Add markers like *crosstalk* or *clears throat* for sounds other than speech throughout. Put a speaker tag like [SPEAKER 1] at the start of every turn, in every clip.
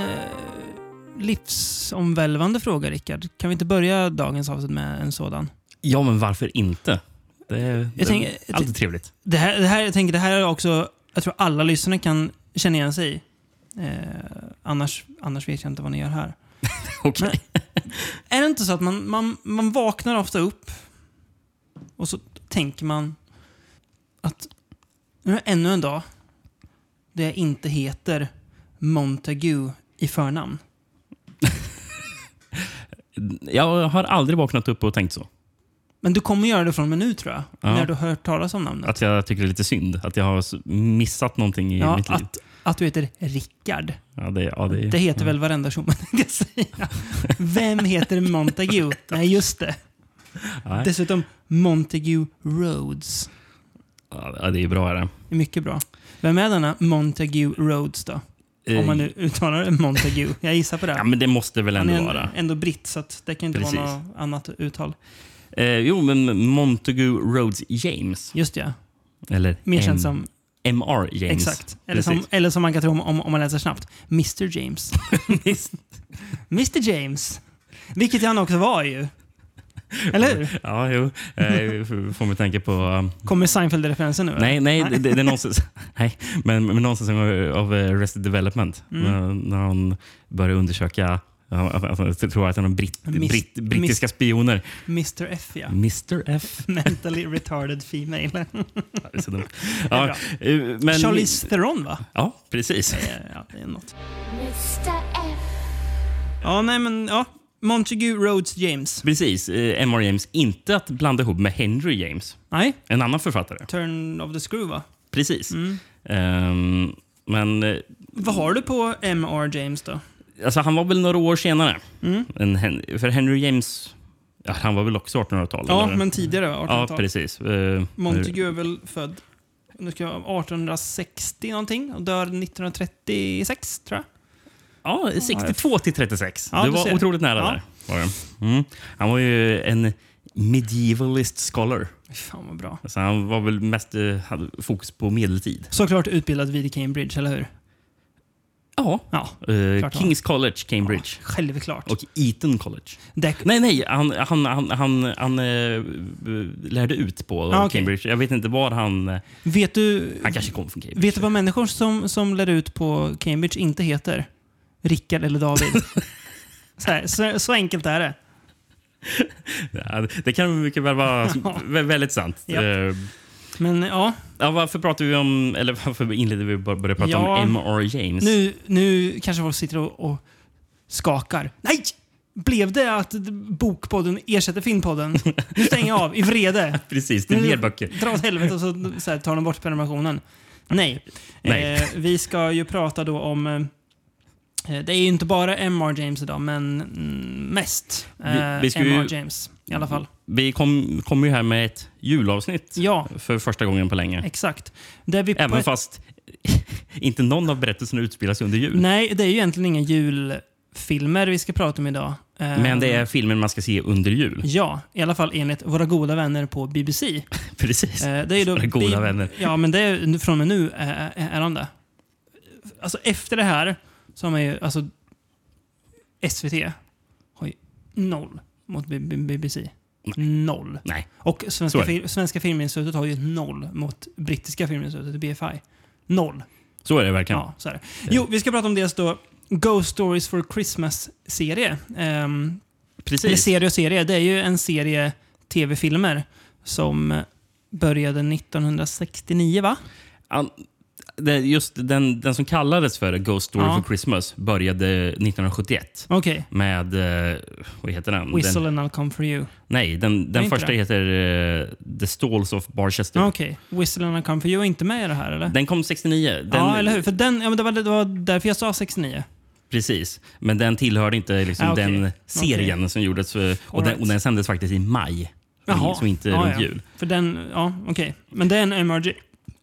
[SPEAKER 1] eh, livsomvälvande fråga, Rickard. Kan vi inte börja dagens avsnitt med en sådan?
[SPEAKER 2] Ja, men varför inte? Det är, det är
[SPEAKER 1] tänker- jag
[SPEAKER 2] alltid trevligt.
[SPEAKER 1] Det här, det här, jag tänker, det här är också, jag tror alla lyssnare kan känna igen sig i. Eh, annars, annars vet jag inte vad ni gör här.
[SPEAKER 2] Okej.
[SPEAKER 1] Men- Är det inte så att man, man, man vaknar ofta upp och så tänker man att nu är det ännu en dag där jag inte heter Montague i förnamn.
[SPEAKER 2] Jag har aldrig vaknat upp och tänkt så.
[SPEAKER 1] Men du kommer göra det från och med nu tror jag.
[SPEAKER 2] Ja.
[SPEAKER 1] När du har hört talas om namnet.
[SPEAKER 2] Att jag tycker det är lite synd. Att jag har s- missat någonting i
[SPEAKER 1] Ja,
[SPEAKER 2] mitt liv.
[SPEAKER 1] att, att du heter Rickard.
[SPEAKER 2] Ja, det, ja, det,
[SPEAKER 1] Det heter väl varenda tjomme, *laughs* tänkte jag säga. Vem heter Montague? Nej, just det.
[SPEAKER 2] Nej.
[SPEAKER 1] Dessutom Montague Rhodes.
[SPEAKER 2] ja, det är bra. Är det.
[SPEAKER 1] Det är mycket bra. Vem är denna Montague Rhodes då? Om man nu uttalar det Montague. Jag gissar på det.
[SPEAKER 2] Eh, Ja, men det måste väl
[SPEAKER 1] Han
[SPEAKER 2] ändå
[SPEAKER 1] är en,
[SPEAKER 2] vara.
[SPEAKER 1] ändå britt, så att det kan inte vara
[SPEAKER 2] Precis.
[SPEAKER 1] något annat uttal.
[SPEAKER 2] Eh, jo, men Montague Rhodes James.
[SPEAKER 1] Just det, ja.
[SPEAKER 2] Eller
[SPEAKER 1] Mer
[SPEAKER 2] M-
[SPEAKER 1] känt som...
[SPEAKER 2] MR James. *laughs*
[SPEAKER 1] Exakt. Eller som,
[SPEAKER 2] Precis.
[SPEAKER 1] eller som man kan tro om, om, om man läser snabbt. Mr James. Mr James. Vilket han också var ju. Eller hur?
[SPEAKER 2] Ja, jo. Eh, får mig tänka på... um,
[SPEAKER 1] Kommer Seinfeld-referensen nu? eller?
[SPEAKER 2] Nej, nej, det, det är någonstans... *laughs* nej, men, men någonstans av, av Rested Development.
[SPEAKER 1] Mm.
[SPEAKER 2] När, när han börjar undersöka... han- han- han tror att han har britt,
[SPEAKER 1] Mis-
[SPEAKER 2] britt, brittiska spioner.
[SPEAKER 1] Mr F ja.
[SPEAKER 2] Mm. Mr F.
[SPEAKER 1] Mentally retarded
[SPEAKER 2] *laughs*
[SPEAKER 1] female.
[SPEAKER 2] Ja, det är
[SPEAKER 1] *laughs*
[SPEAKER 2] så dumt.
[SPEAKER 1] är
[SPEAKER 2] Ja,
[SPEAKER 1] bra.
[SPEAKER 2] eh, men,
[SPEAKER 1] Charlize Theron va?
[SPEAKER 2] Ja, precis.
[SPEAKER 1] Eh, Ja, det är något.
[SPEAKER 3] Mr. F.
[SPEAKER 1] Ja, nej men ja. Montague Rhodes James.
[SPEAKER 2] Precis. Eh, M.R. James. Inte att blanda ihop med Henry James,
[SPEAKER 1] Nej,
[SPEAKER 2] en annan författare.
[SPEAKER 1] Turn of the Screw va?
[SPEAKER 2] Precis.
[SPEAKER 1] Mm.
[SPEAKER 2] Ehm, men eh,
[SPEAKER 1] Vad har du på M.R. James då? Mm.
[SPEAKER 2] alltså, han var väl några år senare. Än Hen- för Henry James, ja, han var väl också 1800-tal?
[SPEAKER 1] Ja,
[SPEAKER 2] eller?
[SPEAKER 1] men tidigare
[SPEAKER 2] Ja,
[SPEAKER 1] 1800-tal.
[SPEAKER 2] precis. Eh,
[SPEAKER 1] Montague är väl född nu ska jag, 1860 någonting och dör 1936 tror jag.
[SPEAKER 2] Ja, 62 till 36.
[SPEAKER 1] Ja,
[SPEAKER 2] det
[SPEAKER 1] du
[SPEAKER 2] var
[SPEAKER 1] ser.
[SPEAKER 2] otroligt nära
[SPEAKER 1] Ja.
[SPEAKER 2] där. Var det. Mm. Han var ju en medievalist scholar.
[SPEAKER 1] Fy Fan vad bra.
[SPEAKER 2] Alltså, han var väl mest eh, hade fokus på medeltid.
[SPEAKER 1] Såklart utbildad vid Cambridge, eller hur?
[SPEAKER 2] Ja.
[SPEAKER 1] Ja,
[SPEAKER 2] Eh,
[SPEAKER 1] Klart han
[SPEAKER 2] Kings College, Cambridge.
[SPEAKER 1] självklart.
[SPEAKER 2] Och Eton College.
[SPEAKER 1] Där-
[SPEAKER 2] Nej, nej. Han, han, han, han, han eh, lärde ut på
[SPEAKER 1] Ah, okej.
[SPEAKER 2] Cambridge. Jag vet inte var han... eh,
[SPEAKER 1] vet, du,
[SPEAKER 2] Han kanske kom från Cambridge.
[SPEAKER 1] vet du vad människor som, som lär ut på Cambridge inte heter? Rickard eller
[SPEAKER 2] *laughs*
[SPEAKER 1] David. så, här, så, så enkelt är det.
[SPEAKER 2] Ja, Det kan mycket
[SPEAKER 1] *laughs*
[SPEAKER 2] väl vara vä- väldigt sant.
[SPEAKER 1] Ja.
[SPEAKER 2] Eh,
[SPEAKER 1] Men ja,
[SPEAKER 2] Ja, varför pratar vi om... Eller varför inledde vi bara började prata
[SPEAKER 1] Ja.
[SPEAKER 2] om M.R. James?
[SPEAKER 1] nu, nu kanske folk sitter och, och skakar. Nej! Blev det att Bokpodden ersätter Filmpodden? Nu stänger jag av i vrede.
[SPEAKER 2] Precis, det är mer böcker.
[SPEAKER 1] Dra åt helvete och så, så här, tar de bort prenumerationen. Nej.
[SPEAKER 2] Nej.
[SPEAKER 1] Eh, vi ska ju prata då om... Eh, det är ju inte bara M.R. James idag, men mm, mest eh,
[SPEAKER 2] Vi- vi ska ju- Mm.
[SPEAKER 1] M.R. James i alla fall.
[SPEAKER 2] Vi kom, kom ju här med ett julavsnitt
[SPEAKER 1] Ja,
[SPEAKER 2] för första gången på länge.
[SPEAKER 1] exakt. Där vi på
[SPEAKER 2] Även
[SPEAKER 1] ett-
[SPEAKER 2] fast *laughs* inte någon av berättelserna utspelar sig under jul.
[SPEAKER 1] Nej, det är ju egentligen inga julfilmer vi ska prata om idag. Eh,
[SPEAKER 2] Men det är filmen man ska se under jul.
[SPEAKER 1] Ja, i alla fall enligt våra goda vänner på BBC. Eh,
[SPEAKER 2] *laughs* Precis.
[SPEAKER 1] det är ju då
[SPEAKER 2] Våra goda
[SPEAKER 1] Bi-
[SPEAKER 2] vänner.
[SPEAKER 1] Ja, men det är, från och med nu är, är de det. Alltså efter det här så har man ju, alltså SVT har ju noll mot B- B- BBC. Noll.
[SPEAKER 2] Nej.
[SPEAKER 1] Och Svenska,
[SPEAKER 2] Så är det.
[SPEAKER 1] fil- Svenska Filminstitutet har ju noll mot Brittiska Filminstitutet, BFI. Noll.
[SPEAKER 2] Så är det verkligen.
[SPEAKER 1] Ja, så är det.
[SPEAKER 2] Eh.
[SPEAKER 1] Jo, vi ska prata om dels då Ghost Stories for Christmas-serie. Ehm, eller
[SPEAKER 2] Precis.
[SPEAKER 1] serie och serie, det är ju en serie tv-filmer som började 1969 va?
[SPEAKER 2] An- det- Just den, den som kallades för Ghost Story
[SPEAKER 1] Ja.
[SPEAKER 2] for Christmas började 1971
[SPEAKER 1] Okej.
[SPEAKER 2] med... eh, Vad heter den?
[SPEAKER 1] Whistle
[SPEAKER 2] den
[SPEAKER 1] and I'll come for you.
[SPEAKER 2] nej, den, den
[SPEAKER 1] inte
[SPEAKER 2] första
[SPEAKER 1] det.
[SPEAKER 2] heter eh, The Stalls of Barchester.
[SPEAKER 1] Okej. Whistle and I'll come for you är inte med i det här eller?
[SPEAKER 2] Den kom 69. Den,
[SPEAKER 1] ja, eller hur? För den, ja, men det, var, det var därför jag sa 69.
[SPEAKER 2] Precis, men den tillhörde inte liksom
[SPEAKER 1] Ah, okej.
[SPEAKER 2] den serien som gjordes. eh, Och den,
[SPEAKER 1] Alright.
[SPEAKER 2] och den sändes faktiskt i maj,
[SPEAKER 1] Jaha. Ah,
[SPEAKER 2] så inte
[SPEAKER 1] ja,
[SPEAKER 2] runt
[SPEAKER 1] ja.
[SPEAKER 2] jul.
[SPEAKER 1] För den, ja, okej. Men det är en M.R.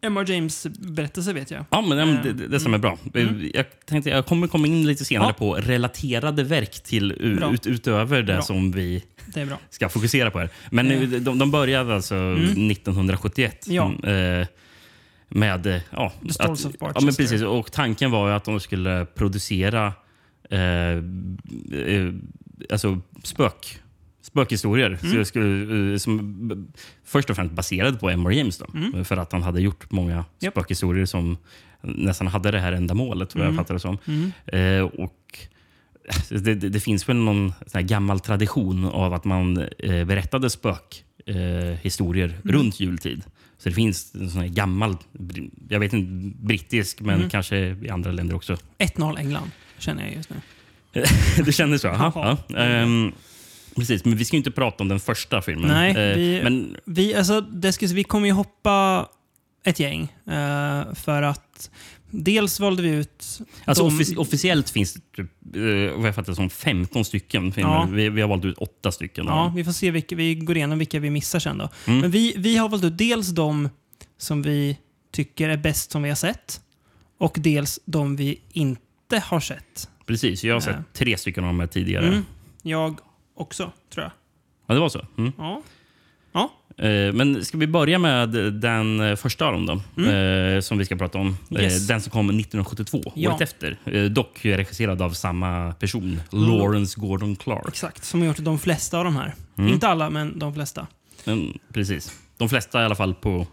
[SPEAKER 1] M.R. James-berättelse vet jag.
[SPEAKER 2] Ja, men ja, men
[SPEAKER 1] Eh,
[SPEAKER 2] det, det, det stämmer bra. Eh, Jag, tänkte, jag kommer komma in lite senare
[SPEAKER 1] Mm. Ja.
[SPEAKER 2] på relaterade verk till, u-
[SPEAKER 1] Bra.
[SPEAKER 2] ut, utöver det
[SPEAKER 1] Bra.
[SPEAKER 2] som vi
[SPEAKER 1] Det är bra.
[SPEAKER 2] ska fokusera på här. Men nu, de, de började alltså 1971
[SPEAKER 1] Eh. Mm. Ja.
[SPEAKER 2] mm, eh, med... eh, Ja,
[SPEAKER 1] The Stalls of
[SPEAKER 2] ja, men
[SPEAKER 1] Barchester.
[SPEAKER 2] precis. Och tanken var ju att de skulle producera eh, eh, alltså spök, spökhistorier.
[SPEAKER 1] Mm.
[SPEAKER 2] Så jag skulle, eh, som b- först och främst baserad på Emory James. Då, För att han hade gjort många
[SPEAKER 1] Mm. Japp.
[SPEAKER 2] spökhistorier som nästan hade det här enda målet, vad jag
[SPEAKER 1] Mm.
[SPEAKER 2] fattar det som. Eh, och alltså, det, det, det finns väl någon sån här gammal tradition av att man eh, berättade spökhistorier eh, historier
[SPEAKER 1] Mm.
[SPEAKER 2] runt jultid. Så det finns en sån här gammal, br- jag vet inte, brittisk, men
[SPEAKER 1] Mm.
[SPEAKER 2] kanske i andra länder också. *laughs*
[SPEAKER 1] 1-0 England, känner jag just nu.
[SPEAKER 2] det kändes så? Jaha, Ja. Ehm, precis, men vi ska ju inte prata om den första filmen.
[SPEAKER 1] Nej,
[SPEAKER 2] Eh,
[SPEAKER 1] vi-
[SPEAKER 2] Men
[SPEAKER 1] Vi, alltså, det ska, vi kommer ju hoppa ett gäng. eh, för att dels valde vi ut...
[SPEAKER 2] alltså,
[SPEAKER 1] de-
[SPEAKER 2] offic- officiellt finns det typ, eh, vad jag fattar det som 15 stycken filmer.
[SPEAKER 1] Ja.
[SPEAKER 2] Vi, vi har valt ut åtta stycken.
[SPEAKER 1] Ja, vi får se vilka, vi går igenom vilka vi missar sen då.
[SPEAKER 2] Mm.
[SPEAKER 1] Men vi, vi har valt ut dels de som vi tycker är bäst som vi har sett och dels de vi inte har sett.
[SPEAKER 2] Precis, jag har
[SPEAKER 1] Ja.
[SPEAKER 2] sett tre stycken av de här tidigare.
[SPEAKER 1] Mm. Jag också, tror jag.
[SPEAKER 2] Ja, det var så. Mm.
[SPEAKER 1] Ja.
[SPEAKER 2] Eh, Men ska vi börja med den eh, första av dem då, eh, som vi ska prata om. Eh,
[SPEAKER 1] Mm. Yes.
[SPEAKER 2] Den som kom 1972,
[SPEAKER 1] Ja.
[SPEAKER 2] året efter. Eh, Dock regisserad av samma person,
[SPEAKER 1] Mm.
[SPEAKER 2] Lawrence Gordon Clark.
[SPEAKER 1] Exakt, som har gjort de flesta av de här. Inte alla, men de flesta.
[SPEAKER 2] Mm, precis. De flesta i alla fall på,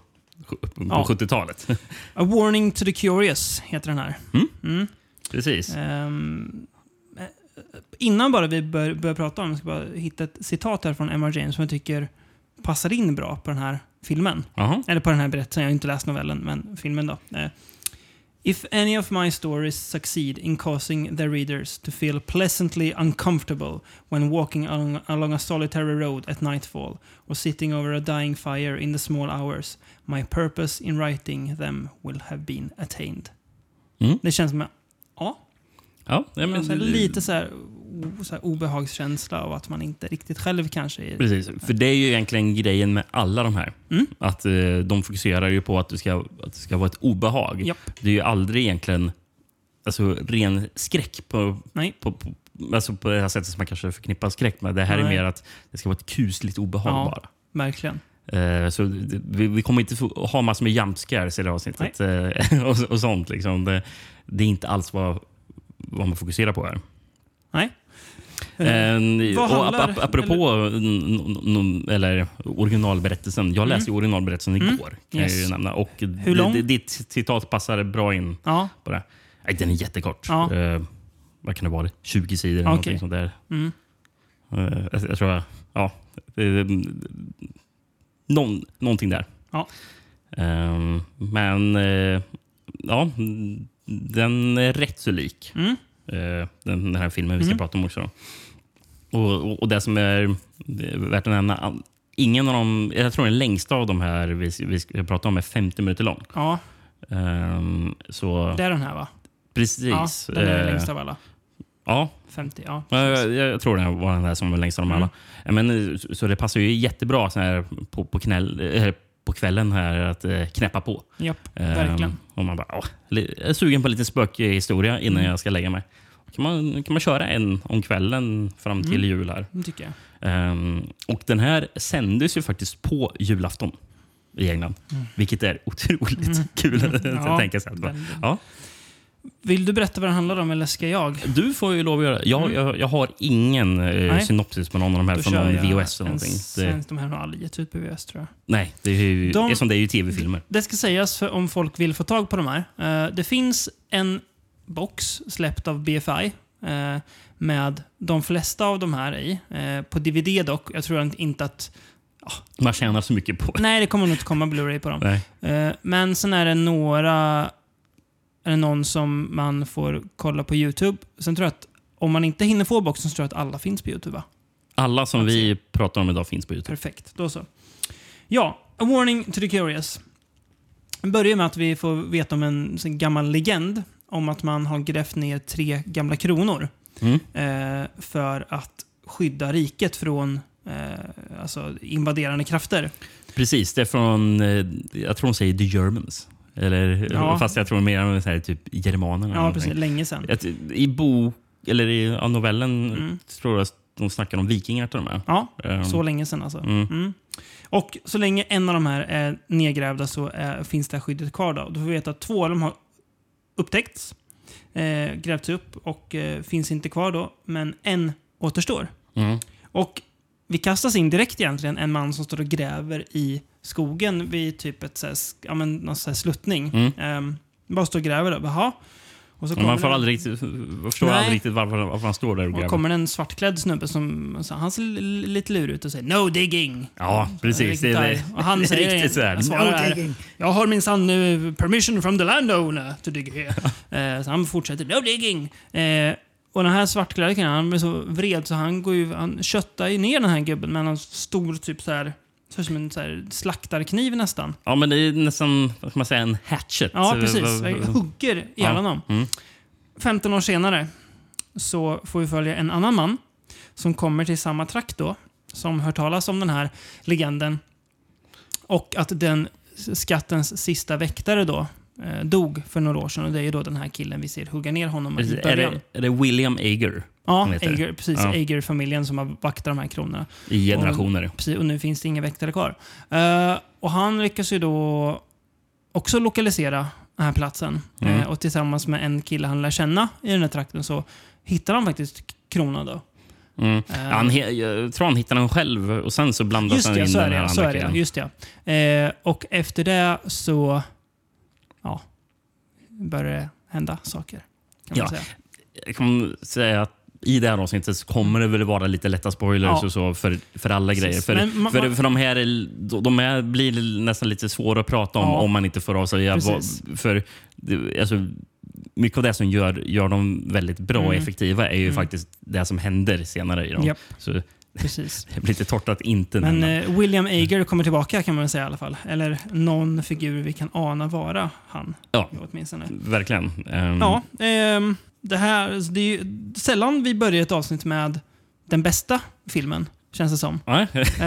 [SPEAKER 2] på
[SPEAKER 1] Ja.
[SPEAKER 2] 70-talet.
[SPEAKER 1] A Warning to the Curious heter den här. Mm.
[SPEAKER 2] precis.
[SPEAKER 1] Ehm, eh, innan bara vi bör, börjar prata om, jag ska bara hitta ett citat här från Emma James som jag tycker passar in bra på den här filmen.
[SPEAKER 2] Jaha.
[SPEAKER 1] Eller på den här berättelsen, jag har inte läst novellen, men filmen då. Eh, If any of my stories succeed in causing their readers to feel pleasantly uncomfortable when walking along, along a solitary road at nightfall or sitting over a dying fire in the small hours, my purpose in writing them will have been attained.
[SPEAKER 2] Mm.
[SPEAKER 1] Det känns som, ja,
[SPEAKER 2] Ja, nej, men,
[SPEAKER 1] så här, lite så här, o- så här obehagskänsla av att man inte riktigt själv kanske är...
[SPEAKER 2] Precis, för det är ju egentligen grejen med alla de här.
[SPEAKER 1] Mm.
[SPEAKER 2] Att eh, De fokuserar ju på att det ska, att det ska vara ett obehag.
[SPEAKER 1] Japp.
[SPEAKER 2] Det är ju aldrig egentligen alltså, ren skräck på,
[SPEAKER 1] Nej.
[SPEAKER 2] på, på, alltså på det här sättet som man kanske förknippar skräck med. Det här är
[SPEAKER 1] Nej.
[SPEAKER 2] mer att det ska vara ett kusligt obehag
[SPEAKER 1] Ja.
[SPEAKER 2] bara.
[SPEAKER 1] Verkligen.
[SPEAKER 2] Eh, så det, vi, vi kommer inte få, ha massor med jump scares i det här avsnittet. eh, *laughs* och, och sånt liksom. det, det är inte alls vad, vad man fokuserar på här.
[SPEAKER 1] Nej.
[SPEAKER 2] Eh,
[SPEAKER 1] Vad
[SPEAKER 2] och
[SPEAKER 1] handlar-
[SPEAKER 2] ap- ap- apropå n- n- n- eller originalberättelsen. Jag läste ju originalberättelsen igår. Kan jag ju
[SPEAKER 1] Mm. Yes.
[SPEAKER 2] nämna. Och d-
[SPEAKER 1] lång?
[SPEAKER 2] d- Ditt citat passar bra in
[SPEAKER 1] Ja,
[SPEAKER 2] på det. Nej, den är jättekort.
[SPEAKER 1] Ja.
[SPEAKER 2] Eh, vad kan det vara? 20 sidor eller
[SPEAKER 1] Okej.
[SPEAKER 2] någonting sånt där.
[SPEAKER 1] Mm.
[SPEAKER 2] Eh, jag, jag tror jag... Ja. Eh, någon, någonting där.
[SPEAKER 1] Ja.
[SPEAKER 2] Ehm, men eh, ja, den är rätt så lik
[SPEAKER 1] Mm.
[SPEAKER 2] eh, den, den här filmen vi ska
[SPEAKER 1] Mm.
[SPEAKER 2] prata om också. Då. Och, och, och det som är det är värt att nämna, all- ingen av dem, jag tror den längsta av de här vi, vi ska prata om är 50 minuter lång.
[SPEAKER 1] ja,
[SPEAKER 2] Ehm, så
[SPEAKER 1] det är den här va?
[SPEAKER 2] precis.
[SPEAKER 1] Ja, den är
[SPEAKER 2] Eh,
[SPEAKER 1] längst av alla.
[SPEAKER 2] ja,
[SPEAKER 1] 50, ja.
[SPEAKER 2] Ja, Jag, jag, jag tror det var den där som var längst av dem
[SPEAKER 1] Mm.
[SPEAKER 2] alla. Men, eh, så- så det passar ju jättebra så här, på, på, knäll, eh, på kvällen här att eh, knäppa på.
[SPEAKER 1] Japp,
[SPEAKER 2] Ehm,
[SPEAKER 1] verkligen.
[SPEAKER 2] Och man bara, åh, li- jag är sugen på lite spökhistoria innan
[SPEAKER 1] Mm.
[SPEAKER 2] jag ska lägga mig. Kan man, kan man köra en om kvällen fram till
[SPEAKER 1] Mm.
[SPEAKER 2] jul här.
[SPEAKER 1] Det tycker jag.
[SPEAKER 2] Ehm, och den här sändes ju faktiskt på julafton i England. Vilket är otroligt kul att
[SPEAKER 1] Mm. *laughs* Ja,
[SPEAKER 2] tänka sig. Att, bara,
[SPEAKER 1] väldigt.
[SPEAKER 2] ja,
[SPEAKER 1] Vill du berätta vad den handlar om eller ska jag?
[SPEAKER 2] du får ju lov att göra jag, jag, jag har ingen eh,
[SPEAKER 1] Mm. Nej.
[SPEAKER 2] synopsis på någon av de här
[SPEAKER 1] Då
[SPEAKER 2] från
[SPEAKER 1] kör
[SPEAKER 2] någon
[SPEAKER 1] jag
[SPEAKER 2] VHS
[SPEAKER 1] en
[SPEAKER 2] eller någonting. Det,
[SPEAKER 1] svensk- De här har aldrig gett ut på VHS tror jag.
[SPEAKER 2] nej, det är ju,
[SPEAKER 1] De-
[SPEAKER 2] eftersom det är ju tv-filmer.
[SPEAKER 1] Det ska sägas för om folk vill få tag på de här. Eh, det finns en box släppt av BFI eh, med de flesta av de här i. Eh, på DVD dock. Jag tror inte att...
[SPEAKER 2] Man tjänar så mycket på
[SPEAKER 1] Nej, det kommer nog inte komma Blu-ray på dem.
[SPEAKER 2] Nej.
[SPEAKER 1] Eh, Men sen är det några... Är det någon som man får kolla på YouTube. Sen tror jag att om man inte hinner få boxen så tror jag att alla finns på YouTube va?
[SPEAKER 2] Alla som vi pratar om idag finns på Youtube.
[SPEAKER 1] Perfekt, då så. Ja, A Warning to the Curious. Det börjar med att vi får veta om en sån gammal legend om att man har grävt ner tre gamla kronor
[SPEAKER 2] Mm.
[SPEAKER 1] eh, för att skydda riket från eh, alltså invaderande krafter.
[SPEAKER 2] Precis, det är från, eh, jag tror de säger The Germans. Eller,
[SPEAKER 1] Ja.
[SPEAKER 2] Fast jag tror mer om så här, typ germanerna. eller
[SPEAKER 1] Ja, precis.
[SPEAKER 2] någonting.
[SPEAKER 1] Länge sedan.
[SPEAKER 2] Ett, I bok, eller i ja, novellen
[SPEAKER 1] Mm.
[SPEAKER 2] tror jag de snackar om vikingar till och med.
[SPEAKER 1] Ja,
[SPEAKER 2] Ehm,
[SPEAKER 1] så länge sedan alltså.
[SPEAKER 2] Mm.
[SPEAKER 1] Mm. Och så länge en av de här är nedgrävda så eh, finns det här skyddet kvar. Då. då får vi veta att två av dem har upptäckts eh, grävts upp och eh, finns inte kvar då, men en återstår.
[SPEAKER 2] Mm.
[SPEAKER 1] Och vi kastas in direkt egentligen, en man som står och gräver i skogen vid typ ett så här, sk- ja, men, någon så här sluttning.
[SPEAKER 2] Mm.
[SPEAKER 1] Ehm, bara står och gräver där. Jaha. Och så
[SPEAKER 2] Men man
[SPEAKER 1] kommer
[SPEAKER 2] får
[SPEAKER 1] det-
[SPEAKER 2] aldrig riktigt, förstår
[SPEAKER 1] Nej.
[SPEAKER 2] aldrig riktigt varför, varför han står där och
[SPEAKER 1] och
[SPEAKER 2] gräver.
[SPEAKER 1] kommer en svartklädd snubbe som så, han ser li- li- lite lurig ut och säger “No digging”.
[SPEAKER 2] Ja, precis. Det är,
[SPEAKER 1] Och han säger
[SPEAKER 2] riktigt så här.
[SPEAKER 1] jag svarar här, “Jag har minsann eh, permission from the landowner to dig here”. Eh, så han fortsätter “No digging”. Eh, och den här svartklädda killen, han blir så vred så han går ju, han köttar ju ner den här gubben med en stor typ så här, ser ut som en så här slaktarkniv nästan.
[SPEAKER 2] Ja, men det är nästan, vad ska man säga, en hatchet.
[SPEAKER 1] Ja,
[SPEAKER 2] Eh,
[SPEAKER 1] precis.
[SPEAKER 2] vad-
[SPEAKER 1] Hugger ihjäl
[SPEAKER 2] Ja.
[SPEAKER 1] honom.
[SPEAKER 2] Mm.
[SPEAKER 1] 15 år senare så får vi följa en annan man som kommer till samma trakt då, som hört talas om den här legenden. Och att den skattens sista väktare då eh, dog för några år sedan och det är ju då den här killen vi ser hugga ner honom i
[SPEAKER 2] Precis. Är
[SPEAKER 1] början.
[SPEAKER 2] det, är det William Ager
[SPEAKER 1] Ja,
[SPEAKER 2] han heter?
[SPEAKER 1] Ager, precis.
[SPEAKER 2] Ja.
[SPEAKER 1] Ager-familjen som har vaktat de här kronorna.
[SPEAKER 2] i generationer?
[SPEAKER 1] Precis, och nu finns det inga väktare kvar. Eh, och han lyckas ju då också lokalisera den här platsen.
[SPEAKER 2] Mm.
[SPEAKER 1] Eh, och tillsammans med en kille han lär känna i den här trakten så hittar han faktiskt kronan då.
[SPEAKER 2] Mm.
[SPEAKER 1] Eh,
[SPEAKER 2] Han, he- jag tror han hittar den själv och sen så blandas
[SPEAKER 1] just
[SPEAKER 2] han
[SPEAKER 1] det,
[SPEAKER 2] in
[SPEAKER 1] så är
[SPEAKER 2] den här
[SPEAKER 1] det. Så
[SPEAKER 2] andra
[SPEAKER 1] är det
[SPEAKER 2] killen.
[SPEAKER 1] just det. Eh, och efter det så ja, börjar det hända saker. Kan
[SPEAKER 2] Ja.
[SPEAKER 1] man säga.
[SPEAKER 2] Jag kan säga att i det här avsnittet så kommer det väl vara lite lätta spoilers
[SPEAKER 1] Ja.
[SPEAKER 2] och så för, för alla
[SPEAKER 1] Precis.
[SPEAKER 2] grejer.
[SPEAKER 1] Men
[SPEAKER 2] För,
[SPEAKER 1] man-
[SPEAKER 2] för,
[SPEAKER 1] man-
[SPEAKER 2] för de här är- de här blir nästan lite svåra att prata om
[SPEAKER 1] Ja.
[SPEAKER 2] om man inte får avslöja. vad-
[SPEAKER 1] Precis.
[SPEAKER 2] För det- alltså, mycket av det som gör, gör dem väldigt bra och
[SPEAKER 1] Mm.
[SPEAKER 2] effektiva är ju faktiskt det som händer senare i dem.
[SPEAKER 1] Japp.
[SPEAKER 2] Så det
[SPEAKER 1] Precis.
[SPEAKER 2] blir lite torrt att inte
[SPEAKER 1] Men
[SPEAKER 2] nämna.
[SPEAKER 1] eh, William Ager kommer tillbaka kan man väl säga i alla fall. Eller någon figur vi kan ana vara han.
[SPEAKER 2] Ja. Mm.
[SPEAKER 1] Åtminstone.
[SPEAKER 2] Verkligen. Ehm, *laughs*
[SPEAKER 1] Ja, ehm, det här... så Det är ju sällan vi börjar ett avsnitt med den bästa filmen, känns det som.
[SPEAKER 2] ja.
[SPEAKER 1] Eh,
[SPEAKER 2] *laughs*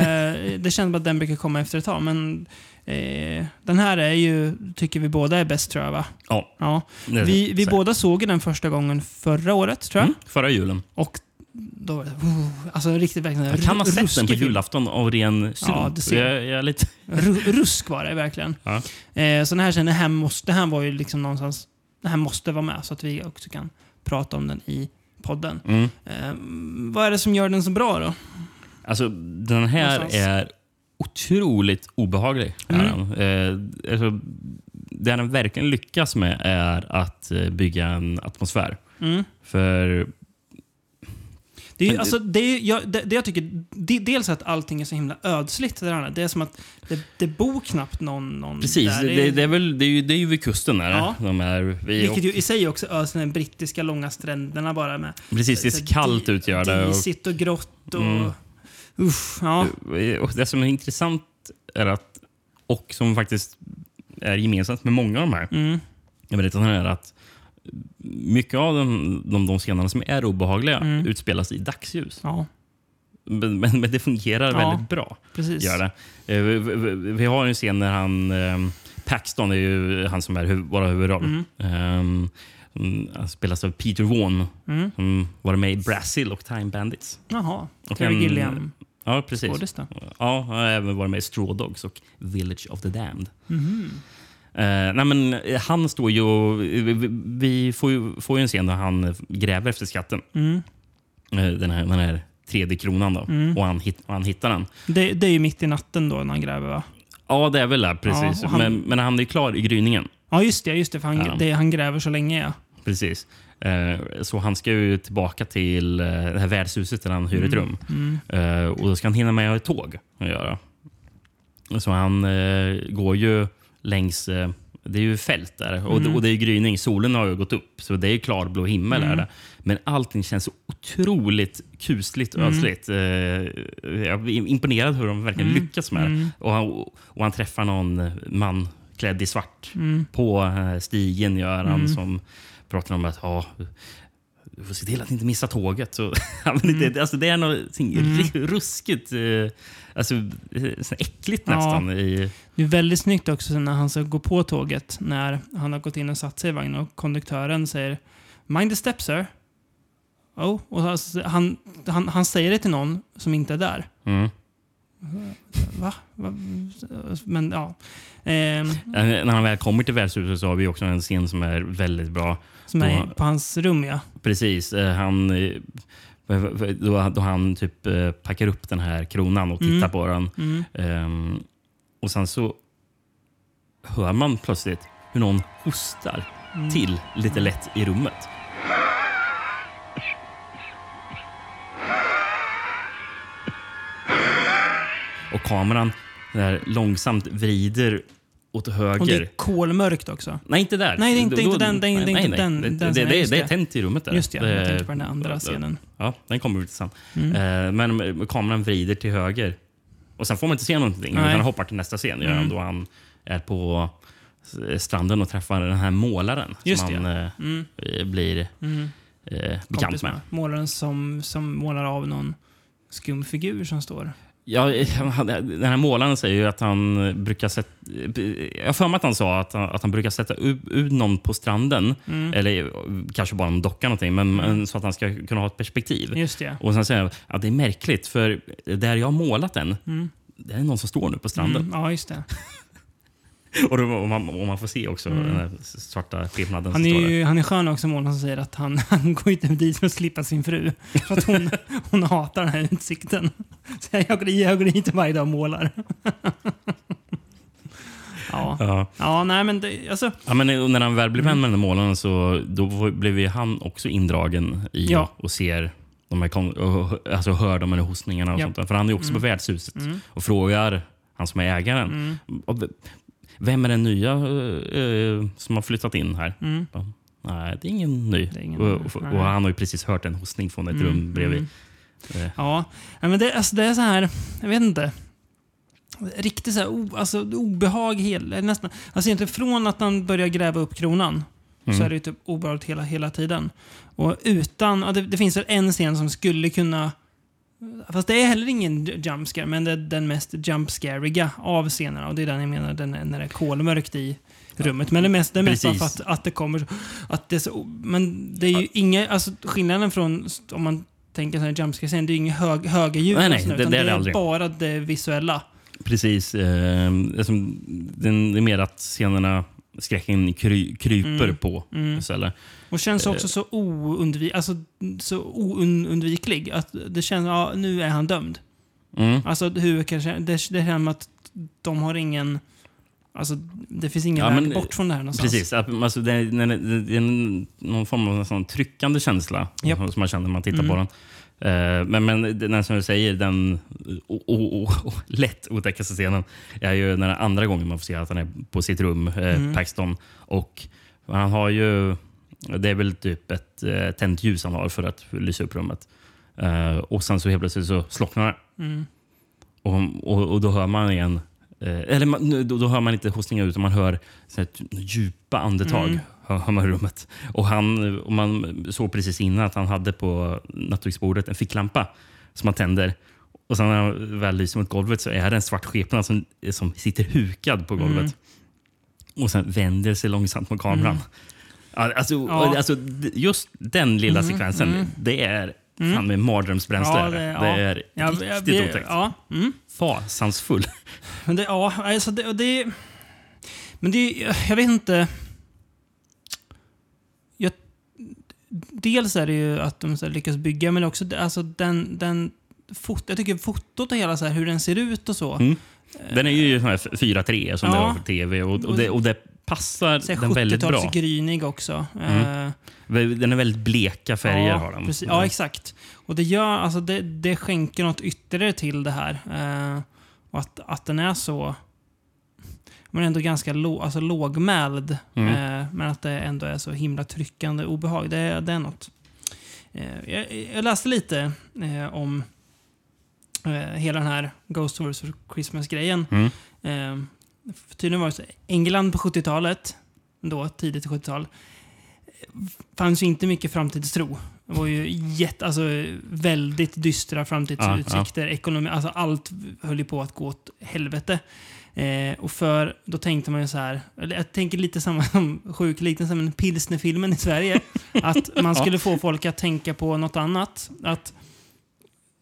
[SPEAKER 1] det känns bara att den brukar komma efter ett tag, men eh, den här är ju, tycker vi båda är bäst tror jag va?
[SPEAKER 2] Ja.
[SPEAKER 1] ja.
[SPEAKER 2] det-
[SPEAKER 1] Vi, vi
[SPEAKER 2] så här.
[SPEAKER 1] båda såg ju den första gången förra året tror jag.
[SPEAKER 2] Mm, förra julen.
[SPEAKER 1] Och då var det oh, alltså riktigt verkligen
[SPEAKER 2] Jag kan ha sett den
[SPEAKER 1] ruskig
[SPEAKER 2] på
[SPEAKER 1] film.
[SPEAKER 2] julafton av ren slump.
[SPEAKER 1] Ja, det ser jag.
[SPEAKER 2] jag, jag är lite...
[SPEAKER 1] Ru- Rusk var det verkligen.
[SPEAKER 2] Ja.
[SPEAKER 1] Eh, så den här känner, den här måste, den här var ju liksom någonstans, den här måste vara med så att vi också kan prata om den i podden.
[SPEAKER 2] Mm.
[SPEAKER 1] Eh, vad är det som gör den så bra då?
[SPEAKER 2] Alltså, den här
[SPEAKER 1] Någonstans.
[SPEAKER 2] är otroligt obehaglig. Är
[SPEAKER 1] Mm.
[SPEAKER 2] den. Eh, alltså, det den verkligen lyckas med är att eh, bygga en atmosfär.
[SPEAKER 1] Mm.
[SPEAKER 2] För
[SPEAKER 1] Det, är ju,
[SPEAKER 2] Men-
[SPEAKER 1] alltså, det, är, ju- jag, det, det jag tycker, det, dels att allting är så himla ödsligt. Det, där, det är som att det, det bor knappt någon, någon
[SPEAKER 2] precis,
[SPEAKER 1] där.
[SPEAKER 2] det, det, är väl, det, är ju, det är ju vid kusten. Där,
[SPEAKER 1] Ja.
[SPEAKER 2] de är, vi,
[SPEAKER 1] vilket ju i sig också öser den brittiska långa stränderna bara med.
[SPEAKER 2] och, precis, det
[SPEAKER 1] så-
[SPEAKER 2] är kallt ut gör det. Och,
[SPEAKER 1] Disigt och grått och...
[SPEAKER 2] Mm.
[SPEAKER 1] Usch, ja.
[SPEAKER 2] och det som är intressant är att, och som faktiskt är gemensamt med många av de här,
[SPEAKER 1] Mm.
[SPEAKER 2] jag berättade här att mycket av de, de, de scenerna som är obehagliga
[SPEAKER 1] Mm.
[SPEAKER 2] utspelas i dagsljus.
[SPEAKER 1] Ja,
[SPEAKER 2] Men, men, men det fungerar
[SPEAKER 1] Ja.
[SPEAKER 2] väldigt bra.
[SPEAKER 1] precis.
[SPEAKER 2] Gör det. Eh, vi- vi- Vi har ju en scen när han... ehm, Paxton är ju han som är hu- vår huvudroll.
[SPEAKER 1] Mm.
[SPEAKER 2] Ehm, mm, han spelas av Peter Vaughan
[SPEAKER 1] Mm.
[SPEAKER 2] som var med i Brazil och Time Bandits.
[SPEAKER 1] Jaha.
[SPEAKER 2] Och
[SPEAKER 1] Terry
[SPEAKER 2] en-
[SPEAKER 1] Gilliam,
[SPEAKER 2] Ja, precis.
[SPEAKER 1] skådis då.
[SPEAKER 2] Ja, han har även varit med i Straw Dogs och Village of the Damned.
[SPEAKER 1] Mhm.
[SPEAKER 2] Eh, nej men, eh, han står ju och, vi- vi, vi får, ju, får ju en scen där han eh, gräver efter skatten.
[SPEAKER 1] Mm.
[SPEAKER 2] Eh, Den här, den här 3D-kronan. Då.
[SPEAKER 1] Mm.
[SPEAKER 2] Och, han hit, och han hittar den.
[SPEAKER 1] Det, det är ju mitt i natten då när han gräver va?
[SPEAKER 2] Ja, det är väl det. Precis.
[SPEAKER 1] Ja, och han-
[SPEAKER 2] men, men han är klar i gryningen.
[SPEAKER 1] Ja, just det. Just det, för han,
[SPEAKER 2] Ja.
[SPEAKER 1] det, han gräver så länge ja.
[SPEAKER 2] Precis. Eh, Så han ska ju tillbaka till eh, det här värdshuset där han hyr
[SPEAKER 1] Mm.
[SPEAKER 2] ett rum. Eh, Och då ska han hinna med att ha ett tåg att göra. Så han eh, går ju längs... eh, Det är ju fält där och, det, och det är ju gryning. Solen har ju gått upp, så det är ju klarblå himmel. Är det. Men allting känns så otroligt kusligt och ödsligt. Eh, Jag är imponerad hur de verkligen lyckas med det. Och, han, och han träffar någon man klädd i svart på eh, stigen, gör han, som pratar om att ja, du får se till att inte missa tåget. Så, *laughs* ja, men det, alltså, det är någonting mm. ruskigt, eh, alltså, eh, så äckligt
[SPEAKER 1] Ja.
[SPEAKER 2] nästan. I,
[SPEAKER 1] Det är väldigt snyggt också när han ska gå på tåget, när han har gått in och satt sig i vagnen och konduktören säger “Mind the step sir”. Oh, och alltså, han, han, han säger det till någon som inte är där.
[SPEAKER 2] mm.
[SPEAKER 1] Va? Va? Men ja. Ehm,
[SPEAKER 2] Eh, När han väl kommer till värdshuset så har vi också en scen som är väldigt bra.
[SPEAKER 1] som är på hans rum, ja.
[SPEAKER 2] Precis. eh, Han, eh, då, då han typ eh, packar upp den här kronan och tittar
[SPEAKER 1] Mm.
[SPEAKER 2] på den.
[SPEAKER 1] Mm.
[SPEAKER 2] Ehm, och sen så hör man plötsligt hur någon hostar
[SPEAKER 1] Mm.
[SPEAKER 2] till lite lätt i rummet. Och kameran där långsamt vrider åt höger.
[SPEAKER 1] Och det är kolmörkt också.
[SPEAKER 2] Nej, inte där.
[SPEAKER 1] Nej, det är inte-
[SPEAKER 2] Då-
[SPEAKER 1] inte
[SPEAKER 2] då-
[SPEAKER 1] den- det är inte-
[SPEAKER 2] nej,
[SPEAKER 1] inte
[SPEAKER 2] nej.
[SPEAKER 1] den-
[SPEAKER 2] Det,
[SPEAKER 1] den
[SPEAKER 2] det, det,
[SPEAKER 1] scenen, just
[SPEAKER 2] det är
[SPEAKER 1] det.
[SPEAKER 2] tänkte i rummet där.
[SPEAKER 1] Just det, jag tänkte på den där
[SPEAKER 2] Eh,
[SPEAKER 1] andra scenen.
[SPEAKER 2] Ja, den kommer ut sen.
[SPEAKER 1] Mm.
[SPEAKER 2] Eh, Men kameran vrider till höger. Och sen får man inte se någonting.
[SPEAKER 1] Nej. Mm.
[SPEAKER 2] Utan han hoppar till nästa scen. gör han Då han är på s- stranden och träffar den här målaren.
[SPEAKER 1] Just
[SPEAKER 2] som
[SPEAKER 1] det,
[SPEAKER 2] han eh,
[SPEAKER 1] Mm,
[SPEAKER 2] eh, blir eh, bekant
[SPEAKER 1] Kompis
[SPEAKER 2] med.
[SPEAKER 1] med. Målaren som, som målar av någon skum figur som står.
[SPEAKER 2] Ja, eh, han- den här målaren säger ju att han eh, brukar sätta... Jag har för mig att han sa att han, att han brukar sätta u- ut någon på stranden.
[SPEAKER 1] Mm.
[SPEAKER 2] Eller eh, kanske bara en docka någonting, men, men så att han ska kunna ha ett perspektiv.
[SPEAKER 1] Just det.
[SPEAKER 2] Och sen säger han att det är märkligt, för där jag har målat den, det är någon som står nu på stranden.
[SPEAKER 1] Mm, ja, just det. Mm.
[SPEAKER 2] Och, då, och, man, och man får se också den här svarta skillnaden
[SPEAKER 1] Han
[SPEAKER 2] som står
[SPEAKER 1] är,
[SPEAKER 2] där.
[SPEAKER 1] ju, han är skön också, målaren som säger att han, *laughs* han går inte dit för att slippa sin fru. För att
[SPEAKER 2] *laughs*
[SPEAKER 1] hon, hon hatar den här utsikten. Så jag, jag, går- jag går dit varje dag och målar. *laughs* ja.
[SPEAKER 2] Ja.
[SPEAKER 1] ja, nej men det, alltså,
[SPEAKER 2] Ja, men och när han väl blir vän med den där målaren så då får- blev ju han också indragen i
[SPEAKER 1] Ja.
[SPEAKER 2] och ser de här, kon- och- alltså hör de här hostningarna och
[SPEAKER 1] Ja. Mm.
[SPEAKER 2] sånt där. För han är ju också på värdshuset och frågar han som är ägaren.
[SPEAKER 1] Mm.
[SPEAKER 2] Och v- Vem är den nya eh, eh, som har flyttat in här?
[SPEAKER 1] mm.
[SPEAKER 2] Bara, Nej, det är ingen ny.
[SPEAKER 1] är ingen
[SPEAKER 2] och,
[SPEAKER 1] ny,
[SPEAKER 2] och, och
[SPEAKER 1] nej. Mm.
[SPEAKER 2] han har ju precis hört en hostning från ett rum bredvid. Eh,
[SPEAKER 1] Ja, Nej, men det, alltså, det är så här, jag vet inte. Riktigt så här, o, alltså, obehag hela, nästan. Alltså egentligen från att han börjar gräva upp kronan
[SPEAKER 2] mm.
[SPEAKER 1] så är det ju typ obehagligt hela, hela tiden. Och utan, ja, det, det finns väl en scen som skulle kunna Fast det är heller ingen jumpscare, men det är den mest jumpscariga av scenerna. Och det är den jag menar, den, när det är kolmörkt i rummet. Men det mest, det är mest bara för att,
[SPEAKER 2] Precis.
[SPEAKER 1] att det kommer... Att det är så, men det är ju inga... Alltså skillnaden från om man tänker sån här jumpscare-scen, det är ju inga hög, höga ljud.
[SPEAKER 2] Nej,
[SPEAKER 1] och
[SPEAKER 2] nej,
[SPEAKER 1] sånt,
[SPEAKER 2] det-
[SPEAKER 1] utan
[SPEAKER 2] det är det
[SPEAKER 1] är
[SPEAKER 2] aldrig.
[SPEAKER 1] bara det visuella.
[SPEAKER 2] Precis. Eh, alltså, den- det är mer att scenerna, skräcken kry, kryper på
[SPEAKER 1] Mm.
[SPEAKER 2] istället.
[SPEAKER 1] Och känns
[SPEAKER 2] Eh.
[SPEAKER 1] också så, oundvi, alltså, så oundviklig. Att det känns, ja, nu är han dömd.
[SPEAKER 2] Mm.
[SPEAKER 1] Alltså hur kanske, det, det känns som att de har ingen... Alltså det finns ingen
[SPEAKER 2] Ja,
[SPEAKER 1] väg
[SPEAKER 2] men- eh,
[SPEAKER 1] bort från det här någonstans.
[SPEAKER 2] Precis. att- Alltså, det, är, det, är, det är en- någon form av en sån tryckande känsla
[SPEAKER 1] Japp. Mm.
[SPEAKER 2] som man känner när man tittar på den. Eh, men, men den här som du säger, den o, o, o, o, lätt otäckaste scenen är ju den andra gången man får se att han är på sitt rum, eh,
[SPEAKER 1] Mm.
[SPEAKER 2] Paxton. Och han har ju... Det är väl typ ett eh, tänt ljus han har för att lysa upp rummet. Eh, och sen så helt plötsligt så slocknar det.
[SPEAKER 1] Mm.
[SPEAKER 2] Och, och, och då hör man igen... Eh, eller man, nu- då, då hör man inte hostningar utan man hör så här, ty- djupa andetag.
[SPEAKER 1] Mm.
[SPEAKER 2] Hör, hör man i rummet. Och, han, och man såg precis innan att han hade på nattduksbordet en ficklampa som han tänder. Och sen när han väl lyser mot golvet så är det en svart skepnad som, som sitter hukad på golvet.
[SPEAKER 1] Mm.
[SPEAKER 2] Och sen vänder sig långsamt mot kameran. Ja, Alltså,
[SPEAKER 1] Ja. Mm-hmm. Mm.
[SPEAKER 2] alltså, d- just den lilla sekvensen, det är fan med mardrömsbränsle.
[SPEAKER 1] Ja,
[SPEAKER 2] det,
[SPEAKER 1] det- ja.
[SPEAKER 2] är
[SPEAKER 1] Ja,
[SPEAKER 2] riktigt
[SPEAKER 1] jag blir-
[SPEAKER 2] otäckt.
[SPEAKER 1] Ja, mm.
[SPEAKER 2] Fasansfull.
[SPEAKER 1] men det, ja, alltså det, och det... Men det, jag vet inte... Jag, dels är det ju att de så här lyckas bygga, men också det- alltså den... den fot, jag tycker fotot och hela så här, hur den ser ut och
[SPEAKER 2] Mm.
[SPEAKER 1] så.
[SPEAKER 2] Den är ju sån här 4-3 som
[SPEAKER 1] Ja.
[SPEAKER 2] det var för tv och, och, det, och det passar
[SPEAKER 1] Så här
[SPEAKER 2] den väldigt bra.
[SPEAKER 1] 70-talsgrynig också. Eh,
[SPEAKER 2] Den är väldigt bleka färger.
[SPEAKER 1] ja,
[SPEAKER 2] har den. Mm.
[SPEAKER 1] Precis, ja, exakt. Och det, gör, alltså det, det skänker något ytterligare till det här. Eh, och att, att den är så... Men ändå ganska lå, alltså lågmäld.
[SPEAKER 2] Mm.
[SPEAKER 1] Eh, men att det ändå är så himla tryckande obehag. Det, är- det är något. Eh, jag, jag läste lite eh, om eh, hela den här Ghost Stories for Christmas-grejen.
[SPEAKER 2] Mm.
[SPEAKER 1] Eh, för tydligen var det så, England på 70-talet, då, tidigt 70-tal, fanns ju inte mycket framtidstro. Det var ju jätte, alltså, väldigt dystra framtidsutsikter. Ekonomi, alltså, allt höll ju på att gå åt helvete. Eh, och för, då tänkte man ju så här, eller jag tänker lite samma som sjukliknelsen, men pilsnerfilmen i Sverige. att man skulle få folk att tänka på något annat. Att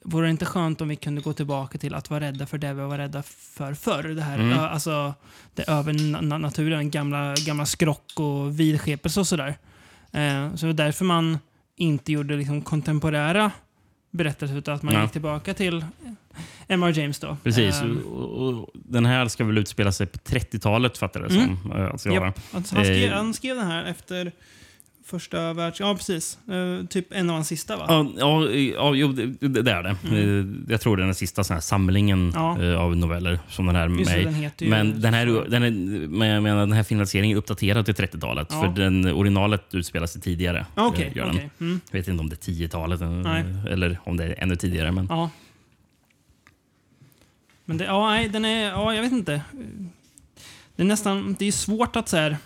[SPEAKER 1] Vore det inte skönt om vi kunde gå tillbaka till att vara rädda för det vi var rädda för förr? Det här,
[SPEAKER 2] Mm.
[SPEAKER 1] ö- alltså, det övernaturen, gamla, gamla skrock och vidskepelse och sådär. Eh, så det var därför man inte gjorde liksom kontemporära berättelser utan att man
[SPEAKER 2] Ja.
[SPEAKER 1] gick tillbaka till M.R. James då.
[SPEAKER 2] Precis.
[SPEAKER 1] Eh,
[SPEAKER 2] och, och, den här ska väl utspela sig på 30-talet, fattar jag det
[SPEAKER 1] Mm.
[SPEAKER 2] som. Eh, Alltså,
[SPEAKER 1] Japp.
[SPEAKER 2] ja.
[SPEAKER 1] Alltså, han, skrev,
[SPEAKER 2] Eh.
[SPEAKER 1] han skrev den här efter första världskriget. Ja, precis. Eh, typ en av hans sista, va?
[SPEAKER 2] Ja, ja, ja, jo, det, det det är det. Eh, Jag tror det är den sista sån här samlingen
[SPEAKER 1] Mm. Ja.
[SPEAKER 2] eh, av noveller som den här
[SPEAKER 1] Just det,
[SPEAKER 2] med-
[SPEAKER 1] den heter ju...
[SPEAKER 2] Men den här, den är, men jag menar, den här filmatiseringen är uppdaterad till 30-talet.
[SPEAKER 1] Ja.
[SPEAKER 2] För den originalet utspelar sig tidigare.
[SPEAKER 1] Ja, Okej,
[SPEAKER 2] eh, gör den.
[SPEAKER 1] okej. Mm.
[SPEAKER 2] Jag vet inte om det är 10-talet eh,
[SPEAKER 1] Nej.
[SPEAKER 2] eller om det är ännu tidigare. Men,
[SPEAKER 1] Ja. Men det, ja, nej, den är, ja, jag vet inte. Det är nästan, det är svårt att så här,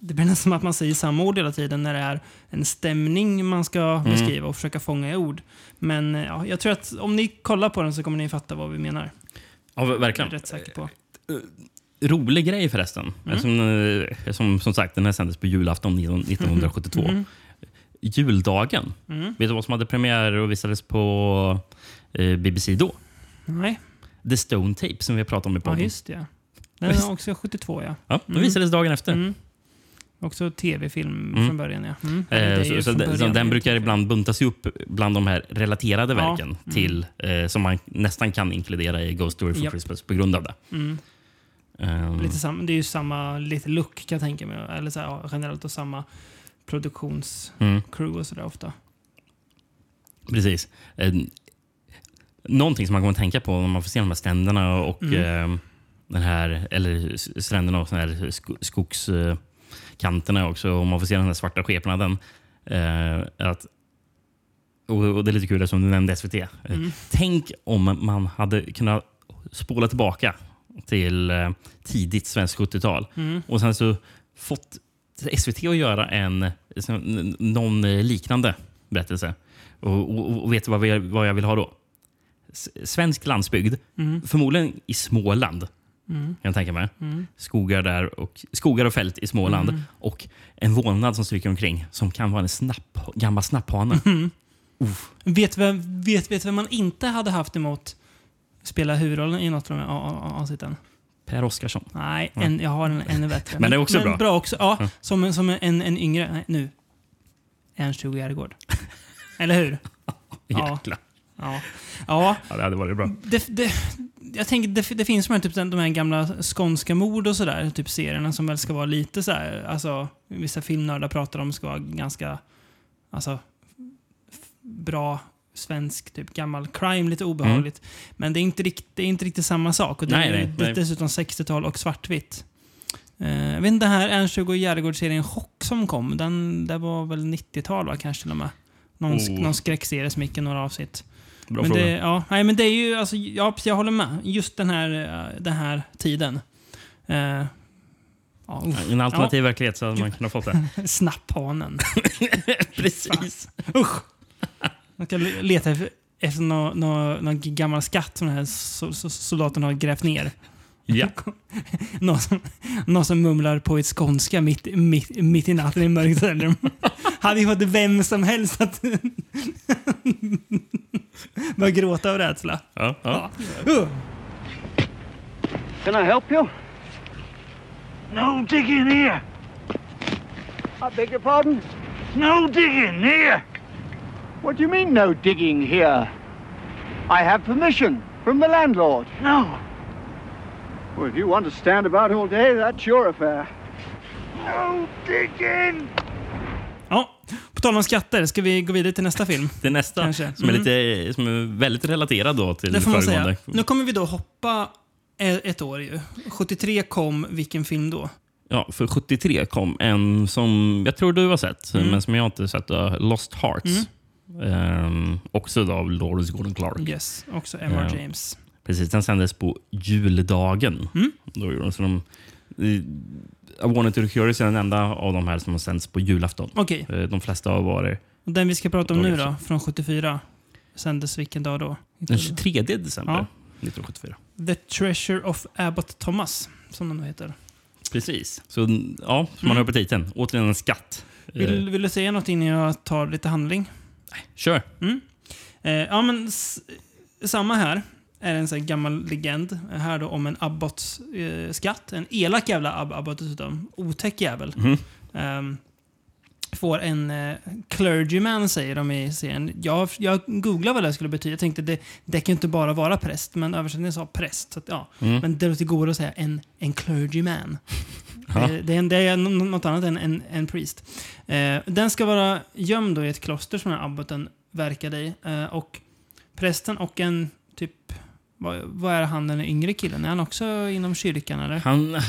[SPEAKER 1] det blir nästan som att man säger samma ord hela tiden när det är en stämning man
[SPEAKER 2] Mm.
[SPEAKER 1] ska beskriva och försöka fånga i ord. Men eh, ja, jag tror att om ni kollar på den så kommer ni fatta vad vi menar.
[SPEAKER 2] ja,
[SPEAKER 1] Det är jag
[SPEAKER 2] verkligen. Eh,
[SPEAKER 1] rätt säker på.
[SPEAKER 2] Rolig grej förresten.
[SPEAKER 1] Mm.
[SPEAKER 2] Som, eh, som, som sagt, den här sändes på julafton 19- 1972.
[SPEAKER 1] Mm.
[SPEAKER 2] Juldagen. Vet du vad som hade premiär och visades på eh, BBC då?
[SPEAKER 1] Nej,
[SPEAKER 2] The Stone Tape som vi har pratat om i
[SPEAKER 1] ja
[SPEAKER 2] podden.
[SPEAKER 1] just det. ja. Den är också 72 ja.
[SPEAKER 2] Ja, den
[SPEAKER 1] Mm.
[SPEAKER 2] visades dagen efter.
[SPEAKER 1] Mm. Också tv-film
[SPEAKER 2] Mm.
[SPEAKER 1] från början ja. Mm.
[SPEAKER 2] Eh,
[SPEAKER 1] Eller det är
[SPEAKER 2] så,
[SPEAKER 1] ju
[SPEAKER 2] så,
[SPEAKER 1] från
[SPEAKER 2] den, så
[SPEAKER 1] början.
[SPEAKER 2] den brukar ibland buntas ihop bland de här relaterade
[SPEAKER 1] Ja. Mm.
[SPEAKER 2] verken till, eh, som man nästan kan inkludera i Ghost Story for
[SPEAKER 1] Japp.
[SPEAKER 2] Christmas på grund av det.
[SPEAKER 1] Mm.
[SPEAKER 2] Ehm,
[SPEAKER 1] Lite samma, det är ju samma lite look kan jag tänka mig. Eller så här, ja, generellt och samma produktionscrew
[SPEAKER 2] mm,
[SPEAKER 1] och sådär ofta.
[SPEAKER 2] precis. Eh, någonting som man kommer att tänka på när man får se de här stränderna och eh, den här, eller s- stränderna och såna här sko, skogskanterna också, om man får se den här svarta skepnaden. Eh, att, och, och det är lite kul som du nämnde SVT. Eh,
[SPEAKER 1] Mm.
[SPEAKER 2] Tänk om man hade kunnat spola tillbaka till eh, tidigt svenskt 70-tal
[SPEAKER 1] Mm.
[SPEAKER 2] och sen så fått SVT att göra en, en- någon liknande berättelse. Och, och, och vet du vad, vi, vad jag vill ha då? S- Svensk landsbygd,
[SPEAKER 1] Mm.
[SPEAKER 2] förmodligen i Småland
[SPEAKER 1] Mm.
[SPEAKER 2] kan jag tänka mig.
[SPEAKER 1] Mm.
[SPEAKER 2] Skogar, där och, skogar och fält i Småland
[SPEAKER 1] Mm.
[SPEAKER 2] och en vålnad som stryker omkring som kan vara en snapp, gammal snapphane.
[SPEAKER 1] Mm. Vet, vem, vet, vet vem man inte hade haft emot spela huvudrollen i något av de här a- a- a- avsnitten?
[SPEAKER 2] Per Oscarsson.
[SPEAKER 1] Nej, en, jag har en ännu bättre.
[SPEAKER 2] Men det är också bra.
[SPEAKER 1] bra också, ja.
[SPEAKER 2] Ja.
[SPEAKER 1] Som, en- som en, en yngre, nej, nu. Ernst Hugo
[SPEAKER 2] *laughs*
[SPEAKER 1] Järegård. Eller hur? Ja.
[SPEAKER 2] Jäklar.
[SPEAKER 1] Ja. ja.
[SPEAKER 2] Ja, det hade varit bra.
[SPEAKER 1] det, det, jag tänker, det, det finns de här, typ, den- de här gamla skånska mord och sådär, typ serierna som väl ska vara lite så här, alltså vissa filmnördar pratar om ska vara ganska, alltså f- bra svensk, typ gammal crime, lite obehagligt. Men det är inte, rikt, det är inte riktigt samma sak. Och det
[SPEAKER 2] Mm. Nej,
[SPEAKER 1] är
[SPEAKER 2] nej,
[SPEAKER 1] ju
[SPEAKER 2] nej.
[SPEAKER 1] dessutom 60-tal och svartvitt. Eh, jag vet inte, den här Ernst Hugo Järegård-serien Chock som kom, den där var väl 90-tal va, kanske till och med. Någon, sk-
[SPEAKER 2] Oh.
[SPEAKER 1] någon skräckserie som gick i några avsnitt
[SPEAKER 2] Bra
[SPEAKER 1] men
[SPEAKER 2] fråga.
[SPEAKER 1] det, ja, nej, men det är ju, alltså, ja, precis, jag håller med. Just den här, eh, den här tiden. Eh, ja, uff,
[SPEAKER 2] I en alternativ verklighet så hade man kunnat fått
[SPEAKER 1] *laughs*
[SPEAKER 2] det.
[SPEAKER 1] snapphanen.
[SPEAKER 2] Precis.
[SPEAKER 1] Usch! Man kan le- leta efter, efter någon, någon, någon gammal skatt som den här so- so- soldaten har grävt ner.
[SPEAKER 2] Ja.
[SPEAKER 1] *laughs* Någon som, någon som mumlar på ett skånska mitt, mitt, mitt i natten i mörkt rum. *laughs* Hade ju fått vem som helst att *laughs* börja gråta av rädsla.
[SPEAKER 2] Ja, ja.
[SPEAKER 1] Uh.
[SPEAKER 4] Can I help you?
[SPEAKER 5] No digging here.
[SPEAKER 4] I beg your pardon?
[SPEAKER 5] No digging here.
[SPEAKER 4] What do you mean, no digging here? I have permission from the landlord.
[SPEAKER 5] No.
[SPEAKER 4] Well, if you want to stand about all day, that's your affair.
[SPEAKER 5] No digging.
[SPEAKER 1] Ja, på tal om skatter, ska vi gå vidare till nästa film?
[SPEAKER 2] Det är nästa
[SPEAKER 1] Kanske. Mm.
[SPEAKER 2] som, är lite, som är väldigt relaterad då till
[SPEAKER 1] Det får man
[SPEAKER 2] föregående.
[SPEAKER 1] säga. Nu kommer vi då hoppa e- ett år ju. 73 kom vilken film då?
[SPEAKER 2] Ja, för 73 kom en som jag tror du har sett,
[SPEAKER 1] Mm.
[SPEAKER 2] men som jag inte sett. uh, Lost Hearts. Ehm, också då av Lawrence Gordon Clark.
[SPEAKER 1] Yes, också M.R.
[SPEAKER 2] Ja.
[SPEAKER 1] James.
[SPEAKER 2] Precis, den sändes på juldagen.
[SPEAKER 1] Mm.
[SPEAKER 2] Då gjorde de, så de, I wanted to be curious är den enda av de här som har sänds på julafton.
[SPEAKER 1] Okej,
[SPEAKER 2] Eh, De flesta har varit
[SPEAKER 1] och den vi ska prata om
[SPEAKER 2] Då
[SPEAKER 1] nu
[SPEAKER 2] liksom.
[SPEAKER 1] då, från 74, sändes vilken dag då?
[SPEAKER 2] den 23 december
[SPEAKER 1] Ja.
[SPEAKER 2] 1974.
[SPEAKER 1] The Treasure of Abbot Thomas, som den då heter.
[SPEAKER 2] Eh. Precis. Så n- ja, som man hör på titeln. Återigen en skatt.
[SPEAKER 1] Mm.
[SPEAKER 2] Eh,
[SPEAKER 1] Vill, vill du säga något innan jag tar lite handling?
[SPEAKER 2] Eh, kör.
[SPEAKER 1] Eh, ja, men s- samma här. Är en sån här gammal legend. Här då om en abbots eh, skatt. En elak jävla ab abbot dessutom. Otäck jävel.
[SPEAKER 2] Mhm.
[SPEAKER 1] Ehm, får en eh, clergyman säger de i serien. Jag, jag googlade vad det skulle betyda. Jag tänkte det, det kan ju inte bara vara präst. Men översättningen sa präst. Så att, ja.
[SPEAKER 2] Mm.
[SPEAKER 1] Men det låter godare att säga en, en
[SPEAKER 2] *laughs*
[SPEAKER 1] clergyman. Det, det, är en- det är n- något annat än en, en priest. Eh, den ska vara gömd då i ett kloster som den här abboten verkade i. Eh, och prästen och en typ... Vad, vad är han den yngre killen? Är han också inom kyrkan eller?
[SPEAKER 2] Han, *laughs*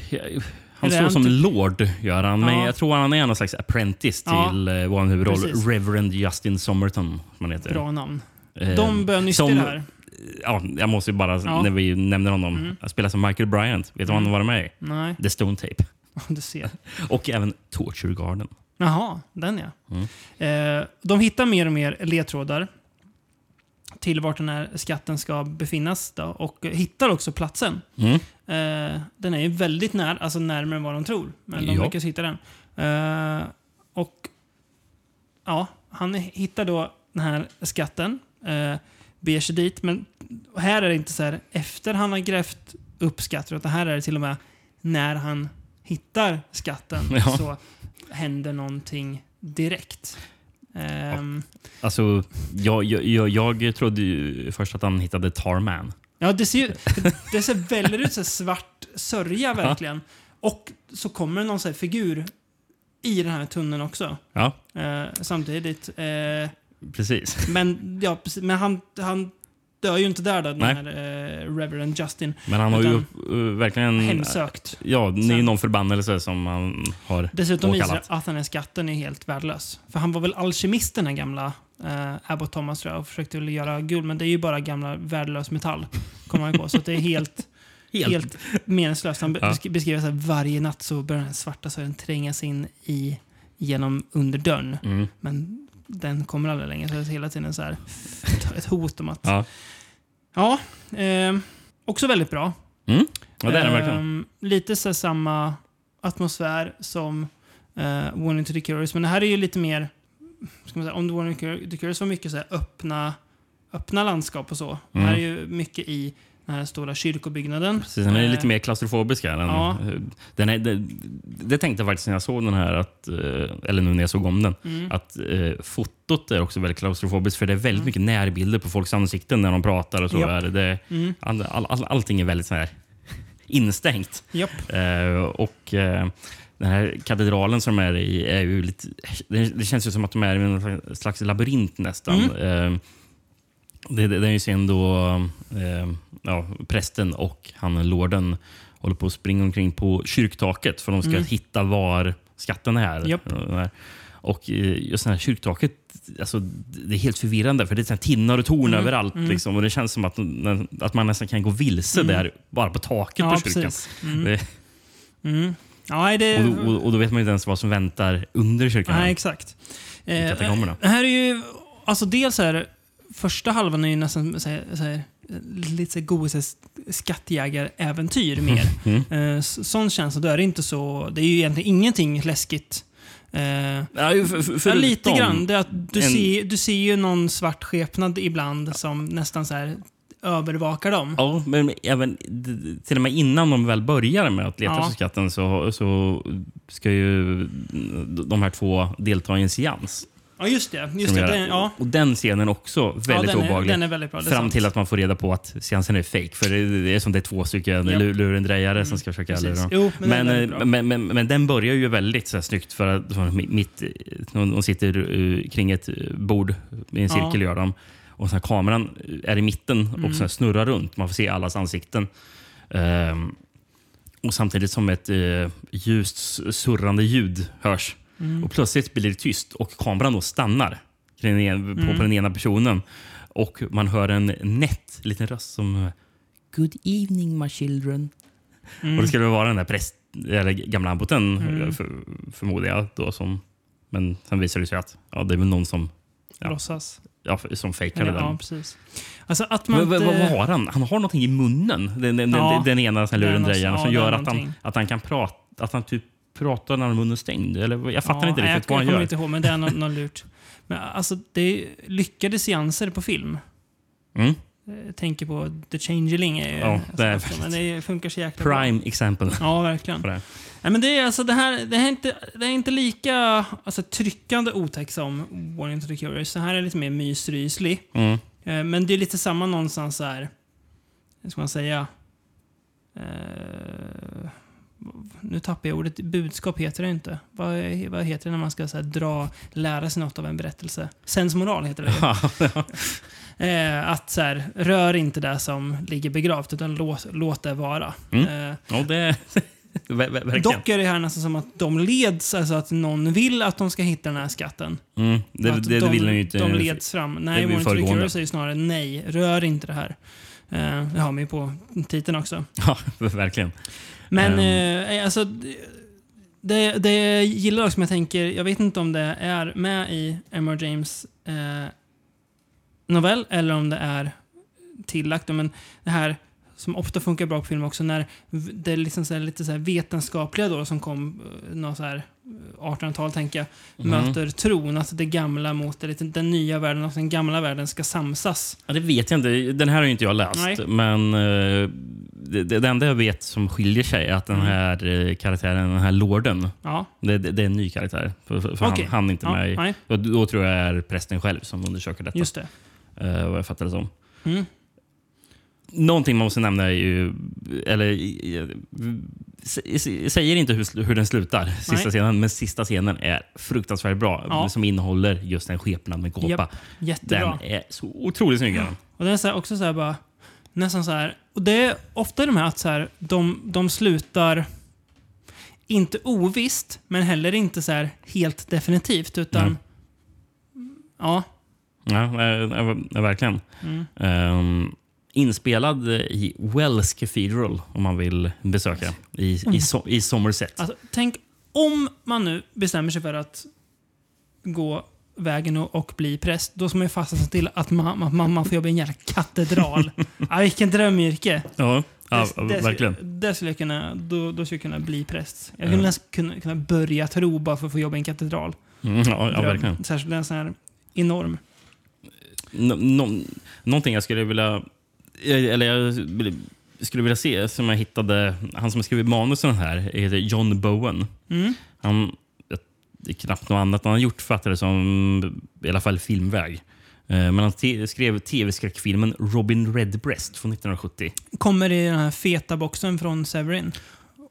[SPEAKER 2] han
[SPEAKER 1] Eller är
[SPEAKER 2] står
[SPEAKER 1] han
[SPEAKER 2] som
[SPEAKER 1] typ-
[SPEAKER 2] lord, gör han. Men
[SPEAKER 1] Ja.
[SPEAKER 2] jag tror han är någon slags apprentice
[SPEAKER 1] Ja.
[SPEAKER 2] till eh, vår huvudroll.
[SPEAKER 1] Precis.
[SPEAKER 2] Reverend Justin Somerton, som han heter.
[SPEAKER 1] Bra namn.
[SPEAKER 2] Eh,
[SPEAKER 1] De bör nysta i
[SPEAKER 2] som-
[SPEAKER 1] det här.
[SPEAKER 2] Ja, jag måste ju bara,
[SPEAKER 1] Ja. Mm.
[SPEAKER 2] när vi nämner honom, han spelar som Michael Bryant. Vet du vad han var med i?
[SPEAKER 1] Nej, *laughs*
[SPEAKER 2] The Stone Tape.
[SPEAKER 1] du ser.
[SPEAKER 2] Och även Torture Garden.
[SPEAKER 1] Jaha, den ja. Eh, de hittar mer och mer ledtrådar till vart den här skatten ska befinnas då, och hittar också platsen.
[SPEAKER 2] Mm.
[SPEAKER 1] Eh, den är ju väldigt nära, alltså närmare än vad de tror. Men de
[SPEAKER 2] Ja.
[SPEAKER 1] lyckas hitta den. Eh, och ja, han hittar då den här skatten. Eh, beger sig dit, men här är det inte så här efter han har grävt upp skatten, utan här är det till och med när han hittar skatten
[SPEAKER 2] Ja.
[SPEAKER 1] så händer någonting direkt. Ehm,
[SPEAKER 2] Alltså, jag, jag, jag, jag trodde ju först att han hittade Tarman.
[SPEAKER 1] Ja, det ser ju det ser väldigt ut, så här svart sörja verkligen. Och så kommer det någon så här figur i den här tunneln också.
[SPEAKER 2] Ja,
[SPEAKER 1] Eh, samtidigt. Eh,
[SPEAKER 2] precis.
[SPEAKER 1] men ja, precis, men han, han dör ju inte där då, den
[SPEAKER 2] Nej.
[SPEAKER 1] här eh, Reverend Justin.
[SPEAKER 2] Men han har ju
[SPEAKER 1] Utan-
[SPEAKER 2] eh, verkligen...
[SPEAKER 1] Hemsökt.
[SPEAKER 2] Ja, det är ju
[SPEAKER 1] Sen-
[SPEAKER 2] någon förbannelse som han har
[SPEAKER 1] Dessutom visar
[SPEAKER 2] påkallat.
[SPEAKER 1] det att den här skatten är helt värdelös. För han var väl alkemist den här gamla eh, Abbot Thomas tror jag och försökte väl göra guld. Men det är ju bara gamla värdelös metall. Kommer man ju på. Så att det är helt *laughs* helt meningslöst. Han be-
[SPEAKER 2] Ja.
[SPEAKER 1] besk- beskriver så här, varje natt så börjar den svarta sören trängas in i, genom underdörren.
[SPEAKER 2] Mm.
[SPEAKER 1] Men den kommer aldrig längre. Så det är hela tiden så här, ett hot om att... Ja,
[SPEAKER 2] Ja.
[SPEAKER 1] ehm, också väldigt bra.
[SPEAKER 2] Mm. ja, det är den verkligen.
[SPEAKER 1] Ehm, lite så här samma atmosfär som eh, Warning to the Curious. Men det här är ju lite mer... Ska man säga, om The Warning to the Curious var mycket så här öppna, öppna landskap och så. Det här är ju mycket i den här stora kyrkobyggnaden.
[SPEAKER 2] Mm. Precis, den är
[SPEAKER 1] Eh,
[SPEAKER 2] lite mer klaustrofobisk. Här. Den,
[SPEAKER 1] Ja.
[SPEAKER 2] eh, den är, det, det tänkte jag faktiskt när jag såg den här, att, eh, eller nu när jag såg om den,
[SPEAKER 1] Mm.
[SPEAKER 2] att eh, fotot är också väldigt klaustrofobiskt för det är väldigt mycket närbilder på folks ansikten när de pratar. och så.
[SPEAKER 1] Japp.
[SPEAKER 2] Är det- det,
[SPEAKER 1] Mm.
[SPEAKER 2] all, all, all, allting är väldigt så här *laughs* instängt.
[SPEAKER 1] Japp.
[SPEAKER 2] Eh, och eh, den här katedralen som de är i är ju lite... Det, det känns ju som att de är i någon slags labyrint nästan.
[SPEAKER 1] Mm.
[SPEAKER 2] Eh, det, det, det är ju sen då eh, ja, prästen och han lorden håller på att springa omkring på kyrktaket för de ska hitta var skatten är.
[SPEAKER 1] Mm. Japp.
[SPEAKER 2] Och den här- Och eh, just det här kyrktaket, alltså, det är helt förvirrande för det är så här tinnar och
[SPEAKER 1] Mm.
[SPEAKER 2] torn överallt. Liksom, och Det känns som att, att man nästan kan gå vilse där, bara på taket
[SPEAKER 1] Mm. Ja,
[SPEAKER 2] på kyrkan.
[SPEAKER 1] precis.
[SPEAKER 2] Det,
[SPEAKER 1] Mm. Ja, det...
[SPEAKER 2] och, då- och, och då vet man ju inte ens vad som väntar under kyrkan.
[SPEAKER 1] Nej, exakt. Eh,
[SPEAKER 2] katakomberna.
[SPEAKER 1] här är ju, alltså dels är första halvan är ju nästan så här, så här, lite så här god, så här skattjägaräventyr mer.
[SPEAKER 2] Mm.
[SPEAKER 1] Eh, s- sån känsla, då är det inte så, det är ju egentligen ingenting läskigt. Eh,
[SPEAKER 2] Ja, ju för, för,
[SPEAKER 1] Ja,
[SPEAKER 2] förutom-
[SPEAKER 1] lite grann. Det är att du,
[SPEAKER 2] en-
[SPEAKER 1] ser, du ser ju någon svart skepnad ibland som nästan så här övervakar dem.
[SPEAKER 2] Ja, men även, d- till och med innan de väl börjar med att leta
[SPEAKER 1] Ja.
[SPEAKER 2] efter skatten så, så ska ju de här två delta i en seans.
[SPEAKER 1] Ja, just det. Just
[SPEAKER 2] som
[SPEAKER 1] det.
[SPEAKER 2] gör det.
[SPEAKER 1] Den, ja.
[SPEAKER 2] Och den scenen är också väldigt
[SPEAKER 1] den är-
[SPEAKER 2] obehaglig.
[SPEAKER 1] den är väldigt bra, det är
[SPEAKER 2] Fram
[SPEAKER 1] sant.
[SPEAKER 2] till att man får reda på att seansen är fake. För det, det är som det är två stycken
[SPEAKER 1] Ja.
[SPEAKER 2] lu- lurendrejare som ska försöka
[SPEAKER 1] precis.
[SPEAKER 2] lura dem.
[SPEAKER 1] Jo, men den är
[SPEAKER 2] men,
[SPEAKER 1] väldigt bra.
[SPEAKER 2] eh, men, men, men den börjar ju väldigt så här, snyggt. För att så, mitt, de de sitter eh, kring ett eh, bord i en cirkel. Gör de. Och så här, kameran eh, är i mitten och så
[SPEAKER 1] Mm.
[SPEAKER 2] här, snurrar runt. Man får se allas ansikten. Ehm, och samtidigt som ett eh, ljust s- surrande ljud hörs.
[SPEAKER 1] Mm.
[SPEAKER 2] Och Plötsligt blir det tyst och kameran då stannar kring den en- på,
[SPEAKER 1] Mm.
[SPEAKER 2] på den ena personen. Och man hör en nätt liten röst som... eh, Good evening my children.
[SPEAKER 1] Mm.
[SPEAKER 2] Och det skulle väl vara den där präst, eller gamla abboten eh, för, förmodar jag. Då, som, men sen visar det sig att ja, det är väl någon som, Ja.
[SPEAKER 1] Låtsas.
[SPEAKER 2] ja, som fejkar det där.
[SPEAKER 1] Ja, precis. Alltså att man
[SPEAKER 2] Men, vad, vad
[SPEAKER 1] inte-
[SPEAKER 2] har han? Han har någonting i munnen. Den, den,
[SPEAKER 1] Ja.
[SPEAKER 2] den, den ena sån här lurendrejaren
[SPEAKER 1] Den
[SPEAKER 2] som
[SPEAKER 1] också, ja,
[SPEAKER 2] gör
[SPEAKER 1] den
[SPEAKER 2] att han,
[SPEAKER 1] någonting.
[SPEAKER 2] att han kan prata. Att han typ pratar när munnen är stängd. Eller, vad- jag fattar
[SPEAKER 1] Ja,
[SPEAKER 2] inte
[SPEAKER 1] nej,
[SPEAKER 2] riktigt
[SPEAKER 1] jag,
[SPEAKER 2] vad
[SPEAKER 1] jag
[SPEAKER 2] han
[SPEAKER 1] kommer
[SPEAKER 2] gör.
[SPEAKER 1] inte ihåg, men det är någon, någon lurt. Men alltså, det är lyckade seanser på film.
[SPEAKER 2] Mm.
[SPEAKER 1] eh, tänker på The Changeling. Är ju, alltså
[SPEAKER 2] Ja, det är
[SPEAKER 1] men det funkar så jäkla bra.
[SPEAKER 2] Prime exempel
[SPEAKER 1] Ja, verkligen.
[SPEAKER 2] på det. här.
[SPEAKER 1] Nej, men det, är alltså, det, här, det, här är inte, det är inte lika alltså, tryckande otäckt som Warning to the Curious. Det här är lite mer mysryslig.
[SPEAKER 2] Mm. *laughs*
[SPEAKER 1] Eh, Men det är lite samma någonstans så här. Hur ska man säga? Eh, nu tappar jag ordet. Budskap heter det inte. Vad, vad heter det när man ska så här, dra, lära sig något av en berättelse? Sensmoral heter det. ju.
[SPEAKER 2] Ja, ja.
[SPEAKER 1] Eh, att så här, rör inte det som ligger begravt, utan låt, låt det vara. Eh,
[SPEAKER 2] ja, det... *laughs* ver- ver- Mm. Verkligen.
[SPEAKER 1] dock är det här nästan som att de leds, alltså att någon vill att de ska hitta den här skatten.
[SPEAKER 2] Mm, det,
[SPEAKER 1] Att
[SPEAKER 2] det,
[SPEAKER 1] de,
[SPEAKER 2] vill han ju inte.
[SPEAKER 1] De leds fram. Nej,
[SPEAKER 2] blir
[SPEAKER 1] Warren
[SPEAKER 2] föregående.
[SPEAKER 1] Tricurior säger snarare nej, rör inte det här. Eh, det har man ju på titeln också.
[SPEAKER 2] *laughs* Ja, verkligen.
[SPEAKER 1] Men eh, alltså, det- det, det jag gillar också, men jag tänker, jag vet inte om det är med i Emma James eh, novell eller om det är tillagt. Men det här som ofta funkar bra på film också, när v- det är liksom så här, lite så här vetenskapliga då som kom, eh, någon så här eh, 1800-tal tänker jag, möter tron. Att det gamla mot det, lite- den nya världen och den gamla världen ska samsas.
[SPEAKER 2] Ja, det vet jag inte. Den här har ju inte jag läst.
[SPEAKER 1] Nej.
[SPEAKER 2] Men eh, det, det det enda jag vet som skiljer sig är att
[SPEAKER 1] Mm.
[SPEAKER 2] den här eh, karaktären, den här lorden,
[SPEAKER 1] Ja,
[SPEAKER 2] det, det, det är en ny karaktär. För, för för
[SPEAKER 1] Okej.
[SPEAKER 2] han, han är inte
[SPEAKER 1] Ja,
[SPEAKER 2] med. i-
[SPEAKER 1] nej.
[SPEAKER 2] Och då tror jag är prästen själv som undersöker detta.
[SPEAKER 1] just det.
[SPEAKER 2] eh, vad jag fattar det som.
[SPEAKER 1] Mm.
[SPEAKER 2] Någonting man måste nämna är ju... Eller, eh, s- s- säger inte hur, sl- hur den slutar, sista
[SPEAKER 1] Nej.
[SPEAKER 2] scenen, men sista scenen är fruktansvärt bra.
[SPEAKER 1] Ja.
[SPEAKER 2] Som innehåller just en skepnad med gåpa.
[SPEAKER 1] Japp, jättebra.
[SPEAKER 2] Den är så otroligt snygg. är den.
[SPEAKER 1] Och det är så här, också så här bara, nästan så här, och det är ofta de här att så här, de, de slutar inte ovisst, men heller inte så här helt definitivt, utan
[SPEAKER 2] Mm.
[SPEAKER 1] ja,
[SPEAKER 2] Ja, eh, eh, eh, verkligen.
[SPEAKER 1] Mm.
[SPEAKER 2] Ehm, inspelad i Wells Cathedral, om man vill besöka, i,
[SPEAKER 1] Mm.
[SPEAKER 2] i, so- i Somerset.
[SPEAKER 1] alltså tänk om man nu bestämmer sig för att gå vägen och, och bli präst, då ska man ju fasta sig till att mamma, mamma får jobba i en jävla katedral. ah, vilken drömyrke!
[SPEAKER 2] Ja, ja,
[SPEAKER 1] Det- det,
[SPEAKER 2] verkligen.
[SPEAKER 1] Det skulle jag kunna, då, då skulle jag kunna bli präst. Jag skulle nästan kunna, kunna börja tro bara för att få jobba i en katedral.
[SPEAKER 2] Mm, Ja, ja,
[SPEAKER 1] dröm.
[SPEAKER 2] verkligen.
[SPEAKER 1] Särskilt en sån här enorm.
[SPEAKER 2] Nå- nå- någonting jag skulle vilja... eh, Eller jag vill- skulle vilja se, som jag hittade... Han som har skrivit manusen här heter John Bowen.
[SPEAKER 1] Mm.
[SPEAKER 2] Han, det är knappt något annat han har gjort, fattar det som, i alla fall filmväg. Eh, Men han te- skrev tv-skräckfilmen Robin Redbreast från 1970.
[SPEAKER 1] Kommer i den här feta boxen från Severin.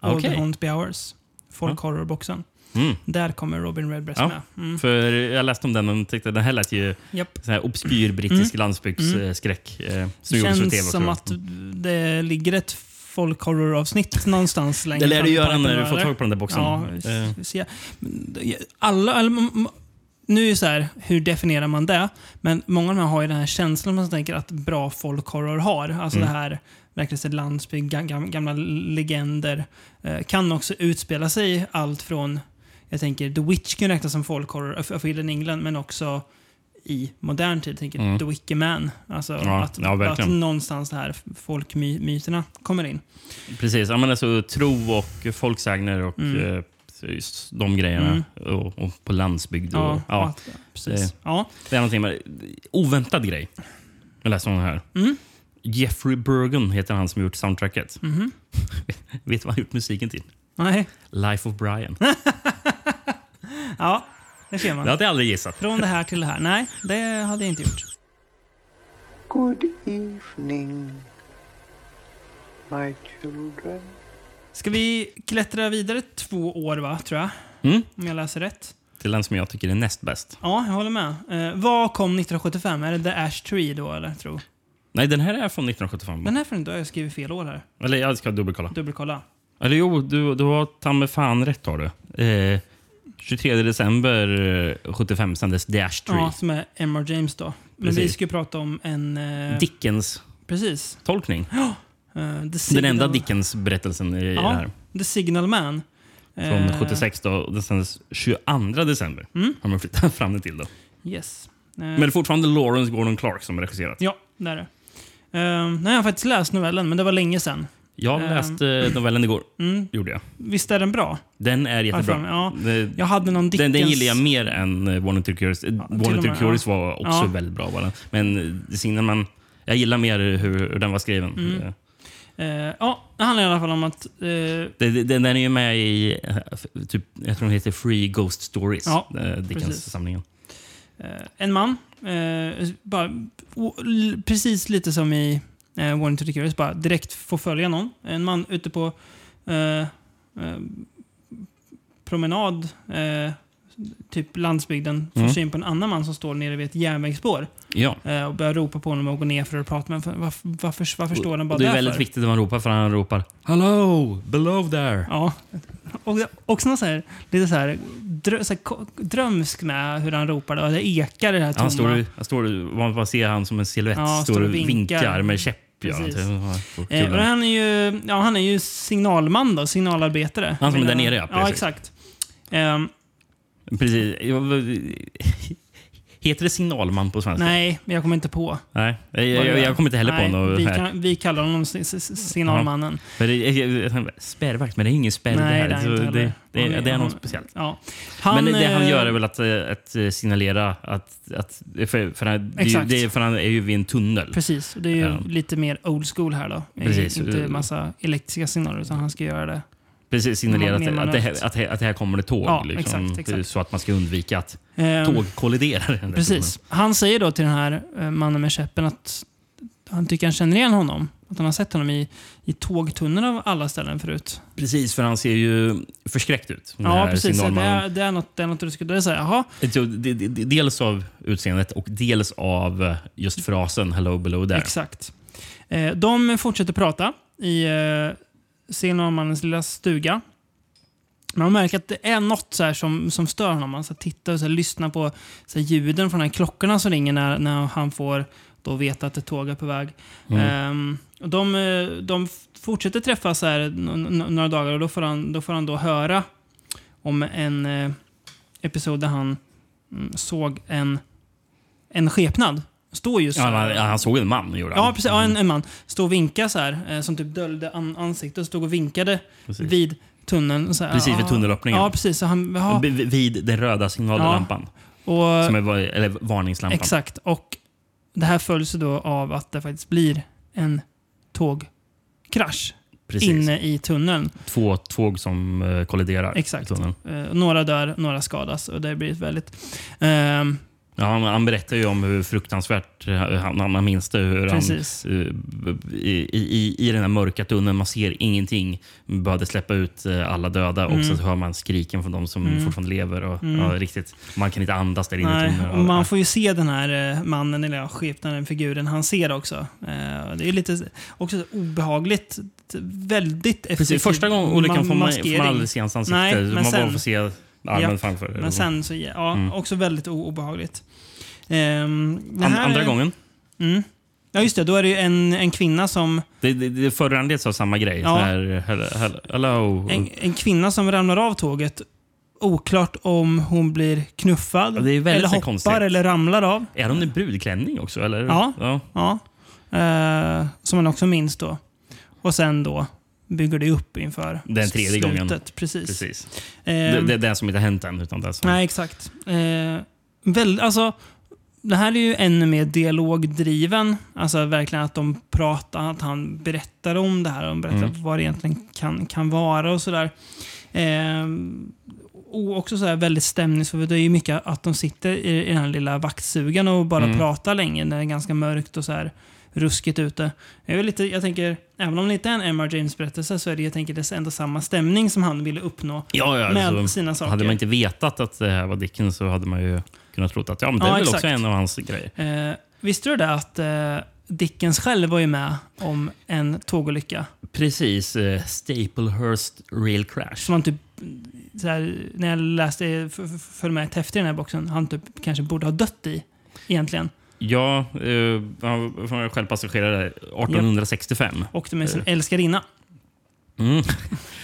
[SPEAKER 1] Och
[SPEAKER 2] Okej.
[SPEAKER 1] The Haunt Be Hours. Folk horror-boxen.
[SPEAKER 2] Mm.
[SPEAKER 1] Där kommer Robin Redbreast
[SPEAKER 2] Ja.
[SPEAKER 1] med. Mm.
[SPEAKER 2] För jag läste om den och tyckte den här lät ju
[SPEAKER 1] Japp.
[SPEAKER 2] så här obskyr brittisk landsbygdsskräck. eh, som gjordes för
[SPEAKER 1] Mm. Känns
[SPEAKER 2] TV,
[SPEAKER 1] som
[SPEAKER 2] tror jag.
[SPEAKER 1] att
[SPEAKER 2] Mm.
[SPEAKER 1] det ligger ett folk horror-avsnitt någonstans längre
[SPEAKER 2] Det lär
[SPEAKER 1] fram
[SPEAKER 2] du
[SPEAKER 1] i
[SPEAKER 2] göra
[SPEAKER 1] pipen,
[SPEAKER 2] när du får
[SPEAKER 1] eller?
[SPEAKER 2] tag på den där boxen.
[SPEAKER 1] Ja,
[SPEAKER 2] Eh,
[SPEAKER 1] s- ser jag. Men det- alla, alla, m- m- nu är det så här, hur definierar man det? Men många av de här har ju den här känslan man tänker att bra folkhorror har. Alltså
[SPEAKER 2] Mm.
[SPEAKER 1] det här verkligen så landsbygd, gam- gam- gamla legender. Eh, kan också utspela sig i allt från, jag tänker The Witch kan räknas som folkhorror eh, för för Hidden England, men också i modern tid. Jag tänker
[SPEAKER 2] Mm.
[SPEAKER 1] The Wicker Man. Alltså
[SPEAKER 2] Ja,
[SPEAKER 1] att,
[SPEAKER 2] ja,
[SPEAKER 1] att
[SPEAKER 2] verkligen.
[SPEAKER 1] någonstans det här folkmyterna kommer in.
[SPEAKER 2] Precis. Ja, men alltså, tro och folksägner och
[SPEAKER 1] Mm.
[SPEAKER 2] eh, just de grejerna. Och, och på landsbygd. Och, ja,
[SPEAKER 1] att- precis.
[SPEAKER 2] Det-
[SPEAKER 1] Ja.
[SPEAKER 2] Det är någonting med, oväntad grej. Jag läste om den här.
[SPEAKER 1] Mm.
[SPEAKER 2] Jeffrey Bergen heter han som gjort soundtracket.
[SPEAKER 1] Mhm.
[SPEAKER 2] *laughs* Vet du vad han gjort musiken till?
[SPEAKER 1] Nej.
[SPEAKER 2] Life of Brian.
[SPEAKER 1] Ja, det ser man.
[SPEAKER 2] Det hade jag aldrig gissat.
[SPEAKER 1] Från det här till det här. Nej, det hade jag inte gjort.
[SPEAKER 6] Good evening, my children.
[SPEAKER 1] Ska vi klättra vidare två år, va? tror jag?
[SPEAKER 2] Mm.
[SPEAKER 1] Om jag läser rätt.
[SPEAKER 2] Till den som jag tycker är näst bäst.
[SPEAKER 1] Ja, jag håller med. Eh, vad kom 1975? Är det The Ash Tree då, eller? Tro?
[SPEAKER 2] Mm. Nej, den här är från 1975.
[SPEAKER 1] Den här får inte... Jag skriver fel år här.
[SPEAKER 2] Eller jag ska dubbelkolla.
[SPEAKER 1] Dubbelkolla.
[SPEAKER 2] Eller jo, du, du har ta mig fan rätt har du. Eh, 23 december eh, 75 sändes Dash 3.
[SPEAKER 1] Ja, som är Emma James då. Men vi
[SPEAKER 2] Precis.
[SPEAKER 1] ska ju prata om en... Eh,
[SPEAKER 2] Dickens
[SPEAKER 1] Precis.
[SPEAKER 2] *laughs* tolkning.
[SPEAKER 1] Eh, The
[SPEAKER 2] Den
[SPEAKER 1] Signal-
[SPEAKER 2] enda Dickens-berättelsen i i det
[SPEAKER 1] Ja,
[SPEAKER 2] här.
[SPEAKER 1] The Signal Man.
[SPEAKER 2] Från
[SPEAKER 1] Eh,
[SPEAKER 2] 76 då, och den sändes 22 december. Har man flyttat *laughs* fram det till då.
[SPEAKER 1] Yes. Eh,
[SPEAKER 2] Men det är fortfarande Lawrence Gordon Clark som regisserat.
[SPEAKER 1] Ja, det är det. Eh, nej, jag har faktiskt läst novellen, men det var länge sedan. Mm.
[SPEAKER 2] Jag läste eh, novellen igår. Gjorde jag.
[SPEAKER 1] Visst är den bra?
[SPEAKER 2] Den är jättebra.
[SPEAKER 1] Varför? Ja.
[SPEAKER 2] Det-
[SPEAKER 1] Jag hade någon Dickens...
[SPEAKER 2] Den, den gillar jag mer än eh, Warner Two Curious. Ja,
[SPEAKER 1] till och
[SPEAKER 2] Warner Two
[SPEAKER 1] med,
[SPEAKER 2] Curious var också
[SPEAKER 1] Ja.
[SPEAKER 2] väldigt bra. Var den. Men eh, Signalman Jag gillar mer hur, hur den var skriven.
[SPEAKER 1] Mm.
[SPEAKER 2] Eh,
[SPEAKER 1] Eh, ja, det handlar i alla fall om att... Eh,
[SPEAKER 2] det- det- Den, den är ju med i, eh, f- typ, jag tror den heter Free Ghost Stories,
[SPEAKER 1] Ja,
[SPEAKER 2] eh,
[SPEAKER 1] precis.
[SPEAKER 2] Dickens-samlingen.
[SPEAKER 1] Eh, en man, eh, bara, o, l, precis lite som i eh, Warning to the Curious, bara direkt får följa någon. En man ute på eh, eh, promenad, eh, typ landsbygden, får
[SPEAKER 2] Mm.
[SPEAKER 1] syn på en annan man som står nere vid ett järnvägsspår
[SPEAKER 2] Ja.
[SPEAKER 1] eh, och börjar ropa på honom och gå ner för att prata med honom. Varför, varför, varför står den bara
[SPEAKER 2] Och Det är
[SPEAKER 1] där
[SPEAKER 2] väldigt
[SPEAKER 1] för?
[SPEAKER 2] viktigt när man ropar, för han ropar “Hello! Below there!”
[SPEAKER 1] Ja. Och också någon så här, lite så här, drö, så här ko- drömsk med hur han ropar. Och det ekar i det här tomma.
[SPEAKER 2] Han står, han står, man bara ser han som en silhuett,
[SPEAKER 1] Ja,
[SPEAKER 2] står och vinkar, med käpp. Ja,
[SPEAKER 1] Precis.
[SPEAKER 2] typ. Ja, kul.
[SPEAKER 1] Eh, och han, är ju, ja, han är ju signalman då, signalarbetare. Eh,
[SPEAKER 2] Han som är där nere, ja,
[SPEAKER 1] Ja,
[SPEAKER 2] precis.
[SPEAKER 1] exakt. Ehm,
[SPEAKER 2] Precis. Jag- *laughs* Heter det signalman på svenska?
[SPEAKER 1] nej, men jag kommer inte på.
[SPEAKER 2] Nej, Alltså- jag, jag, jag kommer inte heller
[SPEAKER 1] nej,
[SPEAKER 2] på något.
[SPEAKER 1] Vi,
[SPEAKER 2] här.
[SPEAKER 1] kan, vi kallar honom s- s- signalmannen.
[SPEAKER 2] Men det, jag, jag, spärrvakt, men det är ingen spärr
[SPEAKER 1] Nej,
[SPEAKER 2] det
[SPEAKER 1] det är
[SPEAKER 2] här.
[SPEAKER 1] inte
[SPEAKER 2] Så Det,
[SPEAKER 1] heller.
[SPEAKER 2] det, det,
[SPEAKER 1] Han
[SPEAKER 2] är
[SPEAKER 1] han-
[SPEAKER 2] något speciellt.
[SPEAKER 1] Ja.
[SPEAKER 2] men det, det han
[SPEAKER 1] eh,
[SPEAKER 2] gör är väl att, eh, att eh, signalera att... att för, för, han, det, är ju-
[SPEAKER 1] Exakt.
[SPEAKER 2] det, är- för han är ju vid en tunnel.
[SPEAKER 1] eh, Precis, och det är ju
[SPEAKER 2] Ja.
[SPEAKER 1] lite mer old school här då. Eh,
[SPEAKER 2] Precis.
[SPEAKER 1] Inte massa elektriska signaler, utan han ska göra det.
[SPEAKER 2] Precis, signalera
[SPEAKER 1] Mer
[SPEAKER 2] att, att, det,
[SPEAKER 1] manuellt.
[SPEAKER 2] här- att, här- att här kommer det tåg.
[SPEAKER 1] Ja,
[SPEAKER 2] liksom,
[SPEAKER 1] exakt, exakt.
[SPEAKER 2] Så att man ska undvika att
[SPEAKER 1] Ehm,
[SPEAKER 2] tåg kolliderar. *laughs*
[SPEAKER 1] Precis. Han säger då till den här eh, mannen med käppen att han tycker han känner igen honom. Att han har sett honom i, i tågtunneln av alla ställen förut.
[SPEAKER 2] Precis, för han ser ju förskräckt ut. den
[SPEAKER 1] Ja,
[SPEAKER 2] här
[SPEAKER 1] precis. Det
[SPEAKER 2] signalmannen.
[SPEAKER 1] är, det är något, det är något du skulle säga. Jaha,
[SPEAKER 2] Jo, d- d- d- Dels av utseendet och dels av eh, just frasen “Hello below there”.
[SPEAKER 1] exakt. Eh, de fortsätter prata i eh, signalmannens lilla stuga. Men man märker att det är något så här som, som stör honom. Han så här tittar och så här lyssnar på så här ljuden från de här klockorna som ringer när, när han får då veta att ett tåg är på väg.
[SPEAKER 2] Mm.
[SPEAKER 1] Ehm, och de, eh, de f- fortsätter träffas så här n- n- några dagar och då får han då, får han då höra om en eh, episod där han mm, såg en, en skepnad. Står just
[SPEAKER 2] Ja, han, han såg en man, gjorde han.
[SPEAKER 1] Ja, precis. Ja, en, en man. Stod och vinkade så här, eh, som typ döljde an ansiktet. och Stod och vinkade
[SPEAKER 2] Precis.
[SPEAKER 1] vid tunneln. Så här,
[SPEAKER 2] Precis vid
[SPEAKER 1] ah.
[SPEAKER 2] tunnelöppningen.
[SPEAKER 1] Ja, precis. Så han, ja,
[SPEAKER 2] B- Vid den röda signallampan.
[SPEAKER 1] och,
[SPEAKER 2] Som är, va- eller varningslampan.
[SPEAKER 1] exakt. Och det här följs ju då av att det faktiskt blir en tågkrasch
[SPEAKER 2] Precis.
[SPEAKER 1] inne i tunneln.
[SPEAKER 2] Två tåg som eh, kolliderar.
[SPEAKER 1] Exakt.
[SPEAKER 2] i tunneln.
[SPEAKER 1] Eh, några dör, några skadas och det blir ett väldigt... ehm,
[SPEAKER 2] Ja, han, han berättar ju om hur fruktansvärt eh, han, han han minns det. Hur
[SPEAKER 1] Precis.
[SPEAKER 2] Han, eh, b- i, i, I den här mörka tunneln, man ser ingenting. Började släppa ut eh, alla döda och
[SPEAKER 1] Mm.
[SPEAKER 2] sen så hör man skriken från de som fortfarande lever. Och, ja, riktigt, man kan inte andas där inne i
[SPEAKER 1] nej,
[SPEAKER 2] tunneln.
[SPEAKER 1] och man får ju se den här eh, mannen, eller ja, skepnaden, figuren han ser också. Eh, och det är lite också så obehagligt. t- Väldigt effektiv
[SPEAKER 2] Precis, första gången olyckan
[SPEAKER 1] ma-
[SPEAKER 2] får man, får
[SPEAKER 1] maskering.
[SPEAKER 2] man aldrig se hans ansikte.
[SPEAKER 1] Nej, men
[SPEAKER 2] man bara
[SPEAKER 1] sen-
[SPEAKER 2] får se armen
[SPEAKER 1] Ja,
[SPEAKER 2] framför.
[SPEAKER 1] Men sen så, ja, också väldigt o- obehagligt. Ehm, det
[SPEAKER 2] Mm. An-
[SPEAKER 1] här
[SPEAKER 2] andra
[SPEAKER 1] är- Mm.
[SPEAKER 2] gången.
[SPEAKER 1] Ja, just det. Då är det ju en, en kvinna som...
[SPEAKER 2] Det, det, det föranleds av samma grej.
[SPEAKER 1] Ja.
[SPEAKER 2] Ja. Här, hello, hello, hello.
[SPEAKER 1] En, en kvinna som ramlar av tåget. Oklart om hon blir knuffad,
[SPEAKER 2] Ja, det är väldigt
[SPEAKER 1] eller
[SPEAKER 2] så
[SPEAKER 1] hoppar
[SPEAKER 2] konstigt.
[SPEAKER 1] eller ramlar av.
[SPEAKER 2] Är hon i brudklänning också? Eller?
[SPEAKER 1] Ja. Ja. Eh, som man också minns då. Och sen då bygger det upp inför
[SPEAKER 2] Den tredje
[SPEAKER 1] slutet.
[SPEAKER 2] gången.
[SPEAKER 1] Precis.
[SPEAKER 2] Precis.
[SPEAKER 1] Eh,
[SPEAKER 2] Det, det är det som inte har hänt än. Utan det som,
[SPEAKER 1] Nej, exakt. Eh, väl, alltså, det här är ju ännu mer dialogdriven. Alltså verkligen att de pratar, att han berättar om det här. De berättar
[SPEAKER 2] Mm.
[SPEAKER 1] vad det egentligen kan, kan vara och sådär. Eh, och också så här väldigt stämningsfullt. Det är ju mycket att de sitter i, i den här lilla vaktsugan och bara
[SPEAKER 2] Mm.
[SPEAKER 1] pratar länge när det är ganska mörkt och så här ruskigt ute. Jag, är lite, jag tänker, även om det inte är en Emma James-berättelse så är det, jag tänker, det är ändå samma stämning som han ville uppnå.
[SPEAKER 2] Ja, ja,
[SPEAKER 1] Med
[SPEAKER 2] så
[SPEAKER 1] sina saker.
[SPEAKER 2] Hade man inte vetat att det här var Dickens så hade man ju kunnat tro att ja, men det
[SPEAKER 1] Ja,
[SPEAKER 2] är väl
[SPEAKER 1] exakt.
[SPEAKER 2] också en av hans grejer.
[SPEAKER 1] Eh, visste du det att eh, Dickens själv var ju med om en tågolycka?
[SPEAKER 2] Precis. Eh, Staplehurst Rail Crash.
[SPEAKER 1] Som han typ, så här, när jag läste, eh, f- f- föll med ett häfte i den här boxen, han typ kanske borde ha dött i egentligen.
[SPEAKER 2] Ja, eh, han var själv passagerare 1865.
[SPEAKER 1] Åkte med sin
[SPEAKER 2] Eh.
[SPEAKER 1] älskarinna.
[SPEAKER 2] Mm.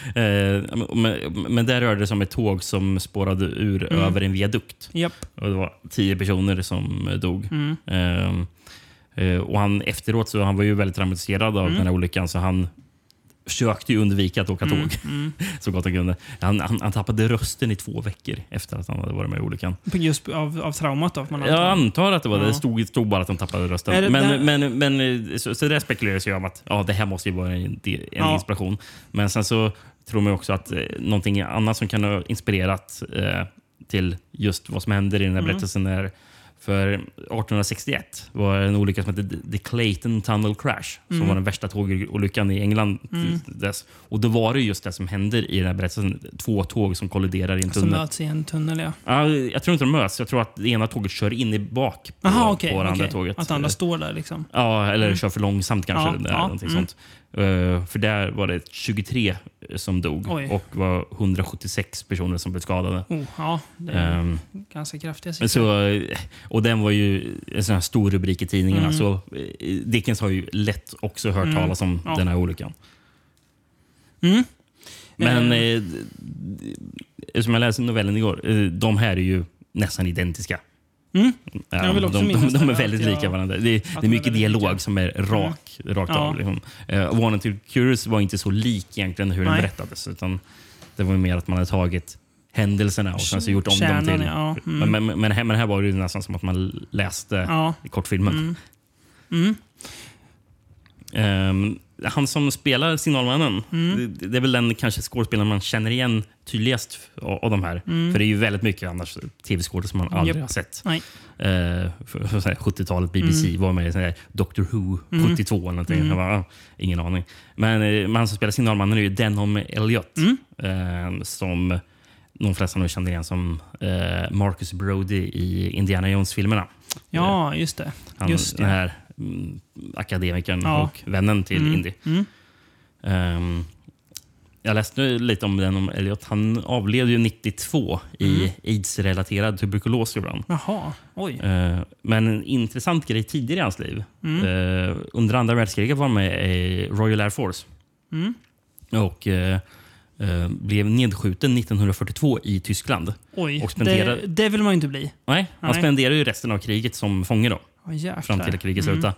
[SPEAKER 2] Eh, men, men där rörde det sig om ett tåg som spårade ur över en viadukt.
[SPEAKER 1] Japp. Mm.
[SPEAKER 2] Och det var tio personer som eh, dog. Eh, eh, och han efteråt så han var ju väldigt traumatiserad av den här olyckan så han försökte ju undvika att åka
[SPEAKER 1] Mm.
[SPEAKER 2] tåg *laughs* så gott han kunde. Han, han, han tappade rösten i två veckor efter att han hade varit med i olyckan.
[SPEAKER 1] Just av, av traumat då. får Man
[SPEAKER 2] Jag
[SPEAKER 1] anta.
[SPEAKER 2] antar att det var det.
[SPEAKER 1] Ja.
[SPEAKER 2] Det stod, stod bara att han tappade
[SPEAKER 1] Är det
[SPEAKER 2] rösten. Men,
[SPEAKER 1] där-
[SPEAKER 2] men, men, eh, så, så det spekuleras ju om att ja, det här måste ju vara en, en
[SPEAKER 1] Ja.
[SPEAKER 2] inspiration. Men sen så tror man ju också att eh, någonting annat som kan ha inspirerat eh, till just vad som händer i den här
[SPEAKER 1] Mm.
[SPEAKER 2] berättelsen är för 1861 var det en olycka som hette The Clayton Tunnel Crash
[SPEAKER 1] Mm.
[SPEAKER 2] som var den värsta tågolyckan i England till dess. Och då var det just det som händer i den här berättelsen. Två tåg som kolliderar i en
[SPEAKER 1] Som
[SPEAKER 2] tunnel.
[SPEAKER 1] möts i en tunnel, ja.
[SPEAKER 2] Ja, jag tror inte de möts. Jag tror att det ena tåget kör in i bak på,
[SPEAKER 1] Jaha, okej.
[SPEAKER 2] på det andra
[SPEAKER 1] okej.
[SPEAKER 2] tåget.
[SPEAKER 1] Att andra står där liksom.
[SPEAKER 2] Ja, eller kör för långsamt kanske.
[SPEAKER 1] Ja,
[SPEAKER 2] eller
[SPEAKER 1] ja,
[SPEAKER 2] någonting
[SPEAKER 1] mm.
[SPEAKER 2] sånt. Eh, för där var det 23 som dog
[SPEAKER 1] Oj.
[SPEAKER 2] och var 176 personer som blev skadade.
[SPEAKER 1] Oh, ja, det är
[SPEAKER 2] Ehm,
[SPEAKER 1] ganska kraftiga
[SPEAKER 2] men
[SPEAKER 1] siffror.
[SPEAKER 2] så, eh, och den var ju en sån här stor rubrik i tidningarna.
[SPEAKER 1] Mm.
[SPEAKER 2] Så eh, Dickens har ju lätt också hört talas om
[SPEAKER 1] Ja.
[SPEAKER 2] den här olyckan.
[SPEAKER 1] Mm.
[SPEAKER 2] Men eh, d- d- som jag läste novellen igår, eh, de här är ju nästan identiska.
[SPEAKER 1] Mm.
[SPEAKER 2] Ja,
[SPEAKER 1] Jag vill också
[SPEAKER 2] de,
[SPEAKER 1] minnas
[SPEAKER 2] de, de
[SPEAKER 1] det,
[SPEAKER 2] är
[SPEAKER 1] att
[SPEAKER 2] väldigt
[SPEAKER 1] jag-
[SPEAKER 2] lika varandra. Det, är-
[SPEAKER 1] att
[SPEAKER 2] det
[SPEAKER 1] de
[SPEAKER 2] är
[SPEAKER 1] är
[SPEAKER 2] mycket
[SPEAKER 1] väldigt
[SPEAKER 2] dialog
[SPEAKER 1] lika. Mm.
[SPEAKER 2] som är rak, rakt
[SPEAKER 1] Ja.
[SPEAKER 2] av. Liksom. Eh, One and Two Curious var inte så lik egentligen hur
[SPEAKER 1] Nej.
[SPEAKER 2] den berättades. Utan det var ju mer att man hade tagit händelserna och sen så gjort om
[SPEAKER 1] Kärnan,
[SPEAKER 2] dem till...
[SPEAKER 1] ja. Mm.
[SPEAKER 2] Men, men, men, men här, men här var det ju nästan som att man läste
[SPEAKER 1] Ja.
[SPEAKER 2] kortfilmen.
[SPEAKER 1] Mm.
[SPEAKER 2] Ehm, han som spelar Signalmannen,
[SPEAKER 1] Mm.
[SPEAKER 2] det, det är väl den kanske skådespelaren man känner igen tydligast av, av de här. För det är ju väldigt mycket annars tv-skådespelare som man aldrig
[SPEAKER 1] Mm. Japp.
[SPEAKER 2] har sett.
[SPEAKER 1] Nej. Mm.
[SPEAKER 2] Eh, för- för så här 70-talet, BBC var med i sån här Doctor Who 72 eller någonting. Jag bara, ah, ingen aning. Men eh, men han som spelar Signalmannen är ju Denholm Elliot.
[SPEAKER 1] Mm.
[SPEAKER 2] eh, som de flesta nog känner igen som eh, Marcus Brody i Indiana Jones-filmerna.
[SPEAKER 1] Ja, just det.
[SPEAKER 2] Han,
[SPEAKER 1] just det.
[SPEAKER 2] Den här mm, akademikern
[SPEAKER 1] Ja. Mm.
[SPEAKER 2] och vännen till Indy. Ehm, jag läste nu lite om den om Elliot. Han avled ju 92
[SPEAKER 1] Mm.
[SPEAKER 2] i aids-relaterad tuberkulos ibland.
[SPEAKER 1] Jaha, oj.
[SPEAKER 2] Eh, Men en intressant grej tidigare i hans liv.
[SPEAKER 1] Mm.
[SPEAKER 2] Eh, Under andra världskriget var han med i Royal Air Force.
[SPEAKER 1] Mm.
[SPEAKER 2] Och eh, eh, blev nedskjuten 1942 i Tyskland.
[SPEAKER 1] Oj.
[SPEAKER 2] och spenderar-
[SPEAKER 1] Det, det vill man ju inte bli.
[SPEAKER 2] Nej, han
[SPEAKER 1] Nej.
[SPEAKER 2] spenderade ju resten av kriget som fånge. Då
[SPEAKER 1] Oh,
[SPEAKER 2] fram till att kriget slutade.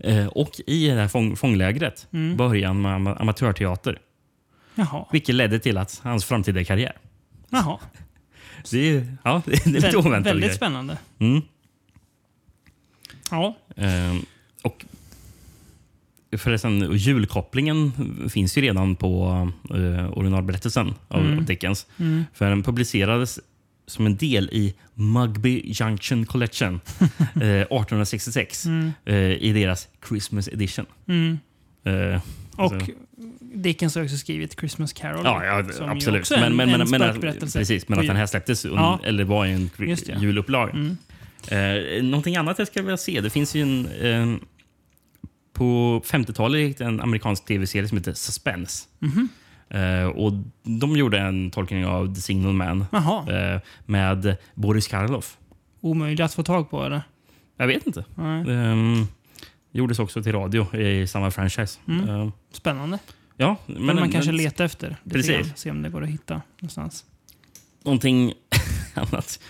[SPEAKER 2] Eh, Och i det här fång, fånglägret började han med ama- amatörteater.
[SPEAKER 1] Jaha.
[SPEAKER 2] Vilket ledde till att hans framtida karriär.
[SPEAKER 1] Jaha.
[SPEAKER 2] Så Det är, ja, *laughs* det är lite
[SPEAKER 1] Vä-
[SPEAKER 2] oväntat.
[SPEAKER 1] väldigt spännande.
[SPEAKER 2] Mm.
[SPEAKER 1] Ja.
[SPEAKER 2] Eh, och förresten, julkopplingen finns ju redan på eh, originalberättelsen av av Dickens. För den publicerades som en del i Mugby Junction Collection eh, 1866
[SPEAKER 1] Mm,
[SPEAKER 2] eh, i deras Christmas edition. Eh,
[SPEAKER 1] Och Dickens har också skrivit Christmas Carol.
[SPEAKER 2] Ja, ja
[SPEAKER 1] som ju
[SPEAKER 2] absolut.
[SPEAKER 1] också är en,
[SPEAKER 2] men, men,
[SPEAKER 1] en
[SPEAKER 2] men, men,
[SPEAKER 1] spökberättelse.
[SPEAKER 2] precis, men att den här släpptes un,
[SPEAKER 1] Ja.
[SPEAKER 2] eller var i en kri-
[SPEAKER 1] Just det.
[SPEAKER 2] julupplaga.
[SPEAKER 1] Mm.
[SPEAKER 2] Eh, någonting annat jag skulle vilja se, det finns ju en... Eh, på 50-talet gick det en amerikansk tv-serie som heter Suspense.
[SPEAKER 1] Mhm.
[SPEAKER 2] Eh, och De gjorde en tolkning av The Signal Man
[SPEAKER 1] Jaha.
[SPEAKER 2] eh, med Boris Karloff.
[SPEAKER 1] Omöjligt att få tag på eller?
[SPEAKER 2] Jag vet inte.
[SPEAKER 1] Mm.
[SPEAKER 2] Ehm, gjordes också till radio i samma franchise. Eh,
[SPEAKER 1] Spännande.
[SPEAKER 2] ja,
[SPEAKER 1] Mm. Men, man kanske letar efter. lite
[SPEAKER 2] Precis.
[SPEAKER 1] grann, Se om det går att hitta någonstans.
[SPEAKER 2] någonting *laughs* annat.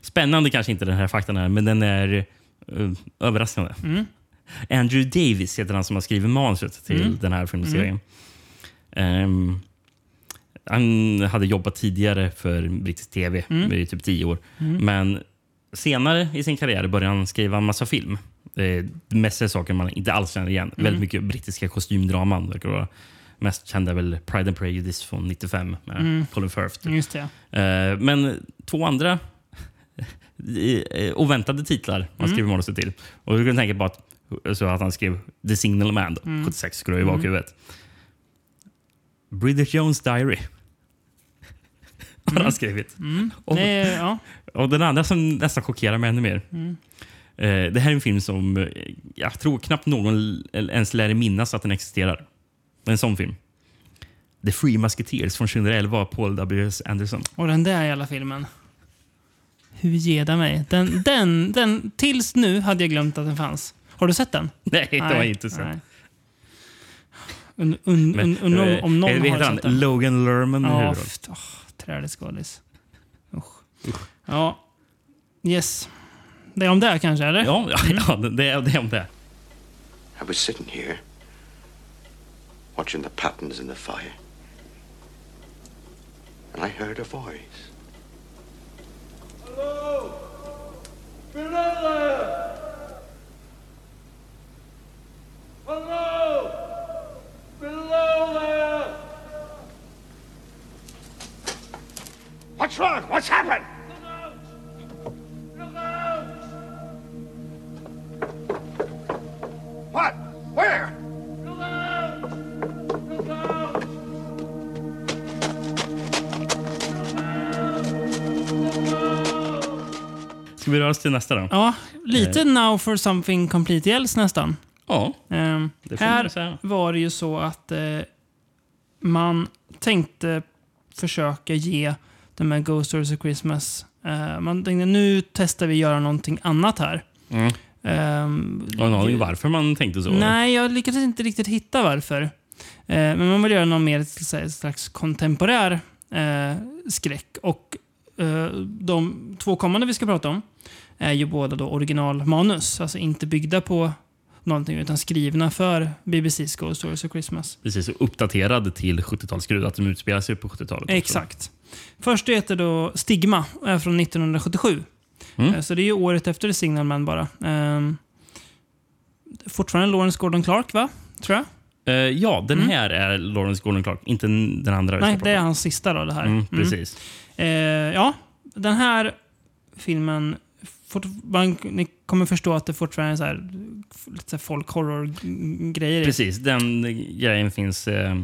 [SPEAKER 2] Spännande kanske inte den här faktan är, men den är eh, överraskande.
[SPEAKER 1] Mm.
[SPEAKER 2] Andrew Davis heter han som har skrivit manuset till den här filmserien. Ehm, han hade jobbat tidigare för brittisk tv i typ tio år.
[SPEAKER 1] Mm.
[SPEAKER 2] Men senare i sin karriär började han skriva en massa film. Eh, mest är saker man inte alls känner igen. Väldigt mycket brittiska kostymdraman verkar det vara. Mest kända är väl Pride and Prejudice från 95 med Colin Firth.
[SPEAKER 1] Just det.
[SPEAKER 2] Eh, Men två andra *laughs* eh, oväntade titlar man skriver manuset till. Och du kan tänka på att, så att han skrev The Signal Man, då, 76, skulle det ju vara mm. Bridget Jones Diary *laughs* har han skrivit. Och,
[SPEAKER 1] Mm. Det är, ja. Mm.
[SPEAKER 2] och den andra som nästan chockerar mig ännu mer. Eh, Det här är en film som eh, jag tror knappt någon l- ens lär minnas att den existerar. En sån film. The Free Musketeers från 2011 av Paul W. Anderson. *laughs*
[SPEAKER 1] Och den där jävla filmen. Hur ger det mig? Den, den, den, tills nu hade jag glömt att den fanns. Har du sett den?
[SPEAKER 2] Nej, det har jag inte sett.
[SPEAKER 1] nej. Un, un, un, un,
[SPEAKER 2] eh,
[SPEAKER 1] om någon
[SPEAKER 2] eh,
[SPEAKER 1] har
[SPEAKER 2] vad heter
[SPEAKER 1] sett
[SPEAKER 2] han?
[SPEAKER 1] den.
[SPEAKER 2] Logan Lerman i
[SPEAKER 1] Ja,
[SPEAKER 2] huvudrollen.
[SPEAKER 1] f- åh, trälig skådis. Usch. Ja. Yes. Det är om det kanske, eller? Mm.
[SPEAKER 2] Ja, ja, ja det, det är det. Är om det.
[SPEAKER 6] I was sitting here
[SPEAKER 7] watching the patterns in the fire. And I heard a voice.
[SPEAKER 5] What's wrong? What's happened? What? Where?
[SPEAKER 2] Ska vi röra oss till nästa då?
[SPEAKER 1] Ja, lite now for something completely else nästan.
[SPEAKER 2] Ja.
[SPEAKER 1] Ehm,
[SPEAKER 2] Det får man väl
[SPEAKER 1] här
[SPEAKER 2] säga.
[SPEAKER 1] var det ju så att eh, man tänkte försöka ge de här Ghost Stories of Christmas... Eh, man tänkte nu testar vi göra någonting annat här. Ehm,
[SPEAKER 2] Jag har ingen aning varför man tänkte så.
[SPEAKER 1] Nej, jag lyckades inte riktigt hitta varför. Eh, men man vill göra någon mer ska jag säga, slags kontemporär eh, skräck. Och eh, de två kommande vi ska prata om är ju båda då originalmanus. Alltså inte byggda på någonting utan skrivna för BBC's Ghost Stories of Christmas.
[SPEAKER 2] Precis, och uppdaterad till 70-talsskruv, att de utspelar sig på 70-talet. också.
[SPEAKER 1] Exakt. Först heter då Stigma och är från 1977. Eh, Så det är ju året efter Signal Man bara. Ehm, fortfarande Lawrence Gordon Clark, va? Tror jag.
[SPEAKER 2] Eh, ja, den här är Lawrence Gordon Clark, inte n- den andra. vi
[SPEAKER 1] Mm. Nej,
[SPEAKER 2] ska
[SPEAKER 1] det är
[SPEAKER 2] prata om.
[SPEAKER 1] hans sista då det här.
[SPEAKER 2] Mm,
[SPEAKER 1] Mm.
[SPEAKER 2] precis.
[SPEAKER 1] Eh, ja, den här filmen... Fort, man, ni kommer förstå att det fortfarande är så här, lite så här folkhorror-grejer. i.
[SPEAKER 2] Precis, den grejen finns, eh,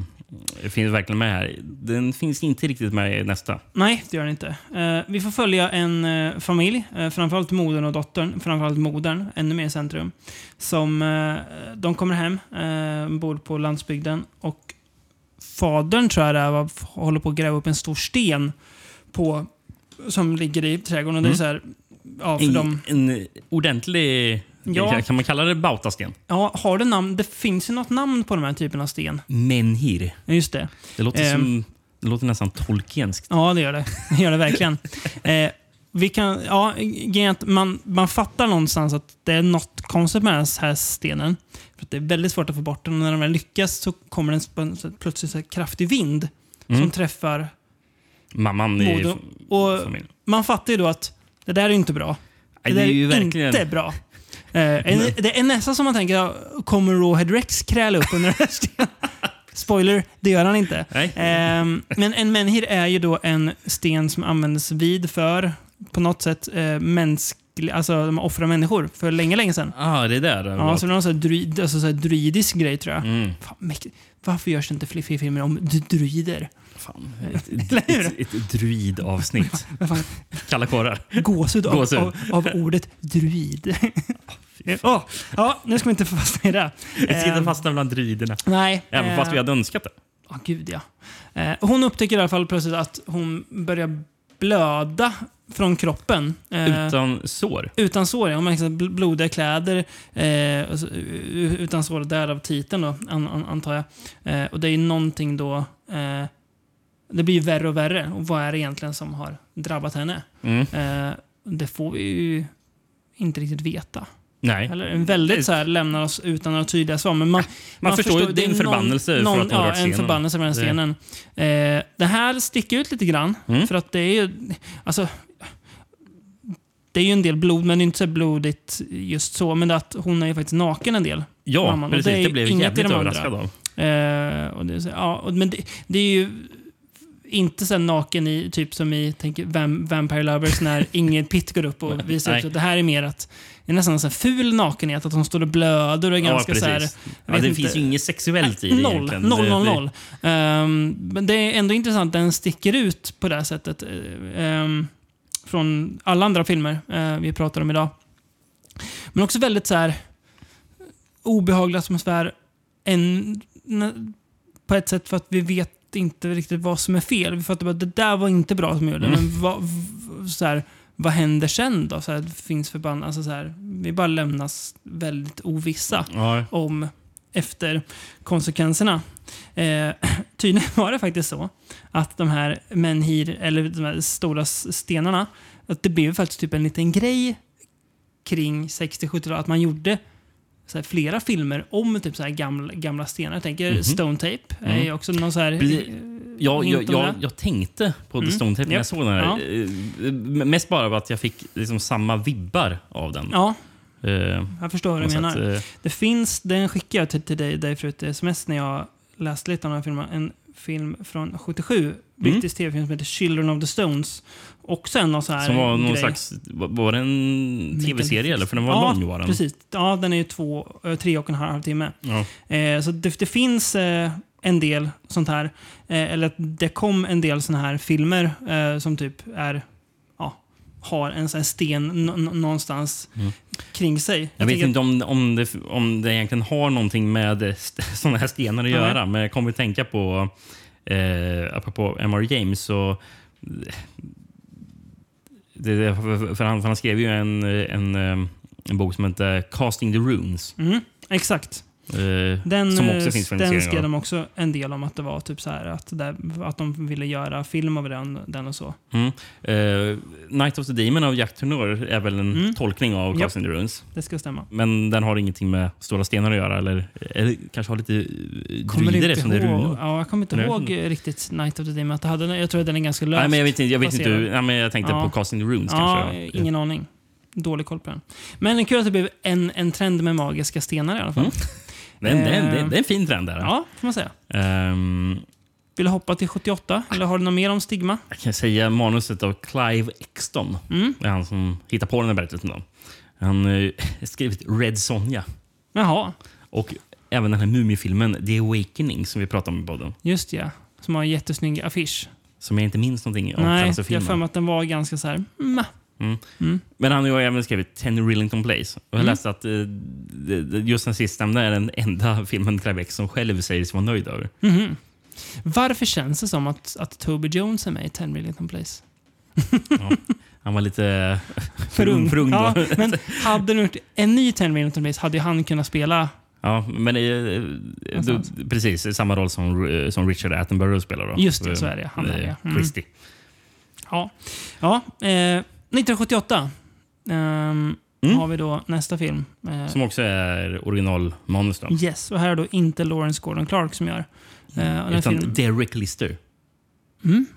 [SPEAKER 2] finns verkligen med här. Den finns inte riktigt med i nästa.
[SPEAKER 1] Nej, det gör den inte. Eh, vi får följa en eh, familj, eh, framförallt modern och dottern, framförallt modern, ännu mer i centrum. Som, eh, de kommer hem, eh, bor på landsbygden och fadern tror jag det är, var- håller på att gräva upp en stor sten på, som ligger i trädgården.
[SPEAKER 2] Mm.
[SPEAKER 1] Och det är så här, ja, för
[SPEAKER 2] En,
[SPEAKER 1] de,
[SPEAKER 2] en ordentlig...
[SPEAKER 1] Ja.
[SPEAKER 2] Kan man kalla det bautasten?
[SPEAKER 1] Ja, har det namn? Det finns ju något namn på de här typen av sten.
[SPEAKER 2] Menhir.
[SPEAKER 1] Ja, Just det.
[SPEAKER 2] Det låter,
[SPEAKER 1] Ehm.
[SPEAKER 2] som, det låter nästan tolkienskt.
[SPEAKER 1] Ja, det gör det. Det gör det verkligen. Eh, vi kan, ja, grejen är att man, man fattar någonstans att det är något konstigt med den här stenen. För att det är väldigt svårt att få bort den och när den väl lyckas så kommer den sp- så plötsligt så här kraftig vind som träffar
[SPEAKER 2] Mamman i
[SPEAKER 1] Modo. Och
[SPEAKER 2] familjen.
[SPEAKER 1] man fattar ju då att det där är ju inte bra.
[SPEAKER 2] Nej,
[SPEAKER 1] det,
[SPEAKER 2] det är ju
[SPEAKER 1] där är
[SPEAKER 2] verkligen-
[SPEAKER 1] inte bra. Eh, en, det är nästan som man tänker, ja, kommer Rawhead Rex kräla upp under den här stenen?
[SPEAKER 2] *laughs*
[SPEAKER 1] Spoiler, det gör han inte.
[SPEAKER 2] Nej.
[SPEAKER 1] Ehm, men en menhir är ju då en sten som användes vid för, på något sätt, eh, mänsklig, alltså de offrar människor för länge, länge sedan.
[SPEAKER 2] Ah, det där.
[SPEAKER 1] Ja,
[SPEAKER 2] var-
[SPEAKER 1] så det var någon sån här druid, alltså så här druidisk grej tror jag.
[SPEAKER 2] Mm.
[SPEAKER 1] Fan, mäktigt. varför görs det inte fler filmer om d- druider?
[SPEAKER 2] Fan. Ett,
[SPEAKER 1] Eller hur?
[SPEAKER 2] ett, ett, druidavsnitt.
[SPEAKER 1] *laughs* Vad fan,
[SPEAKER 2] Kalla kårar.
[SPEAKER 1] gåshud av,
[SPEAKER 2] Gåshud.
[SPEAKER 1] Av, av ordet druid. *laughs* Ja, ja, nu ska vi inte fastna i det.
[SPEAKER 2] Vi sitter
[SPEAKER 1] Ehm,
[SPEAKER 2] fastna bland druiderna.
[SPEAKER 1] Nej.
[SPEAKER 2] Även
[SPEAKER 1] eh,
[SPEAKER 2] fast vi hade önskat det.
[SPEAKER 1] Ja, gud ja. Eh, hon upptäcker i alla fall plötsligt att hon börjar blöda från kroppen. Eh,
[SPEAKER 2] Utan sår.
[SPEAKER 1] utan sår, ja. Hon märker bl- blodiga kläder. Eh, alltså, u- utan sår, därav titeln då, an, an, antar jag. Eh, och det är ju någonting då... Eh, det blir ju värre och värre. Och vad är det egentligen som har drabbat henne?
[SPEAKER 2] Mm.
[SPEAKER 1] Eh, det får vi ju inte riktigt veta.
[SPEAKER 2] Nej.
[SPEAKER 1] Eller en väldigt så här, lämnar oss utan några tydliga svar. Men man,
[SPEAKER 2] man förstår ju, det är en
[SPEAKER 1] någon-
[SPEAKER 2] förbannelse för att hon har
[SPEAKER 1] ja,
[SPEAKER 2] rört
[SPEAKER 1] en
[SPEAKER 2] scenen.
[SPEAKER 1] förbannelse med den
[SPEAKER 2] Det- Mm.
[SPEAKER 1] scenen. Eh, det här sticker ut lite grann. För att det är ju... Alltså, det är ju en del blod, men det är inte så blodigt just så. Men det är att hon är ju faktiskt naken en del.
[SPEAKER 2] Ja,
[SPEAKER 1] mamman. Och
[SPEAKER 2] precis.
[SPEAKER 1] är
[SPEAKER 2] Det, blev jag
[SPEAKER 1] inget i
[SPEAKER 2] jävligt
[SPEAKER 1] de andra.
[SPEAKER 2] överraskad av.
[SPEAKER 1] Eh, och det, är så- ja, och, men det, det är ju inte sen naken i, typ som i tänk, Vam- Vampire Lovers
[SPEAKER 2] *laughs*
[SPEAKER 1] när Ingrid Pitt går upp och visar
[SPEAKER 2] Nej.
[SPEAKER 1] ut. Så Det här är mer att, det är nästan så här ful nakenhet, att hon står och blöder och är ganska så här, jag
[SPEAKER 2] ja,
[SPEAKER 1] vet
[SPEAKER 2] det
[SPEAKER 1] inte. Äh,
[SPEAKER 2] finns ju inget sexuellt i det
[SPEAKER 1] Noll,
[SPEAKER 2] egentligen.
[SPEAKER 1] noll,
[SPEAKER 2] Det-
[SPEAKER 1] noll,
[SPEAKER 2] det-
[SPEAKER 1] noll. Ehm, men det är ändå intressant, den sticker ut på det här sättet. eh, ehm, från alla andra filmer eh, vi pratar om idag. Men också väldigt så här obehaglig atmosfär. En, n- på ett sätt för att vi vet inte riktigt vad som är fel. Vi fattar bara att det där var inte bra som vi
[SPEAKER 2] Mm.
[SPEAKER 1] gjorde. Men vad, v- så här, vad händer sen då? Så här, finns förbannat, alltså så här, vi bara lämnas väldigt ovissa
[SPEAKER 2] Ja.
[SPEAKER 1] om efter konsekvenserna. Eh, *clears throat* tydligen var det faktiskt så att de här menhir, eller de här stora s- stenarna, att det blev faktiskt typ en liten grej kring 60-70-talet, att man gjorde så här, flera filmer om typ så här gamla, gamla stenar. Jag tänker Stone Tape är ju också någon så här...
[SPEAKER 2] Bli- Ja, jag,
[SPEAKER 1] Eh, Hint om
[SPEAKER 2] jag,
[SPEAKER 1] det? Mm.
[SPEAKER 2] jag tänkte på The Stone Tape när
[SPEAKER 1] Japp.
[SPEAKER 2] jag såg den här.
[SPEAKER 1] Ja.
[SPEAKER 2] Eh, m- Mest bara av att jag fick liksom samma vibbar av den.
[SPEAKER 1] Ja,
[SPEAKER 2] Eh,
[SPEAKER 1] jag förstår vad du
[SPEAKER 2] Så att,
[SPEAKER 1] menar.
[SPEAKER 2] eh,
[SPEAKER 1] Det finns, den skickade jag till, till dig därför ett sms när jag läste lite om den här filmen. En film från 77,
[SPEAKER 2] Mm.
[SPEAKER 1] brittisk tv-film som heter Children of the Stones. Också en någon så här
[SPEAKER 2] Som var någon
[SPEAKER 1] grej.
[SPEAKER 2] slags... Var var det en tv-serie eller? För den var
[SPEAKER 1] ja,
[SPEAKER 2] lång var den.
[SPEAKER 1] precis. Ja, den är ju två, eh, tre och en halv timme.
[SPEAKER 2] Ja.
[SPEAKER 1] Eh, så det, det finns eh, en del sånt här. Eh, eller att det kom en del såna här filmer eh, som typ är, ja, har en sån här sten nå- nå- någonstans kring sig.
[SPEAKER 2] Mm. Jag vet
[SPEAKER 1] tänker
[SPEAKER 2] inte om, om, det, om det egentligen har någonting med st- *laughs* sådana här stenar att
[SPEAKER 1] Nej.
[SPEAKER 2] göra, men jag kommer att tänka på, eh, apropå M.R. James, så, eh, det, det- för, han, för han skrev ju en, en, eh, en bok som heter Casting the Runes,
[SPEAKER 1] att- Mm, Exakt.
[SPEAKER 2] eh,
[SPEAKER 1] Den,
[SPEAKER 2] som
[SPEAKER 1] eh,
[SPEAKER 2] också finns
[SPEAKER 1] den skrev
[SPEAKER 2] filmatiseringar av.
[SPEAKER 1] de också en del om att det var typ så här att, det, att de ville göra film av den, den och så.
[SPEAKER 2] Mm. Eh, Night of the Demon av Jack Turnor är väl en tolkning av
[SPEAKER 1] Mm. Japp.
[SPEAKER 2] Casting the Runes.
[SPEAKER 1] Det ska stämma.
[SPEAKER 2] Men den har ingenting med stora stenar att göra, eller, eller kanske har lite eh,
[SPEAKER 1] Kommer
[SPEAKER 2] druider
[SPEAKER 1] inte
[SPEAKER 2] som det är runor.
[SPEAKER 1] ihåg, ja, jag kommer inte
[SPEAKER 2] Eller-
[SPEAKER 1] ihåg eh, riktigt Night of the Demon. Att det hade, jag tror att den är ganska löst
[SPEAKER 2] Nej, men jag vet inte. Jag, vet inte
[SPEAKER 1] baserad.
[SPEAKER 2] hur, nej, men jag tänkte
[SPEAKER 1] Ja.
[SPEAKER 2] på Casting the Runes
[SPEAKER 1] Ja, eh,
[SPEAKER 2] kanske. ja.
[SPEAKER 1] ingen aning. Dålig koll på den. Men det är kul att det blev en, en trend med magiska stenar i alla fall.
[SPEAKER 2] Mm. Men det, är- det, är-
[SPEAKER 1] Eh.
[SPEAKER 2] det är en fin trend där.
[SPEAKER 1] Ja, får man säga.
[SPEAKER 2] Ehm,
[SPEAKER 1] Vill du hoppa till 78? Eller har du något mer om stigma?
[SPEAKER 2] jag kan säga manuset av Clive Exton.
[SPEAKER 1] Mm.
[SPEAKER 2] Det är han som hittar på den här berättelsen. Då. Han har *laughs* skrivit Red Sonja
[SPEAKER 1] Jaha,
[SPEAKER 2] och även den här mumiefilmen The Awakening som vi pratade om i podden.
[SPEAKER 1] just ja. Som har en jättesnygg affisch.
[SPEAKER 2] Som jag inte minns någonting om.
[SPEAKER 1] Nej,
[SPEAKER 2] alltså
[SPEAKER 1] jag har för
[SPEAKER 2] filmen.
[SPEAKER 1] mig att den var ganska så här... Mm.
[SPEAKER 2] Men han har ju även skrivit Ten Rillington Place. Och jag
[SPEAKER 1] Mm.
[SPEAKER 2] läste att eh, det- det- just den sistnämnda är den enda *laughs* filmen Clive Exton själv säger sig vara nöjd över.
[SPEAKER 1] Varför känns det som att, att Toby Jones är med i 10 Million Place?
[SPEAKER 2] Han var lite *laughs* för ung, för ung då.
[SPEAKER 1] Ja, men hade de gjort en ny 10 Million Place hade ju han kunnat spela...
[SPEAKER 2] Ja, men eh, eh, du,
[SPEAKER 1] Någonstans.
[SPEAKER 2] precis. Samma roll som, eh, som Richard Attenborough spelar. Då.
[SPEAKER 1] Just det, så är det. Han är
[SPEAKER 2] Eh,
[SPEAKER 1] det, mm.
[SPEAKER 2] Christie.
[SPEAKER 1] Ja. ja eh, 1978 ehm, har vi då nästa film. Eh,
[SPEAKER 2] Mm. Som också är originalmanus. Då.
[SPEAKER 1] Yes, och här är då inte Lawrence Gordon Clark som gör. Eh, och den
[SPEAKER 2] Mm, Utan
[SPEAKER 1] filmen-
[SPEAKER 2] Derek Lister.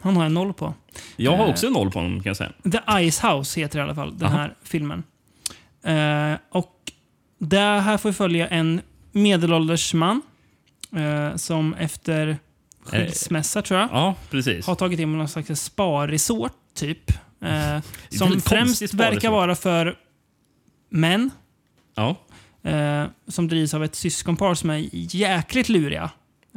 [SPEAKER 1] han har en noll på.
[SPEAKER 2] Jag
[SPEAKER 1] Eh.
[SPEAKER 2] har också en noll på honom kan jag säga.
[SPEAKER 1] The Ice House heter i alla fall den
[SPEAKER 2] Aha.
[SPEAKER 1] här filmen. Eh, och där här får vi följa en medelålders man eh, som efter skilsmässa, tror jag,
[SPEAKER 2] Ja, precis.
[SPEAKER 1] har tagit in på någon slags sparresort, typ.
[SPEAKER 2] *laughs*
[SPEAKER 1] Eh, som
[SPEAKER 2] väldigt
[SPEAKER 1] främst
[SPEAKER 2] konstigt
[SPEAKER 1] verkar
[SPEAKER 2] sparresort.
[SPEAKER 1] vara för män.
[SPEAKER 2] Ja.
[SPEAKER 1] Eh, som drivs av ett syskonpar som är jäkligt
[SPEAKER 2] *laughs*
[SPEAKER 1] luriga.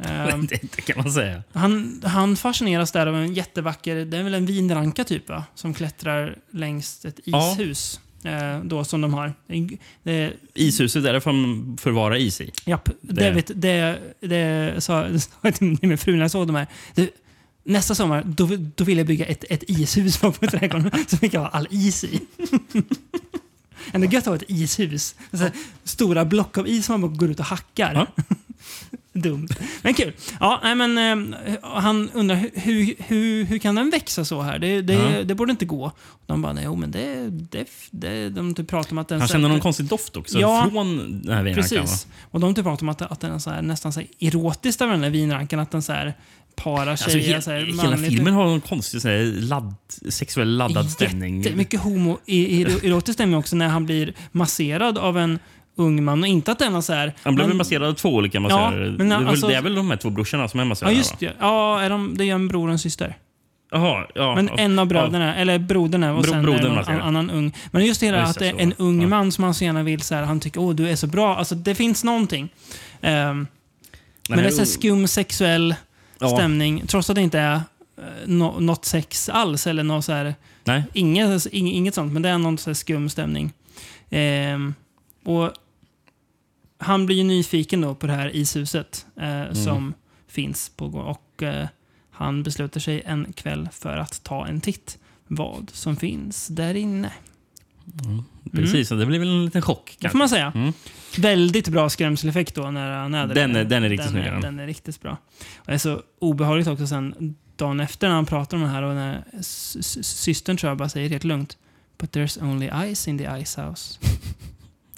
[SPEAKER 1] Eh,
[SPEAKER 2] Det, det kan man säga.
[SPEAKER 1] Han, han fascineras där av en jättevacker, det är väl en vinranka typ va? Som klättrar längs ett
[SPEAKER 2] Ja.
[SPEAKER 1] ishus. Eh, då som de har. Det, eh,
[SPEAKER 2] Ishuset är därför man förvarar is i.
[SPEAKER 1] japp, det. Det, vet, det, det sa *laughs* det sa jag till min fru när jag såg de här. Det, nästa sommar, då, då vill jag bygga ett, ett ishus på trädgården
[SPEAKER 2] *laughs*
[SPEAKER 1] som vi kan ha all is i. *laughs* Ändå gött att ha ett ishus. Alltså, stora block av is som man bara går ut och hackar.
[SPEAKER 2] Ja.
[SPEAKER 1] *laughs* Dumt. Men kul. Ja, nej, men, eh, han undrar hur, hur, hur, hur kan den växa så här? Det, det,
[SPEAKER 2] Ja.
[SPEAKER 1] det borde inte gå. De bara, nej, jo, men det, det, det, de typ pratar om att den...
[SPEAKER 2] Han
[SPEAKER 1] så-
[SPEAKER 2] känner någon konstig doft också
[SPEAKER 1] Ja.
[SPEAKER 2] från den här vinrankan. va?
[SPEAKER 1] Precis. Och de typ pratar om att, att den är så här, nästan så här erotiskt av den där vinrankan. Att den så här parar
[SPEAKER 2] Alltså,
[SPEAKER 1] tjejer.
[SPEAKER 2] he
[SPEAKER 1] så här,
[SPEAKER 2] hela
[SPEAKER 1] manligt.
[SPEAKER 2] filmen har någon konstig sån här ladd, sexuell laddad stämning.
[SPEAKER 1] Jättemycket homoerotisk stämning också när han blir masserad av en ung man. Och inte att den är så här...
[SPEAKER 2] Han blev
[SPEAKER 1] man-
[SPEAKER 2] väl masserad av två olika massörer.
[SPEAKER 1] men
[SPEAKER 2] det, är väl-
[SPEAKER 1] alltså-
[SPEAKER 2] det är väl de här två brorsorna som är
[SPEAKER 1] Ja,
[SPEAKER 2] massörer?
[SPEAKER 1] just det. Ja, är de, det är en bror och en syster.
[SPEAKER 2] Jaha, ja.
[SPEAKER 1] Men
[SPEAKER 2] ja.
[SPEAKER 1] en av bröderna, eller broderna och
[SPEAKER 2] Bro-
[SPEAKER 1] sen
[SPEAKER 2] brodern,
[SPEAKER 1] är det någon
[SPEAKER 2] vad säger
[SPEAKER 1] an,
[SPEAKER 2] jag?
[SPEAKER 1] annan ung. Men just det hela
[SPEAKER 2] Ja, just
[SPEAKER 1] att
[SPEAKER 2] det,
[SPEAKER 1] det är
[SPEAKER 2] så
[SPEAKER 1] en
[SPEAKER 2] var det.
[SPEAKER 1] ung
[SPEAKER 2] Ja.
[SPEAKER 1] man som han så gärna vill så här, han tycker åh du är så bra. Alltså det finns någonting. Ehm, men
[SPEAKER 2] här-
[SPEAKER 1] det är så här skum sexuell
[SPEAKER 2] Ja.
[SPEAKER 1] stämning, trots att det inte är eh, nå- något sex alls eller något så här,
[SPEAKER 2] Nej.
[SPEAKER 1] inget, ing- inget sånt, men det är någon så här skum stämning. Ehm, och han blir ju nyfiken då på det här ishuset eh, som finns på gården. Och eh, han besluter sig en kväll för att ta en titt vad som finns där inne.
[SPEAKER 2] Precis, så det blir väl en liten chock.
[SPEAKER 1] Det Mm. får
[SPEAKER 2] Kanske. Mm.
[SPEAKER 1] man säga. Väldigt bra skrämseleffekt då när han är där.
[SPEAKER 2] Den är-
[SPEAKER 1] inne.
[SPEAKER 2] den är riktigt
[SPEAKER 1] den
[SPEAKER 2] snygg,
[SPEAKER 1] är,
[SPEAKER 2] den.
[SPEAKER 1] den är riktigt bra. Och det är så obehagligt också sen dagen efter när han pratar om det här och när s- s- systern tror jag bara säger helt lugnt But there's only ice in the ice house.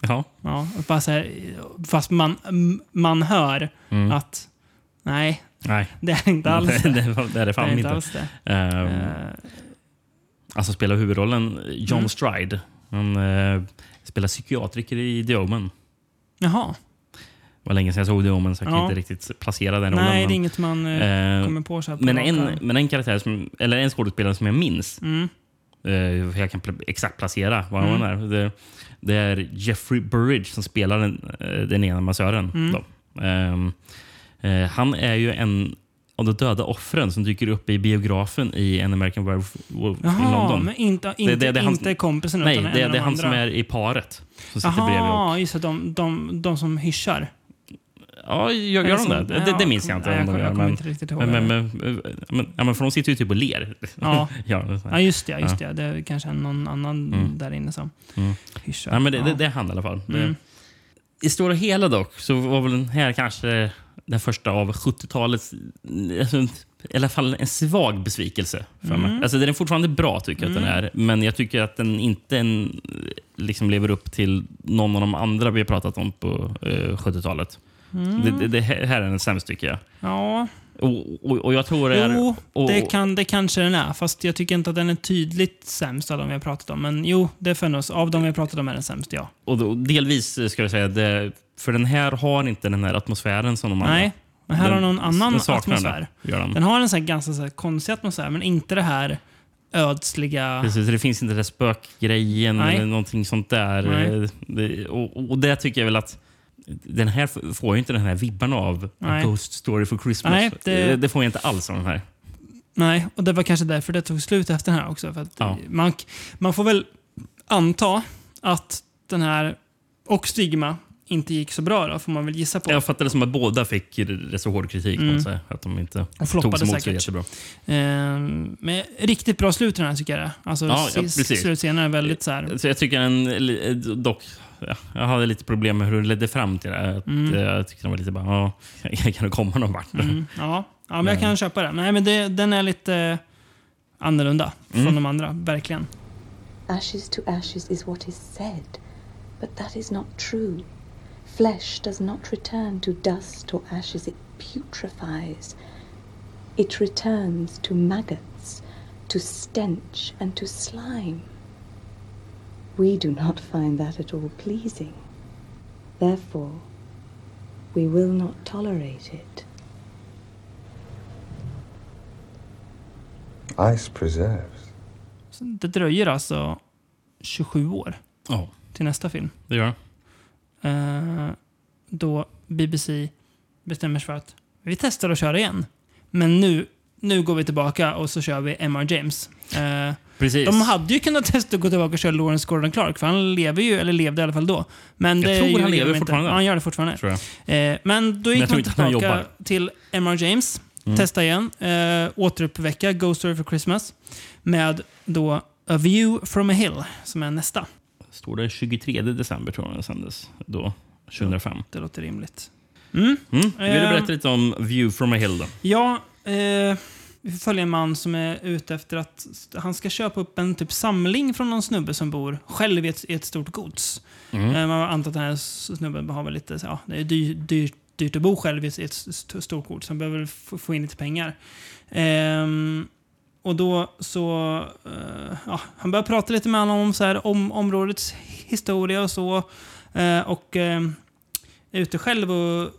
[SPEAKER 2] Ja.
[SPEAKER 1] Ja, att bara så här, fast man, m- man hör att nej,
[SPEAKER 2] Mm. Nej.
[SPEAKER 1] det är inte alls
[SPEAKER 2] *laughs* det,
[SPEAKER 1] det.
[SPEAKER 2] det, var- det är det
[SPEAKER 1] Det
[SPEAKER 2] fan
[SPEAKER 1] är inte
[SPEAKER 2] inte.
[SPEAKER 1] alls det.
[SPEAKER 2] Ehm,
[SPEAKER 1] Eh, Mm.
[SPEAKER 2] Alltså spelar huvudrollen John Stride. Han eh, spelar psykiatriker i The Omen.
[SPEAKER 1] Jaha.
[SPEAKER 2] Det var länge sedan jag såg The Omen så jag
[SPEAKER 1] Ja.
[SPEAKER 2] kan inte riktigt placera den
[SPEAKER 1] Nej,
[SPEAKER 2] rollen.
[SPEAKER 1] det är
[SPEAKER 2] men-
[SPEAKER 1] inget man eh,
[SPEAKER 2] Eh,
[SPEAKER 1] kommer på så här på
[SPEAKER 2] Men
[SPEAKER 1] rak
[SPEAKER 2] en,
[SPEAKER 1] arm.
[SPEAKER 2] men en karaktär, som, eller en skådespelare som jag minns,
[SPEAKER 1] Mm.
[SPEAKER 2] eh, jag kan pl- exakt placera vad han är. Det, det är Jeffrey Burridge som spelar den, eh, den ena massören.
[SPEAKER 1] Mm.
[SPEAKER 2] Då. Ehm, eh, han är ju en av de döda offren som dyker upp i biografen i En American Werewolf Wolf i
[SPEAKER 1] Jaha,
[SPEAKER 2] London.
[SPEAKER 1] men inte, inte,
[SPEAKER 2] det- det är han-
[SPEAKER 1] inte kompisen
[SPEAKER 2] Nej,
[SPEAKER 1] utan
[SPEAKER 2] det,
[SPEAKER 1] en
[SPEAKER 2] det är
[SPEAKER 1] av
[SPEAKER 2] han
[SPEAKER 1] de
[SPEAKER 2] som
[SPEAKER 1] andra.
[SPEAKER 2] är i paret som sitter bredvid. Och,
[SPEAKER 1] Jaha, just det. De, de, de som hyschar.
[SPEAKER 2] ja, gör,
[SPEAKER 1] Eller
[SPEAKER 2] gör de
[SPEAKER 1] som-
[SPEAKER 2] det? Det, det,
[SPEAKER 1] ja,
[SPEAKER 2] det minns jag
[SPEAKER 1] kom-
[SPEAKER 2] inte.
[SPEAKER 1] nej, jag
[SPEAKER 2] om de
[SPEAKER 1] kom-
[SPEAKER 2] gör,
[SPEAKER 1] jag kommer
[SPEAKER 2] men-
[SPEAKER 1] inte riktigt ihåg
[SPEAKER 2] men, men,
[SPEAKER 1] det.
[SPEAKER 2] men, men, ja, men för de sitter ju typ och ler.
[SPEAKER 1] Ja.
[SPEAKER 2] *laughs* ja, det är så här.
[SPEAKER 1] Ja, just det. Just det. det är kanske någon annan där inne som hyschar.
[SPEAKER 2] Nej, Mm. men det,
[SPEAKER 1] ja. Mm.
[SPEAKER 2] det, det är han i alla fall. Det, I stora hela dock så var väl den här kanske den första av 70-talets... Alltså, I alla fall en svag besvikelse för
[SPEAKER 1] Mm.
[SPEAKER 2] mig. Alltså, den är fortfarande bra, tycker jag att den är. Men jag tycker att den inte en, liksom lever upp till någon av de andra vi har pratat om på eh, 70-talet.
[SPEAKER 1] Mm.
[SPEAKER 2] Det, det, det här är den sämsta, tycker jag.
[SPEAKER 1] ja.
[SPEAKER 2] Och, och, och jag tror det är...
[SPEAKER 1] Jo,
[SPEAKER 2] och,
[SPEAKER 1] det, kan, det kanske den är. Fast jag tycker inte att den är tydligt sämst av de vi har pratat om. Men jo, det får jag nog- Av de vi har pratat om är den sämst, ja.
[SPEAKER 2] och, då- delvis, eh, ska jag säga, det, för den här har inte den här atmosfären som de andra.
[SPEAKER 1] Nej, men här har
[SPEAKER 2] Den-
[SPEAKER 1] någon annan
[SPEAKER 2] den Mm. saknar
[SPEAKER 1] atmosfär.
[SPEAKER 2] det, gör den.
[SPEAKER 1] Den har en så här ganska så här konstig atmosfär, men inte det här ödsliga...
[SPEAKER 2] Precis, det finns inte den där spökgrejen
[SPEAKER 1] Nej.
[SPEAKER 2] eller någonting sånt där.
[SPEAKER 1] Nej.
[SPEAKER 2] Eh, Det, och, och det tycker jag väl att den här f- får ju inte den här vibban av
[SPEAKER 1] Nej.
[SPEAKER 2] A Ghost Story for Christmas. Eh,
[SPEAKER 1] Nej, det-
[SPEAKER 2] det... får jag inte alls av den här.
[SPEAKER 1] Nej, och det var kanske därför det tog slut efter den här också. För att
[SPEAKER 2] Ja.
[SPEAKER 1] man, man får väl anta att den här och Stigma inte gick så bra då, får man väl gissa på.
[SPEAKER 2] Jag fattar det som att båda fick rätt så hård kritik. Mm. Säga, att de inte
[SPEAKER 1] Och floppade
[SPEAKER 2] tog sig emot så
[SPEAKER 1] säkert.
[SPEAKER 2] jättebra.
[SPEAKER 1] Ehm, men riktigt bra slut i den här tycker jag det är. Alltså,
[SPEAKER 2] Ja, ja,
[SPEAKER 1] s-
[SPEAKER 2] precis. Eh,
[SPEAKER 1] slutscenen är väldigt så här...
[SPEAKER 2] Så jag tycker den, dock, ja, jag hade lite problem med hur den ledde fram till det. här. Att, eh, Jag tyckte den var lite bara, ja, *laughs* jag kan nog komma någon vart.
[SPEAKER 1] Mm, ja. ja, men
[SPEAKER 2] eh.
[SPEAKER 1] jag kan köpa det. Nej, men det, den är lite annorlunda
[SPEAKER 2] Mm.
[SPEAKER 1] från de andra, verkligen.
[SPEAKER 8] Ashes to ashes is what is said, but that is not true. Flesh does not return to dust or ashes, it putrefies. It returns to maggots, to stench, and to slime. We do not find that at all pleasing. Therefore, we will not tolerate it.
[SPEAKER 6] Ice preserves.
[SPEAKER 1] Så det dröjer alltså 27 år
[SPEAKER 2] Ja,
[SPEAKER 1] till nästa film.
[SPEAKER 2] det gör den.
[SPEAKER 1] Eh, då BBC bestämmer sig för att vi testar att köra igen. Men nu, nu går vi tillbaka och så kör vi M.R. James. Eh,
[SPEAKER 2] Precis.
[SPEAKER 1] de hade ju kunnat testa att gå tillbaka och köra Lawrence Gordon Clark, för han lever ju, eller levde i alla fall då. Men
[SPEAKER 2] Jag
[SPEAKER 1] det
[SPEAKER 2] tror
[SPEAKER 1] gjorde
[SPEAKER 2] han lever
[SPEAKER 1] de inte.
[SPEAKER 2] fortfarande.
[SPEAKER 1] Ja, Han gör det fortfarande.
[SPEAKER 2] tror jag.
[SPEAKER 1] Eh, men då
[SPEAKER 2] Men
[SPEAKER 1] gick
[SPEAKER 2] jag tror
[SPEAKER 1] man
[SPEAKER 2] inte att han
[SPEAKER 1] tillbaka
[SPEAKER 2] jobbar. Mm.
[SPEAKER 1] till M.R. James, testa igen, eh, återuppväcka Ghost Story for Christmas med då A View from a Hill, som är nästa.
[SPEAKER 2] Står det 23 december tror jag den sändes då, 2005.
[SPEAKER 1] Det låter rimligt.
[SPEAKER 2] Mm. Vill du
[SPEAKER 1] Ehm.
[SPEAKER 2] berätta lite om View from a Hill? Då?
[SPEAKER 1] Ja, eh, vi följer en man som är ute efter att han ska köpa upp en typ samling från någon snubbe som bor själv i ett, i ett stort gods. Eh, man antar att den här snubben har väl lite, så- ja, det är dyr, dyr, dyrt att bo själv i ett, i ett st- stort gods, så han behöver väl få, få in lite pengar. Ehm, och då så... eh, ja, han börjar prata lite med honom om, så här, om områdets historia och så. Eh, och eh, är ute själv och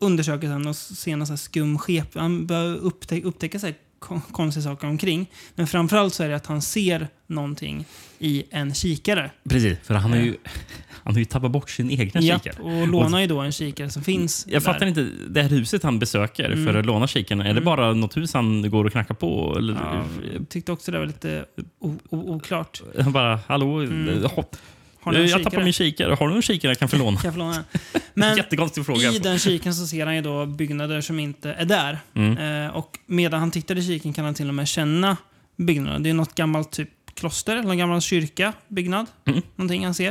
[SPEAKER 1] undersöker sen och ser någon så här skum skep. Han börjar upptä- upptäcka så här kon- konstiga saker omkring. Men framförallt så är det att han ser någonting i en kikare.
[SPEAKER 2] Precis, för han har ju, Eh. *laughs* han har ju tappat bort sin egna
[SPEAKER 1] Japp,
[SPEAKER 2] kikare.
[SPEAKER 1] och lånar ju då en kikare som finns
[SPEAKER 2] Jag fattar inte, det här huset han besöker för att låna kikaren, är det bara något hus han går och knackar på? Eller,
[SPEAKER 1] Jag tyckte också det var lite o- o- oklart.
[SPEAKER 2] Han bara, hallå, hopp.
[SPEAKER 1] Har ni en
[SPEAKER 2] jag tappar
[SPEAKER 1] kikare?
[SPEAKER 2] min kikare. Har du en kikare jag kan få låna?
[SPEAKER 1] Kan jag få låna den? *laughs*
[SPEAKER 2] *laughs*
[SPEAKER 1] Men
[SPEAKER 2] Jättekonstig fråga.
[SPEAKER 1] I
[SPEAKER 2] alltså.
[SPEAKER 1] den kiken så ser han ju då byggnader som inte är där.
[SPEAKER 2] Mm.
[SPEAKER 1] Eh, och medan han tittar i kiken kan han till och med känna byggnaderna. Det är något gammalt typ kloster, eller någon gammal kyrka, byggnad.
[SPEAKER 2] Mm.
[SPEAKER 1] Någonting han ser.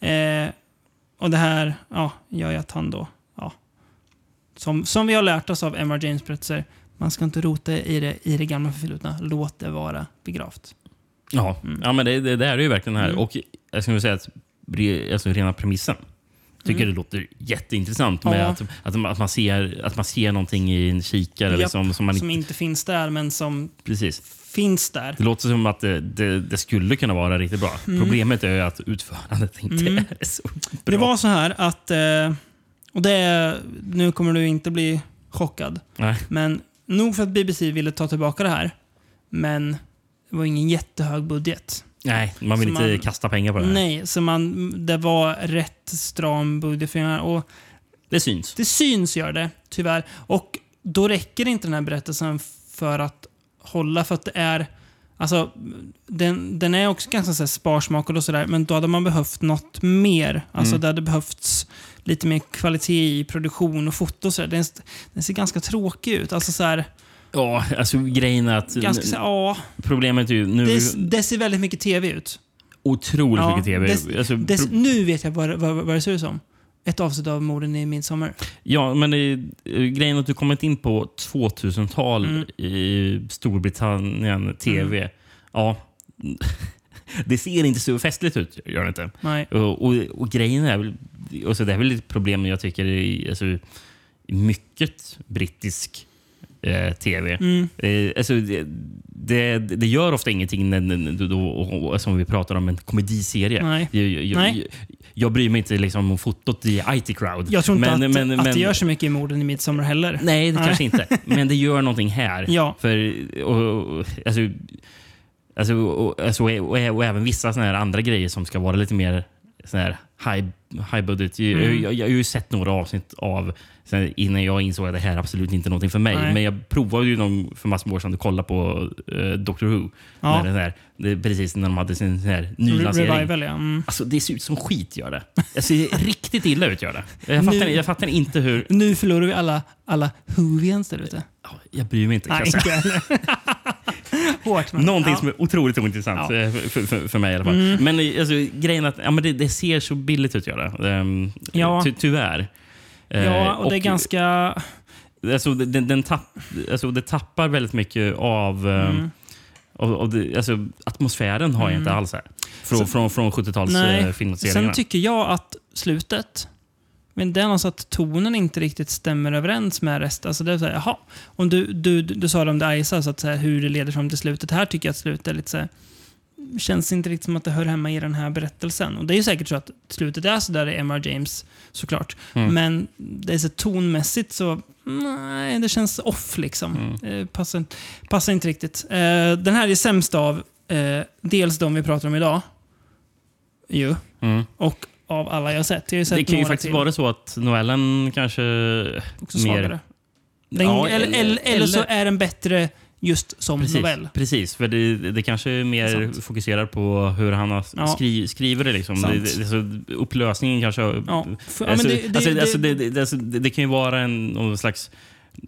[SPEAKER 1] Eh, och det här ja, gör ju att han då, ja, som, som vi har lärt oss av Emma James berättelser, man ska inte rota i det, i det gamla förflutna. Låt det vara begravt.
[SPEAKER 2] Mm.
[SPEAKER 1] Mm.
[SPEAKER 2] Ja, ja men det, det, det här är ju verkligen här. Och jag skulle säga att re- alltså rena premissen. Tycker det låter jätteintressant
[SPEAKER 1] Mm. Ja.
[SPEAKER 2] med att, att, att, man ser, att man ser någonting i en kikare.
[SPEAKER 1] Japp,
[SPEAKER 2] Liksom, som man,
[SPEAKER 1] som
[SPEAKER 2] inte-
[SPEAKER 1] inte finns där, men som
[SPEAKER 2] precis.
[SPEAKER 1] finns där.
[SPEAKER 2] Det låter som att det, det, det skulle kunna vara riktigt bra. Problemet är ju att utförandet inte är så bra.
[SPEAKER 1] Mm. Det var så här att, eh, och det, är- nu kommer du inte bli chockad,
[SPEAKER 2] Nej.
[SPEAKER 1] men nog för att BBC ville ta tillbaka det här, men det var ingen jättehög budget.
[SPEAKER 2] Nej, man vill
[SPEAKER 1] Så
[SPEAKER 2] inte
[SPEAKER 1] man-
[SPEAKER 2] kasta pengar på det här.
[SPEAKER 1] Nej, så man, det var rätt stram budget för den här. Och
[SPEAKER 2] Det syns.
[SPEAKER 1] det syns gör det, tyvärr. Och då räcker inte den här berättelsen för att hålla, för att det är... Alltså, den, den är också ganska så här sparsmakad och sådär, men då hade man behövt något mer. Alltså,
[SPEAKER 2] Mm.
[SPEAKER 1] det hade behövts lite mer kvalitet i produktion och foto och sådär. Den, den ser ganska tråkig ut. Alltså så här,
[SPEAKER 2] Ja, alltså grejen är att
[SPEAKER 1] ganska så här, ja.
[SPEAKER 2] problemet är ju nu
[SPEAKER 1] Det, det ser väldigt mycket tv ut.
[SPEAKER 2] otroligt
[SPEAKER 1] Ja,
[SPEAKER 2] mycket tv.
[SPEAKER 1] det-
[SPEAKER 2] alltså,
[SPEAKER 1] Det,
[SPEAKER 2] pro-
[SPEAKER 1] nu vet jag vad, det- vad, vad det ser ut som. Ett avsnitt av morden i midsommar.
[SPEAKER 2] ja, men det, är- grejen är att du kommit in på 2000-tal i Storbritannien, tv. Ja, *laughs* det ser inte så festligt ut, gör det inte.
[SPEAKER 1] Nej.
[SPEAKER 2] Och, och, och grejen är väl, och så det är väl ett problem jag tycker i alltså, i mycket brittisk eh, tv.
[SPEAKER 1] Mm.
[SPEAKER 2] Eh, alltså, det, det, det gör ofta ingenting när, när, när- då, och, och, som vi pratar om en komediserie.
[SPEAKER 1] Nej.
[SPEAKER 2] Jag, jag, jag,
[SPEAKER 1] Nej.
[SPEAKER 2] jag bryr mig inte liksom, om fotot i IT Crowd.
[SPEAKER 1] Jag tror inte
[SPEAKER 2] Men-
[SPEAKER 1] att,
[SPEAKER 2] men-
[SPEAKER 1] att
[SPEAKER 2] men-
[SPEAKER 1] det gör så mycket i morden i midsommar heller.
[SPEAKER 2] Nej, det kanske inte. Men det gör någonting här.
[SPEAKER 1] Ja.
[SPEAKER 2] För, och, och, alltså, alltså, och, alltså, och, och, och även vissa såna här andra grejer som ska vara lite mer såna här high, high budget. Jag,
[SPEAKER 1] Mm.
[SPEAKER 2] jag, jag har ju sett några avsnitt av sen, innan jag insåg att det här är absolut inte någonting för mig.
[SPEAKER 1] Nej.
[SPEAKER 2] Men jag provade ju dem för massor med år sedan att kolla på eh, Doctor Who.
[SPEAKER 1] Ja.
[SPEAKER 2] När den här, det, precis när de hade sin sån här nylansering.
[SPEAKER 1] Revival, ja. Mm.
[SPEAKER 2] Alltså, det ser ut som skit, gör det. Det ser riktigt illa ut, gör det.
[SPEAKER 1] *laughs*
[SPEAKER 2] Jag fattar,
[SPEAKER 1] Nu-
[SPEAKER 2] jag fattar inte hur...
[SPEAKER 1] Nu förlorar vi alla, alla Whovians där ute.
[SPEAKER 2] Ja, Jag bryr mig inte. kan
[SPEAKER 1] Nej,
[SPEAKER 2] jag säga.
[SPEAKER 1] inte heller.
[SPEAKER 2] *laughs*
[SPEAKER 1] Hårt. men-
[SPEAKER 2] Någonting
[SPEAKER 1] ja.
[SPEAKER 2] som är otroligt ointressant
[SPEAKER 1] Ja. Mm.
[SPEAKER 2] eh, för, för, för mig i alla fall. Men eh, alltså, grejen är att ja, men det, det ser så billigt ut, gör det. Ehm,
[SPEAKER 1] Ja.
[SPEAKER 2] ty, tyvärr. Eh,
[SPEAKER 1] Ja, och det är ganska...
[SPEAKER 2] Alltså, den, den tapp, alltså, det tappar väldigt mycket av... eh,
[SPEAKER 1] mm.
[SPEAKER 2] av, av det, alltså, atmosfären har jag inte alls här. Från, från, från 70-tals
[SPEAKER 1] Nej.
[SPEAKER 2] eh, filmserierna.
[SPEAKER 1] Sen tycker jag att slutet, men det är någonstans att tonen inte riktigt stämmer överens med resten. Alltså det är så här, jaha. Om du, du, du, du sa det om The Isa, så att så här, hur det leder fram till slutet. Här tycker jag att slutet är lite så här, känns inte riktigt som att det hör hemma i den här berättelsen. Och det är ju säkert så att slutet är så där i M.R. James, såklart. Men det är så tonmässigt så, nej, det känns off liksom. Eh, passar, inte- passar inte riktigt. Eh, den här är sämst av eh, dels de vi pratar om idag, ju. Och av alla jag har sett. Jag har ju sett
[SPEAKER 2] Mm. det kan ju
[SPEAKER 1] några
[SPEAKER 2] faktiskt
[SPEAKER 1] till.
[SPEAKER 2] vara så att novellen kanske...
[SPEAKER 1] också
[SPEAKER 2] mer-
[SPEAKER 1] svagare. Den,
[SPEAKER 2] Ja,
[SPEAKER 1] eller, eller, eller, så är den bättre just som
[SPEAKER 2] Precis,
[SPEAKER 1] novell.
[SPEAKER 2] precis, för det, det kanske är
[SPEAKER 1] Det är
[SPEAKER 2] mer
[SPEAKER 1] sant.
[SPEAKER 2] fokuserar på hur han har
[SPEAKER 1] Ja.
[SPEAKER 2] skri, skriver det. Liksom.
[SPEAKER 1] Sant.
[SPEAKER 2] det, det alltså, upplösningen kanske...
[SPEAKER 1] Ja, för- ja, men
[SPEAKER 2] Alltså,
[SPEAKER 1] det- det-
[SPEAKER 2] alltså,
[SPEAKER 1] det-
[SPEAKER 2] alltså, det- det- alltså, det det kan ju vara en, någon slags,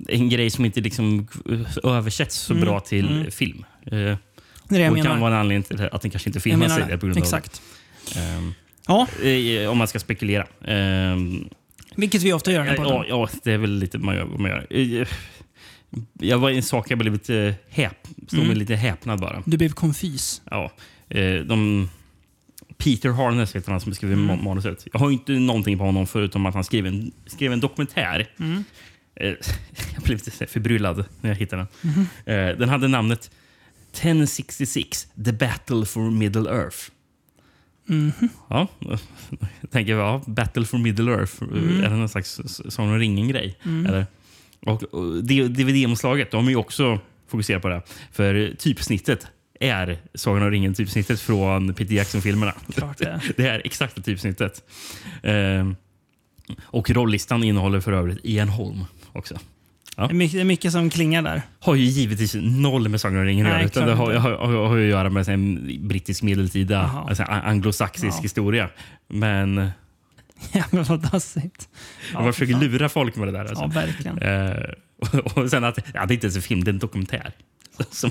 [SPEAKER 2] en grej som inte liksom översätts så bra till film. Eh,
[SPEAKER 1] Mm. Det är det jag
[SPEAKER 2] och det
[SPEAKER 1] menar.
[SPEAKER 2] kan vara en anledning till att den kanske inte
[SPEAKER 1] jag
[SPEAKER 2] filmas
[SPEAKER 1] menar
[SPEAKER 2] tidigare på grund
[SPEAKER 1] det.
[SPEAKER 2] av
[SPEAKER 1] Exakt.
[SPEAKER 2] ehm,
[SPEAKER 1] Ja,
[SPEAKER 2] eh, om man ska spekulera. Ehm, eh,
[SPEAKER 1] vilket vi ofta gör när
[SPEAKER 2] Ja,
[SPEAKER 1] ja,
[SPEAKER 2] ja, det är väl lite man gör. vad Man gör. Eh, Jag var en sak jag blev lite häp, stod
[SPEAKER 1] Mm.
[SPEAKER 2] med lite häpnad bara.
[SPEAKER 1] Du blev konfys.
[SPEAKER 2] Ja, eh, de, Peter Harness heter han som skriver ma- manuset. Jag har ju inte någonting på honom förutom att han skrev en, skrev en dokumentär. Eh, *laughs* jag blev lite så här förbryllad när jag hittade den. Eh, den hade namnet 1066 The Battle for Middle Earth.
[SPEAKER 1] Mhm.
[SPEAKER 2] Ja, *laughs* jag tänker ja, Battle for Middle Earth. eh, Är det någon slags Sagan om ringen-grej?
[SPEAKER 1] Mm.
[SPEAKER 2] Eller? Och, och D- DVD-omslaget, de är ju också fokuserade på det. För typsnittet är Sagan om ringen-typsnittet från Peter Jackson-filmerna. *laughs*
[SPEAKER 1] Klart det.
[SPEAKER 2] det är exakta typsnittet. Ehm, och rollistan innehåller för övrigt Ian Holm också.
[SPEAKER 1] Det är mycket, det är mycket som klingar där. *laughs*
[SPEAKER 2] Har ju givetvis noll med Sagan om ringen att
[SPEAKER 1] Nej,
[SPEAKER 2] göra. Utan det
[SPEAKER 1] klart
[SPEAKER 2] har,
[SPEAKER 1] inte.
[SPEAKER 2] har, har, har ju att göra med en brittisk medeltida,
[SPEAKER 1] Jaha.
[SPEAKER 2] alltså, a- anglosaxisk
[SPEAKER 1] Ja.
[SPEAKER 2] historia. Men
[SPEAKER 1] Jävlar vad dassigt.
[SPEAKER 2] Ja, man försöker lura folk med det där.
[SPEAKER 1] Ja,
[SPEAKER 2] Alltså.
[SPEAKER 1] verkligen.
[SPEAKER 2] Eh, *laughs* och, och sen att ja, det är inte ens en film, det är en dokumentär. *laughs* Som,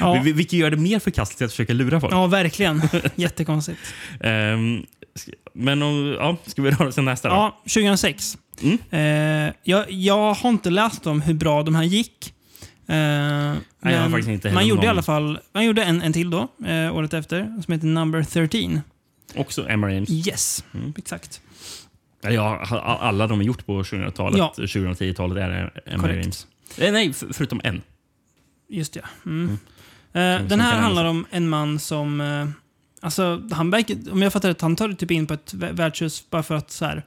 [SPEAKER 1] Ja,
[SPEAKER 2] Vil- Vilket gör det mer förkastligt att försöka lura folk.
[SPEAKER 1] ja verkligen. Jättekonstigt.
[SPEAKER 2] Ehm, sk- men om, ja, ska vi *laughs* röra oss till nästa? då?
[SPEAKER 1] Ja, 2006.
[SPEAKER 2] Mm.
[SPEAKER 1] Eh, jag, jag har inte läst om hur bra de här gick. Eh,
[SPEAKER 2] jag har
[SPEAKER 1] men
[SPEAKER 2] faktiskt inte heller
[SPEAKER 1] man gjorde
[SPEAKER 2] någon.
[SPEAKER 1] i alla fall man gjorde en, en till då, eh, året efter, som heter Number 13.
[SPEAKER 2] Också Emma James.
[SPEAKER 1] Yes,
[SPEAKER 2] Mm.
[SPEAKER 1] exakt.
[SPEAKER 2] Ja, Ja, ha- alla de är gjort på 2000-talet,
[SPEAKER 1] Ja.
[SPEAKER 2] 2010-talet är Emma
[SPEAKER 1] Korrekt.
[SPEAKER 2] James. Eh, nej, f- förutom en.
[SPEAKER 1] Just ja. Mm. Eh,
[SPEAKER 2] som
[SPEAKER 1] den här
[SPEAKER 2] kan
[SPEAKER 1] handlar om en man som... eh, alltså, han verkar, om jag fattar rätt, han tar typ in på ett vä- värdshus bara för att så här,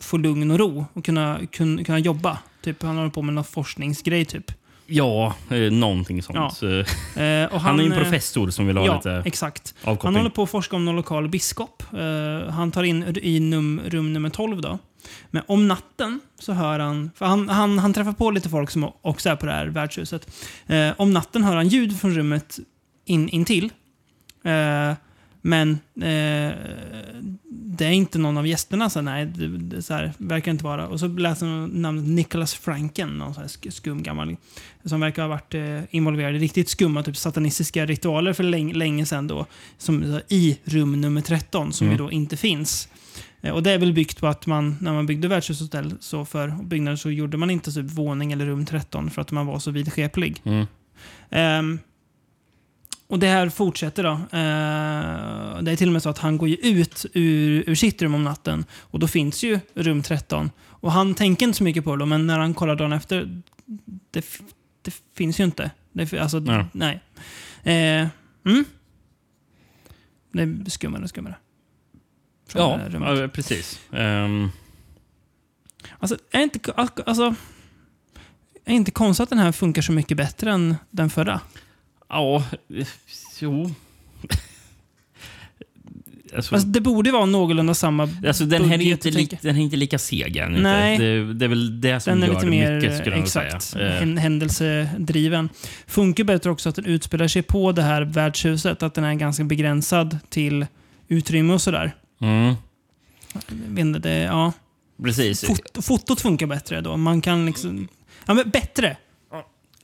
[SPEAKER 1] få lugn och ro och kunna, kun, kunna jobba. Typ, han håller på med någon forskningsgrej. Typ.
[SPEAKER 2] Ja, eh, någonting sånt. Eh,
[SPEAKER 1] Eh, och
[SPEAKER 2] Han, är ju en
[SPEAKER 1] eh,
[SPEAKER 2] professor som vill ha
[SPEAKER 1] Ja,
[SPEAKER 2] lite...
[SPEAKER 1] exakt.
[SPEAKER 2] avkoppling.
[SPEAKER 1] Han håller på att forska om någon lokal biskop. Eh, han tar in r- i num, rum nummer 12 då. Men om natten så hör han, för han, han, han träffar på lite folk som o- också är på det här värdshuset. Eh, om natten hör han ljud från rummet in, intill. Eh, men eh, det är inte någon av gästerna. Så här, nej, det, det, så här, verkar inte vara. Och så läser han namnet Nicholas Franken, någon så här sk- skum gammal som verkar ha varit eh, involverad i riktigt skumma typ satanistiska ritualer för länge, länge sedan då, som, eh, i rum nummer 13 som ju då inte finns. Eh, och det är väl byggt på att man, när man byggde värdshushotel så för byggnader så gjorde man inte typ våning eller rum 13 för att man var så vidskeplig.
[SPEAKER 2] Mm.
[SPEAKER 1] Ehm, och det här fortsätter då. Eh, det är till och med så att han går ju ut ur, ur sitt rum om natten och då finns ju rum 13. Och han tänker inte så mycket på det men när han kollar dagen efter, det, f- det finns ju inte. Det, f- alltså,
[SPEAKER 2] Nej.
[SPEAKER 1] nej. Eh, mm. Det är skummare och skummare. Från
[SPEAKER 2] Ja, alltså-
[SPEAKER 1] det här rummet.
[SPEAKER 2] ja, precis. Ehm,
[SPEAKER 1] Alltså, är inte, alltså, är inte konstigt att den här funkar så mycket bättre än den förra?
[SPEAKER 2] ja, eh, jo. *laughs* alltså,
[SPEAKER 1] Alltså, det borde vara någorlunda samma
[SPEAKER 2] alltså, den, här är ju
[SPEAKER 1] budget,
[SPEAKER 2] inte
[SPEAKER 1] tänker
[SPEAKER 2] li,
[SPEAKER 1] jag.
[SPEAKER 2] den här är inte lika seg än. inte.
[SPEAKER 1] Nej.
[SPEAKER 2] Det, det är väl det som
[SPEAKER 1] Den är
[SPEAKER 2] gör
[SPEAKER 1] lite mer
[SPEAKER 2] mycket, skulle jag nog säga.
[SPEAKER 1] exakt,
[SPEAKER 2] Eh,
[SPEAKER 1] hän- händelsedriven. Funkar bättre också att den utspelar sig på det här värdshuset, att den är ganska begränsad till utrymme och sådär.
[SPEAKER 2] mm,
[SPEAKER 1] Jag vet inte, det- Ja.
[SPEAKER 2] precis.
[SPEAKER 1] Fot, fotot funkar bättre då. Man kan liksom... Ja, men bättre!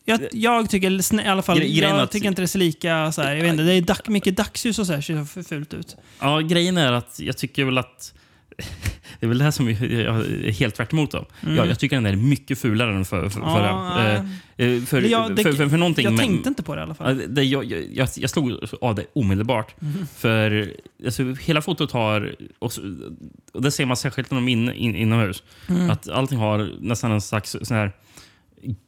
[SPEAKER 1] Jag, jag tycker snä- i alla fall,
[SPEAKER 2] Gre- grejen är
[SPEAKER 1] jag
[SPEAKER 2] att-
[SPEAKER 1] tycker inte det ser lika så här, jag vet inte, det är dag, mycket dagsljus och så här, ser så fult ut.
[SPEAKER 2] Ja, grejen är att jag tycker väl att... *laughs* Det är väl det här som jag är helt tvärt emot dem. Ja, jag tycker den är mycket fulare än för, för,
[SPEAKER 1] Mm. Ja,
[SPEAKER 2] förra.
[SPEAKER 1] nej.
[SPEAKER 2] Eh, eh, för,
[SPEAKER 1] Ja, det-
[SPEAKER 2] för, för, för någonting.
[SPEAKER 1] jag
[SPEAKER 2] men-
[SPEAKER 1] tänkte inte på det i alla fall.
[SPEAKER 2] Ja, det, jag, jag, jag- jag slog av det omedelbart. För alltså, hela fotot har, och, så- och det ser man särskilt när de är in, in, inomhus,
[SPEAKER 1] Mm.
[SPEAKER 2] att allting har nästan en slags sån här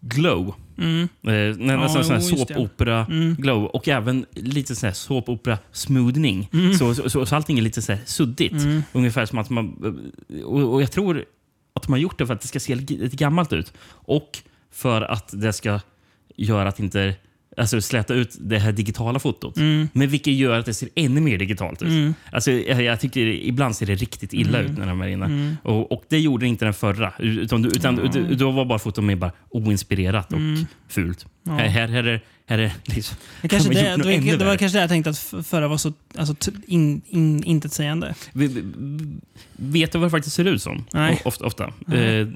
[SPEAKER 2] glow.
[SPEAKER 1] Mm.
[SPEAKER 2] Eh, nä, nästan sån här
[SPEAKER 1] jo, just det. Mm.
[SPEAKER 2] såpopera-glow. Och även lite sån här såpopera-smoothning.
[SPEAKER 1] Mm.
[SPEAKER 2] Så, så, så, så allting är lite så här suddigt. Ungefär som att man... Och, och jag tror att de har gjort det för att det ska se lite gammalt ut. Och för att det ska göra att inte... Alltså släta ut det här digitala fotot.
[SPEAKER 1] Mm.
[SPEAKER 2] Men vilket gör att det ser ännu mer digitalt ut. Alltså, jag, jag tycker ibland ser det riktigt illa
[SPEAKER 1] Mm.
[SPEAKER 2] ut när de är inne. Och, och det gjorde inte den förra. Utan, utan ut- då var bara fotot mer bara oinspirerat
[SPEAKER 1] Mm.
[SPEAKER 2] och fult. Här, här, här är här är liksom...
[SPEAKER 1] Det, kanske
[SPEAKER 2] de har
[SPEAKER 1] det,
[SPEAKER 2] gjort något
[SPEAKER 1] det, var-
[SPEAKER 2] ännu
[SPEAKER 1] det var
[SPEAKER 2] värre.
[SPEAKER 1] kanske det jag tänkte att f- förra var så alltså, t- in, in, intetsägande.
[SPEAKER 2] Vi- vi- Vet du vad det faktiskt ser ut som?
[SPEAKER 1] Nej.
[SPEAKER 2] O- Ofta. ofta. Eh,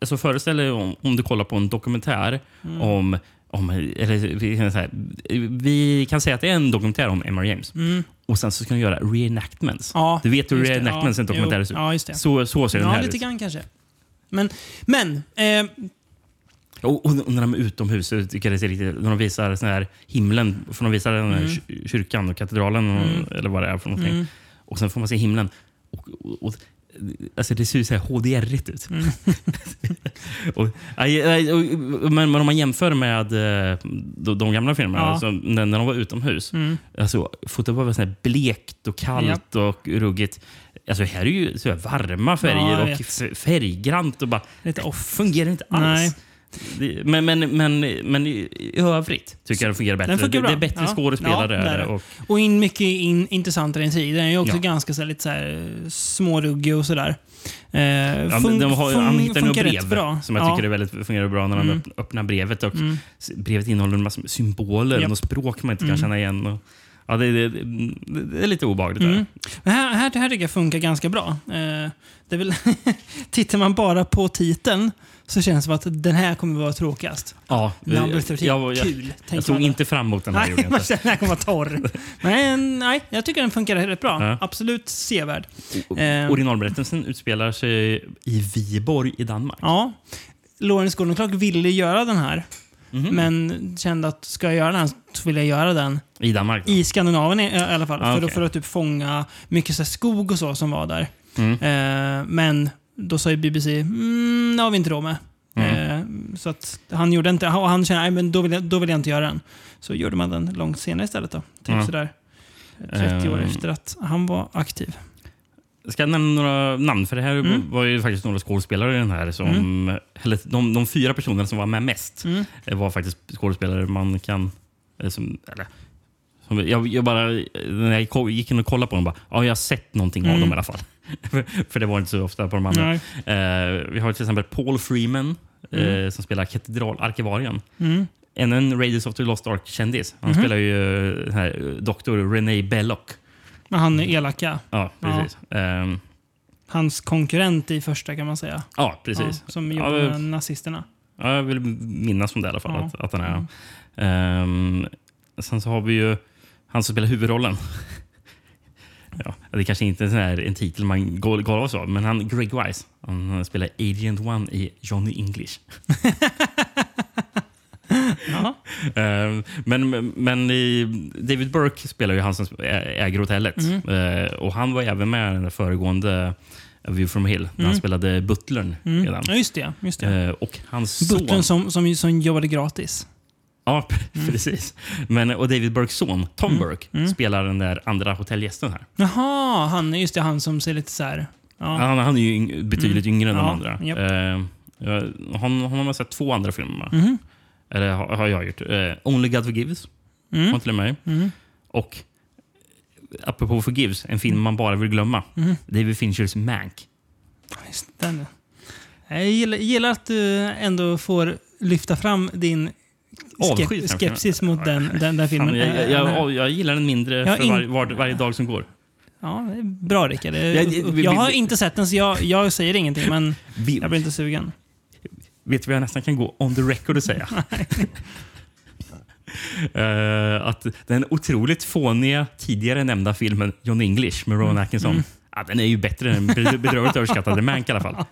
[SPEAKER 2] alltså föreställ dig om, om du kollar på en dokumentär
[SPEAKER 1] Mm.
[SPEAKER 2] om... om eller, vi, kan säga, vi kan säga att det är en dokumentär om Emma James. Och sen så ska de göra reenactments.
[SPEAKER 1] Mm. Ja,
[SPEAKER 2] du vet hur
[SPEAKER 1] just det.
[SPEAKER 2] reenactments i en
[SPEAKER 1] Ja,
[SPEAKER 2] dokumentär
[SPEAKER 1] jo.
[SPEAKER 2] ser ut.
[SPEAKER 1] Ja, just det.
[SPEAKER 2] Så, så ser den
[SPEAKER 1] Ja,
[SPEAKER 2] här
[SPEAKER 1] lite
[SPEAKER 2] ut.
[SPEAKER 1] grann kanske. Men, men eh,
[SPEAKER 2] Och, och, och när de är utomhus, så tycker jag det ser riktigt, när de visar sån här himlen, för de visar den här
[SPEAKER 1] Mm.
[SPEAKER 2] kyr- kyrkan och katedralen och, eller vad det är för någonting. Och sen får man se himlen. Och, och, och, alltså det ser ju så här HDR-igt ut.
[SPEAKER 1] Mm.
[SPEAKER 2] *laughs* och, aj, aj, och, men, men om man jämför med eh, de, de gamla filmerna,
[SPEAKER 1] Ja.
[SPEAKER 2] alltså, när, när de var utomhus.
[SPEAKER 1] mm.
[SPEAKER 2] Alltså, fotot var väl så här blekt och kallt och ruggigt. Alltså här är ju så här varma
[SPEAKER 1] Ja,
[SPEAKER 2] färger
[SPEAKER 1] jag
[SPEAKER 2] och
[SPEAKER 1] vet.
[SPEAKER 2] f- färggrant och bara...
[SPEAKER 1] Lite off.
[SPEAKER 2] Fungerar inte alls.
[SPEAKER 1] Nej.
[SPEAKER 2] Det- Men, men, men, men i i övrigt tycker jag den fungerar bättre.
[SPEAKER 1] den funkar
[SPEAKER 2] det,
[SPEAKER 1] bra.
[SPEAKER 2] det är bättre
[SPEAKER 1] Ja.
[SPEAKER 2] skådespelare.
[SPEAKER 1] Ja, det är
[SPEAKER 2] där
[SPEAKER 1] det.
[SPEAKER 2] och,
[SPEAKER 1] Och in mycket in, intressantare än tid. Den är ju också
[SPEAKER 2] Ja.
[SPEAKER 1] ganska så här, lite så här, eh, småruggig och sådär. Eh,
[SPEAKER 2] ja,
[SPEAKER 1] fun-
[SPEAKER 2] men de har,
[SPEAKER 1] fun-
[SPEAKER 2] han hittar nog
[SPEAKER 1] funkar rätt
[SPEAKER 2] brev
[SPEAKER 1] bra.
[SPEAKER 2] som jag
[SPEAKER 1] Ja. Mm.
[SPEAKER 2] tycker är väldigt, fungerar bra när han öpp- öppnar brevet. Och s- Brevet innehåller en massa symboler
[SPEAKER 1] Japp. Mm.
[SPEAKER 2] och språk man inte kan känna igen. Och, ja, det, det, det, det är lite obehagligt. Där.
[SPEAKER 1] Mm. Men Här, här, här tycker jag funkar ganska bra. Eh, det är väl *laughs* tittar man bara på titeln så känns det som att den här kommer vara tråkigast.
[SPEAKER 2] Ja,
[SPEAKER 1] Number 13.
[SPEAKER 2] Eh, jag, jag,
[SPEAKER 1] Kul,
[SPEAKER 2] jag
[SPEAKER 1] tänker
[SPEAKER 2] tog
[SPEAKER 1] man.
[SPEAKER 2] inte fram emot den här. gjorde
[SPEAKER 1] Nej, *laughs*
[SPEAKER 2] jag
[SPEAKER 1] man
[SPEAKER 2] inte.
[SPEAKER 1] känner att den här kommer vara torr.
[SPEAKER 2] *laughs*
[SPEAKER 1] Men nej, jag tycker den funkar rätt bra.
[SPEAKER 2] Ja.
[SPEAKER 1] Absolut sevärd.
[SPEAKER 2] O-
[SPEAKER 1] Eh.
[SPEAKER 2] Originalberättelsen utspelar sig i Viborg i Danmark.
[SPEAKER 1] Ja. Lawrence Gordon Clark ville göra den här. Men kände att ska jag göra den så vill jag göra den
[SPEAKER 2] Mm. I Danmark? Då?
[SPEAKER 1] i Skandinavien i, i alla fall.
[SPEAKER 2] Ah,
[SPEAKER 1] För,
[SPEAKER 2] okej.
[SPEAKER 1] att, för att typ fånga mycket så här skog och så som var där.
[SPEAKER 2] Mm.
[SPEAKER 1] Eh, men då sa ju BBC, mm, det har vi inte råd med.
[SPEAKER 2] Mm.
[SPEAKER 1] Eh, så att han gjorde inte, och han kände, nej men då vill, jag, då vill jag inte göra den. Så gjorde man den långt senare istället då. Typ
[SPEAKER 2] Mm.
[SPEAKER 1] sådär 30 år
[SPEAKER 2] Eh.
[SPEAKER 1] efter att han var aktiv.
[SPEAKER 2] Ska jag nämna några namn? För det här
[SPEAKER 1] Mm.
[SPEAKER 2] var ju faktiskt några skådespelare i den här. Som, eller, de, de fyra personerna som var med mest eh, var faktiskt skådespelare man kan... eh, Som, eller, som, jag, jag bara, när jag ko- gick in och kollade på dem bara, ja, jag har sett någonting av dem i alla fall. *laughs* för, för det var inte så ofta på de andra.
[SPEAKER 1] Mm. Nej.
[SPEAKER 2] Eh, vi har till exempel Paul Freeman eh,
[SPEAKER 1] Mm.
[SPEAKER 2] som spelar katedralarkivarien. Ännu en Raiders of the Lost Ark-kändis. Han spelar ju eh, den här, doktor René Belloc.
[SPEAKER 1] Men han är
[SPEAKER 2] Mm.
[SPEAKER 1] elaka.
[SPEAKER 2] Ja, precis. Ehm,
[SPEAKER 1] Hans konkurrent i första kan man säga.
[SPEAKER 2] Ja, precis.
[SPEAKER 1] Ja, som
[SPEAKER 2] ja,
[SPEAKER 1] gjorde
[SPEAKER 2] jag-
[SPEAKER 1] nazisterna.
[SPEAKER 2] ja, jag vill minnas om det i alla fall.
[SPEAKER 1] Ja. Mm.
[SPEAKER 2] Att, att den är. Ehm, sen så har vi ju han som
[SPEAKER 1] *laughs*
[SPEAKER 2] spelar huvudrollen. ja, det kanske inte är en, sån här, en titel man går, går av så, men han Greg Wise. Han spelar Agent One i Johnny English.
[SPEAKER 1] *laughs* Ja.
[SPEAKER 2] Ehm, men men i, David Burke spelar ju han som ä- äger hotellet.
[SPEAKER 1] Mm.
[SPEAKER 2] Eh, och han var även med i den där föregående View from Hill, när han spelade butlern. i den.
[SPEAKER 1] Mm. Ja, just det. Just det.
[SPEAKER 2] Eh, och hans son...
[SPEAKER 1] Butlern som, som, som jobbade gratis.
[SPEAKER 2] Ja, *laughs*
[SPEAKER 1] Mm.
[SPEAKER 2] precis. Men, och David Burkes son, Tom Burke, spelar den där andra hotellgästen här.
[SPEAKER 1] Jaha, han, just det. Han som ser lite så här... Ja. Mm.
[SPEAKER 2] Han, han är ju yng- betydligt yngre än de
[SPEAKER 1] Ja,
[SPEAKER 2] andra.
[SPEAKER 1] japp.
[SPEAKER 2] Eh, jag- hon, hon har väl sett två andra filmer.
[SPEAKER 1] Mm.
[SPEAKER 2] Eller har, har jag gjort. Eh, Only God Forgives
[SPEAKER 1] Mm.
[SPEAKER 2] har hon till och med Och eh, apropå Forgives, en
[SPEAKER 1] Mm.
[SPEAKER 2] film man bara vill glömma. David Finchers Mank.
[SPEAKER 1] Just den. Jag gillar, gillar att du ändå får lyfta fram din
[SPEAKER 2] Avsky
[SPEAKER 1] skep-
[SPEAKER 2] för den
[SPEAKER 1] skepsis mot den, den där filmen. eh,
[SPEAKER 2] Fan, jag, jag, jag, jag gillar den mindre
[SPEAKER 1] Jag
[SPEAKER 2] för
[SPEAKER 1] in-
[SPEAKER 2] varje- var, varje dag som går.
[SPEAKER 1] ja, det är bra Rickard.
[SPEAKER 2] Jag- vi- vi-
[SPEAKER 1] Jag har inte sett den så jag, jag säger ingenting, men
[SPEAKER 2] Vi,
[SPEAKER 1] jag blir inte sugen.
[SPEAKER 2] Vet du vad jag nästan kan gå on the record och
[SPEAKER 1] *laughs*
[SPEAKER 2] säga? Eh, att den otroligt fåniga tidigare nämnda filmen John English med
[SPEAKER 1] Mm.
[SPEAKER 2] Rowan Atkinson. Ja, den är ju bättre än bed- bedrövligt överskattade Mank
[SPEAKER 1] *laughs*
[SPEAKER 2] i alla fall.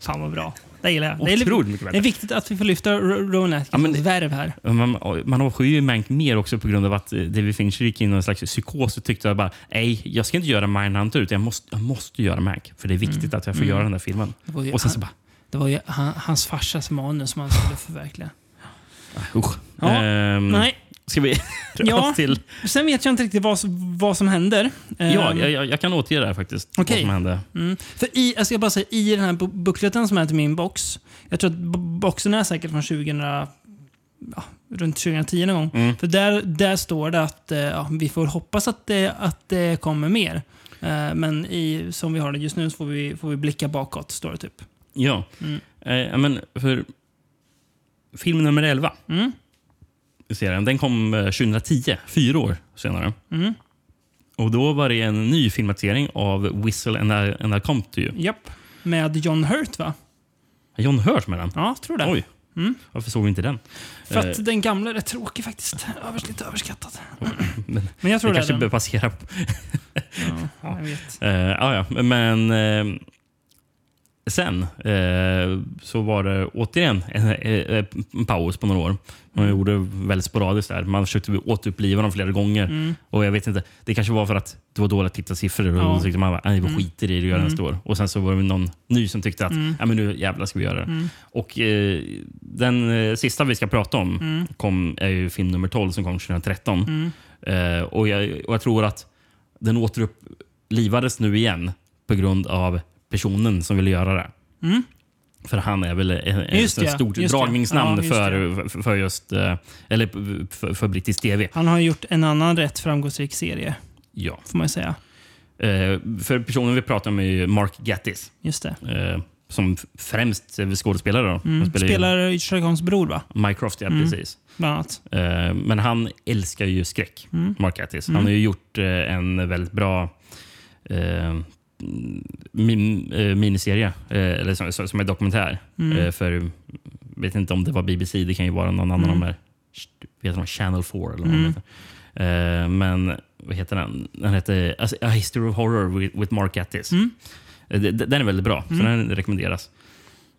[SPEAKER 1] Fan vad bra. Det gillar jag. Det är,
[SPEAKER 2] Otroligt mycket bättre.
[SPEAKER 1] det är viktigt att vi får lyfta Ro- Rowan Atkinsons
[SPEAKER 2] det-
[SPEAKER 1] värv här.
[SPEAKER 2] Man, man avskyr ju Mank mer också på grund av att eh, David Fincher gick in i någon slags psykos och tyckte att bara, nej, jag ska inte göra Mindhunter utan jag måste, jag måste göra Mank. För det är viktigt
[SPEAKER 1] Mm.
[SPEAKER 2] att jag får göra den där filmen.
[SPEAKER 1] var ju
[SPEAKER 2] Och sen så
[SPEAKER 1] han-
[SPEAKER 2] bara,
[SPEAKER 1] Det var ju han, hans farsas manus som han skulle förverkliga.
[SPEAKER 2] "Ah, usch.
[SPEAKER 1] Ja,
[SPEAKER 2] Ehm,
[SPEAKER 1] Nej,
[SPEAKER 2] Ska vi *laughs* röra
[SPEAKER 1] Ja.
[SPEAKER 2] oss till...
[SPEAKER 1] sen vet jag inte riktigt vad, som- vad som händer.
[SPEAKER 2] Ja,
[SPEAKER 1] Ehm,
[SPEAKER 2] jag, jag, jag kan återge det här faktiskt. Vad
[SPEAKER 1] Okej.
[SPEAKER 2] som hände.
[SPEAKER 1] Mm. För i, jag ska bara säga, i den här bu- bukleten som är till min box. Jag tror att bo- boxen är säkert från 2000, ja, runt 2010 någon gång.
[SPEAKER 2] Mm.
[SPEAKER 1] För där, där står det att eh, ja, vi får hoppas att det, att det kommer mer. Eh, men i, som vi har det just nu så får vi, får vi blicka bakåt, står det typ.
[SPEAKER 2] Ja. Eh, ja, men för film nummer 11
[SPEAKER 1] Mm.
[SPEAKER 2] i serien, den kom eh, 2010, fyra år senare.
[SPEAKER 1] Mm.
[SPEAKER 2] Och Då var det en ny filmatisering av Whistle and I, and I Come To You.
[SPEAKER 1] Japp. Med John Hurt va?
[SPEAKER 2] John Hurt med den.
[SPEAKER 1] Ja, tror det.
[SPEAKER 2] Oj. Varför såg vi inte den?
[SPEAKER 1] Mm. För att
[SPEAKER 2] eh.
[SPEAKER 1] den gamla är rätt tråkig faktiskt. Övers, lite överskattad.
[SPEAKER 2] Men
[SPEAKER 1] Men jag tror
[SPEAKER 2] det
[SPEAKER 1] det,
[SPEAKER 2] kanske
[SPEAKER 1] är
[SPEAKER 2] bör
[SPEAKER 1] den.
[SPEAKER 2] passera.
[SPEAKER 1] Ja, jag vet.
[SPEAKER 2] Eh, ja, ja. Men eh, sen eh, så var det återigen en, eh, en paus på några år. Man gjorde väldigt sporadiskt där. Man försökte återuppliva dem flera gånger.
[SPEAKER 1] Mm.
[SPEAKER 2] Och jag vet inte, Det kanske var för att det var dåliga tittarsiffror. Och
[SPEAKER 1] Ja.
[SPEAKER 2] då tyckte man bara, nej, vi skiter i det och gör den stor. Och sen så var det någon ny som tyckte att ja, men nu jävlar ska vi göra det. Och, eh, den eh, sista vi ska prata om kom, är ju film nummer 12 som kom 2013.
[SPEAKER 1] mm.
[SPEAKER 2] Eh, och, jag, och jag tror att den återupplivades nu igen på grund av personen som ville göra det. För han är väl en, en,
[SPEAKER 1] Mm. Just
[SPEAKER 2] en
[SPEAKER 1] det,
[SPEAKER 2] stort
[SPEAKER 1] just det.
[SPEAKER 2] dragningsnamn
[SPEAKER 1] Ja, just
[SPEAKER 2] för, för, för just eh, eller för, för brittisk tv.
[SPEAKER 1] Han har gjort en annan rätt framgångsrik serie,
[SPEAKER 2] Ja.
[SPEAKER 1] får man ju säga.
[SPEAKER 2] Eh, för personen vi pratar om är ju Mark Gattis.
[SPEAKER 1] Just det.
[SPEAKER 2] Eh, som f- främst är skådespelare. Då. Han spelar, ju
[SPEAKER 1] Mm. Spelar Mm. Sherlock Holmes bror, va?
[SPEAKER 2] Mycroft, ja precis.
[SPEAKER 1] Bland annat.
[SPEAKER 2] Eh, men han älskar ju skräck, Mark Attis. Han har ju gjort eh, en väldigt bra eh, min, eh, miniserie, eh, eller som, som som är dokumentär. Eh, för, vet inte om det var BBC, det kan ju vara någon annan av de här, vet de, Channel 4 eller vad de heter. Eh, men vad heter den? Den heter alltså, A History of Horror with, with Mark Attis. Eh, d- d- Den är väldigt bra, så den rekommenderas.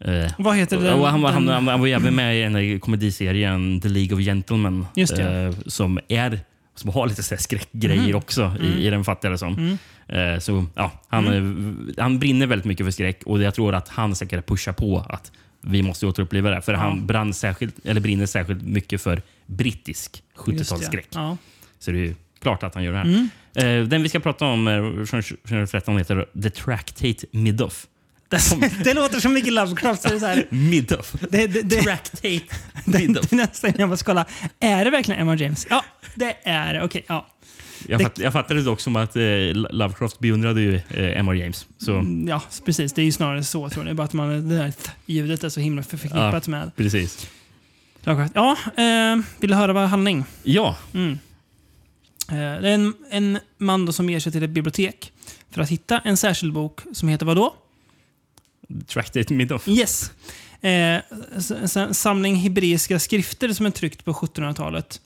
[SPEAKER 2] Eh,
[SPEAKER 1] Vad heter den?
[SPEAKER 2] och han, var- han,
[SPEAKER 1] den-
[SPEAKER 2] han, han var ju även med i den här komediserien The League of Gentlemen.
[SPEAKER 1] Just det. Mhm.
[SPEAKER 2] eh, som, är, som har lite så här skräckgrejer också
[SPEAKER 1] Mm.
[SPEAKER 2] I, i den fattiga det som. Eh, så, ja, han, eh, han brinner väldigt mycket för skräck och jag tror att han säkert pushar på att vi måste återuppliva det. här. För han brann särskilt, eller brinner särskilt mycket för brittisk
[SPEAKER 1] Just det.
[SPEAKER 2] 70-talsskräck.
[SPEAKER 1] Ja. Mm.
[SPEAKER 2] Så det är ju klart att han gör det här. Eh, den vi ska prata om eh, från 2013 heter The Tractate Midoff.
[SPEAKER 1] *laughs* Det låter som mycket Lovecraft. Så det, är så
[SPEAKER 2] *laughs*
[SPEAKER 1] här,
[SPEAKER 2] Midoff.
[SPEAKER 1] det, det, det,
[SPEAKER 2] Tractate
[SPEAKER 1] *laughs* det,
[SPEAKER 2] Midoff.
[SPEAKER 1] det är nästan jag måste kolla. Är det verkligen Emma James? Ja, det är det. Okej, ja.
[SPEAKER 2] Jag, fatt, jag fattade det dock som att eh, Lovecraft beundrade ju eh, M.R. James. Så,
[SPEAKER 1] Mm, Ja, precis. Det är ju snarare så tror jag. Det är bara att man, det där th- ljudet är så himla för- förknippat med
[SPEAKER 2] precis.
[SPEAKER 1] Lovecraft. Ja, eh, vill du höra vad handling? Mm.
[SPEAKER 2] Ja,
[SPEAKER 1] Eh, det är en, en man då som ger sig till ett bibliotek för att hitta en särskild bok som heter vad då?
[SPEAKER 2] Tractate Midoff.
[SPEAKER 1] Yes. Eh, s- s- en samling hebreiska skrifter som är tryckt på 1700-talet.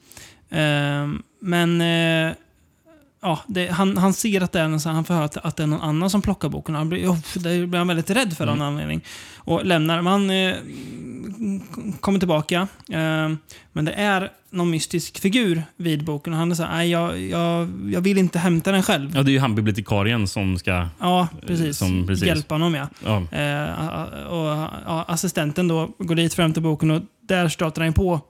[SPEAKER 1] Eh, men eh, ja, det, han, han ser att det är någon, så han får höra att, att det är någon annan som plockar boken. Han blir, oh, det blir han väldigt rädd för av
[SPEAKER 2] Mm.
[SPEAKER 1] någon anledning. Och lämnar. Man eh, k- kommer tillbaka. Eh, men det är någon mystisk figur vid boken. Och han är så här, "Nej, jag, jag, jag vill inte hämta den själv.
[SPEAKER 2] Ja, det är ju han bibliotekarien som ska...
[SPEAKER 1] Ja, precis.
[SPEAKER 2] Eh, Som- precis.
[SPEAKER 1] Hjälpa honom ja.
[SPEAKER 2] Ja,
[SPEAKER 1] Eh, a- och, ja, assistenten då går dit fram till boken och där stöter han på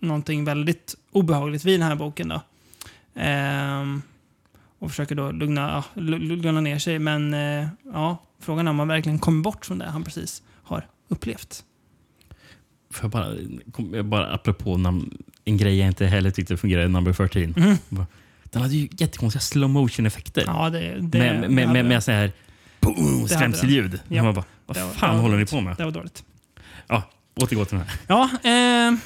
[SPEAKER 1] någonting väldigt obehagligt vid den här boken. Då. Ehm, och försöker då lugna, ja, lu- lugna ner sig. Men eh, ja, frågan är om han verkligen kommer bort från det han precis har upplevt.
[SPEAKER 2] får jag bara, kom, jag bara apropå namn, en grej jag inte heller tyckte fungerade, Number 13. Bara, Den hade ju jättekonstiga slow motion effekter
[SPEAKER 1] Mm. Ja, det, det,
[SPEAKER 2] Med, med, med, med så här boom, skrämselljud.
[SPEAKER 1] Ja.
[SPEAKER 2] Man bara, vad
[SPEAKER 1] Det var-
[SPEAKER 2] fan
[SPEAKER 1] det var
[SPEAKER 2] håller ni
[SPEAKER 1] dåligt.
[SPEAKER 2] på med?
[SPEAKER 1] Det var dåligt.
[SPEAKER 2] Ja, återgå till den här.
[SPEAKER 1] Ja, eh,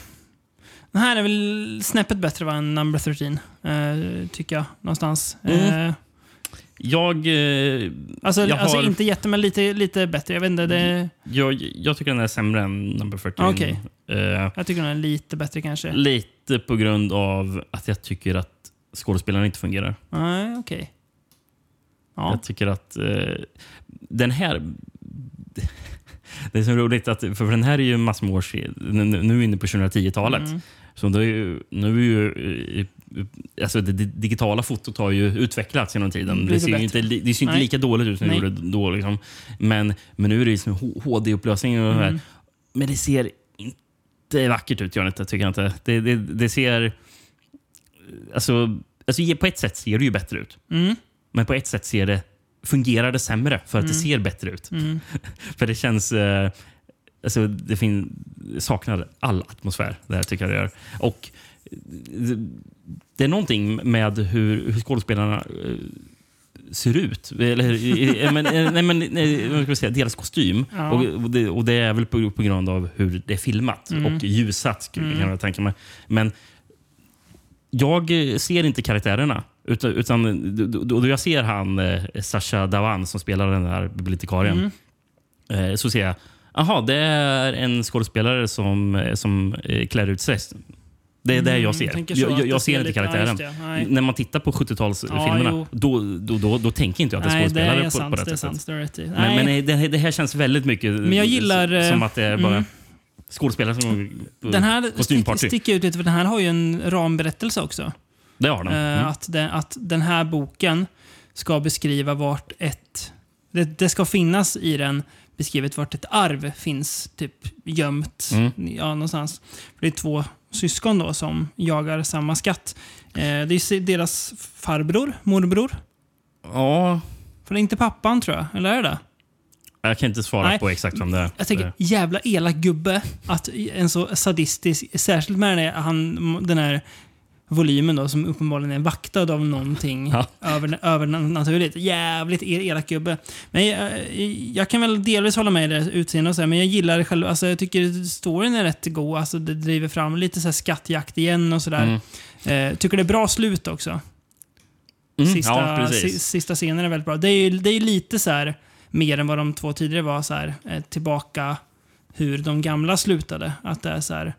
[SPEAKER 1] den här är väl snäppet bättre va, än Number 13, eh, tycker jag. Någonstans.
[SPEAKER 2] Mm.
[SPEAKER 1] Eh,
[SPEAKER 2] Jag, eh,
[SPEAKER 1] Alltså,
[SPEAKER 2] Jag
[SPEAKER 1] alltså
[SPEAKER 2] har- Mm.
[SPEAKER 1] inte jätte, men lite, lite bättre. Jag vet inte, det,
[SPEAKER 2] jag, jag tycker den är sämre än Number 13.
[SPEAKER 1] Okej.
[SPEAKER 2] Eh,
[SPEAKER 1] jag tycker den är lite bättre kanske.
[SPEAKER 2] Lite på grund av att jag tycker att skådespelaren inte fungerar.
[SPEAKER 1] Nej, okej. Ja.
[SPEAKER 2] Jag tycker att eh, den här... *laughs* Det är så roligt, att, för den här är ju massor med år sedan. Nu- Nu är vi inne på 2010-talet.
[SPEAKER 1] Mm.
[SPEAKER 2] Så det är ju, nu är ju... eh, Alltså det di- digitala fotot har ju utvecklats genom tiden.
[SPEAKER 1] Blir det
[SPEAKER 2] Det ser ju
[SPEAKER 1] Mm, bättre?
[SPEAKER 2] inte, li- det ser ju inte
[SPEAKER 1] Nej.
[SPEAKER 2] lika dåligt ut som det
[SPEAKER 1] Nej.
[SPEAKER 2] gjorde då. Liksom. Men, men nu är det liksom HD-upplösning och det
[SPEAKER 1] Mm.
[SPEAKER 2] här. Men det ser inte vackert ut, gör det inte, tycker jag inte. Det, det, det ser... Alltså, alltså, på ett sätt ser det ju bättre ut.
[SPEAKER 1] Mm.
[SPEAKER 2] Men på ett sätt ser det, fungerar det sämre för att det ser bättre ut.
[SPEAKER 1] Mm.
[SPEAKER 2] för det känns... Eh, alltså, det fin- saknar all atmosfär, det här tycker jag det gör. Och det, det är någonting med hur, hur skådespelarna eh, ser ut. Eller, hur- eh, men, eh, nej, men, nej, vad ska jag säga, deras kostym.
[SPEAKER 1] Ja.
[SPEAKER 2] Och, och, det, och det är väl på, på grund av hur det är filmat och ljusat, skulle jag kunna tänka mig. Men jag eh, ser inte karaktärerna. Utan, utan då, då, då jag ser han, eh, Sasha Dawan, som spelar den där bibliotekarien, eh, så ser jag Aha, det är en skådespelare som, eh, som eh, klär ut sig. Det är det jag ser.
[SPEAKER 1] Mm, tänker så,
[SPEAKER 2] jag,
[SPEAKER 1] att
[SPEAKER 2] jag,
[SPEAKER 1] det
[SPEAKER 2] jag
[SPEAKER 1] ser
[SPEAKER 2] ser inte
[SPEAKER 1] lite- ja,
[SPEAKER 2] karaktären.
[SPEAKER 1] just det, nej.
[SPEAKER 2] När man tittar på
[SPEAKER 1] Ja,
[SPEAKER 2] 70-talsfilmerna,
[SPEAKER 1] jo.
[SPEAKER 2] då, då, då, då tänker inte jag att det är
[SPEAKER 1] Nej, det
[SPEAKER 2] skådespelare
[SPEAKER 1] är
[SPEAKER 2] på,
[SPEAKER 1] sant.
[SPEAKER 2] på
[SPEAKER 1] det är
[SPEAKER 2] det
[SPEAKER 1] sant.
[SPEAKER 2] sättet.
[SPEAKER 1] Det är rätt i.
[SPEAKER 2] Men,
[SPEAKER 1] Nej,
[SPEAKER 2] men det, det här känns väldigt mycket men
[SPEAKER 1] jag gillar, eh,
[SPEAKER 2] som att det är bara
[SPEAKER 1] mm.
[SPEAKER 2] skådespelare som
[SPEAKER 1] den här stick,
[SPEAKER 2] kostymparty.
[SPEAKER 1] sticker ut lite, för den här har ju en ramberättelse också.
[SPEAKER 2] det har de.
[SPEAKER 1] Eh,
[SPEAKER 2] Mm.
[SPEAKER 1] att, den, att den här boken ska beskriva vart ett... Det, det ska finnas i den beskrivet vart ett arv finns typ gömt. Ja, någonstans. För det är två syskon då som jagar samma skatt. Eh, det är ju se- deras farbror, morbror.
[SPEAKER 2] Ja,
[SPEAKER 1] För det är inte pappan tror jag, eller är det det?
[SPEAKER 2] jag kan inte svara
[SPEAKER 1] Nej,
[SPEAKER 2] på exakt vem det är.
[SPEAKER 1] Jag tänker,
[SPEAKER 2] Eh,
[SPEAKER 1] jävla elak gubbe. Att en så sadistisk, särskilt med den här, han, den här volymen då, som uppenbarligen är vaktad av någonting
[SPEAKER 2] Ja.
[SPEAKER 1] över, övernaturligt. Jävligt el- elak gubbe. Men jag, jag kan väl delvis hålla med i det utseendet och så här, men jag gillar det själv. Alltså, jag tycker storyn är rätt god. Alltså, det driver fram lite så här skattjakt igen och sådär. Eh, tycker det är bra slut också.
[SPEAKER 2] mm,
[SPEAKER 1] Sista,
[SPEAKER 2] ja, precis.
[SPEAKER 1] si- sista scenen är väldigt bra. Det är ju det är ju lite så här, mer än vad de två tidigare var, så här, eh, tillbaka hur de gamla slutade. Att det är så här,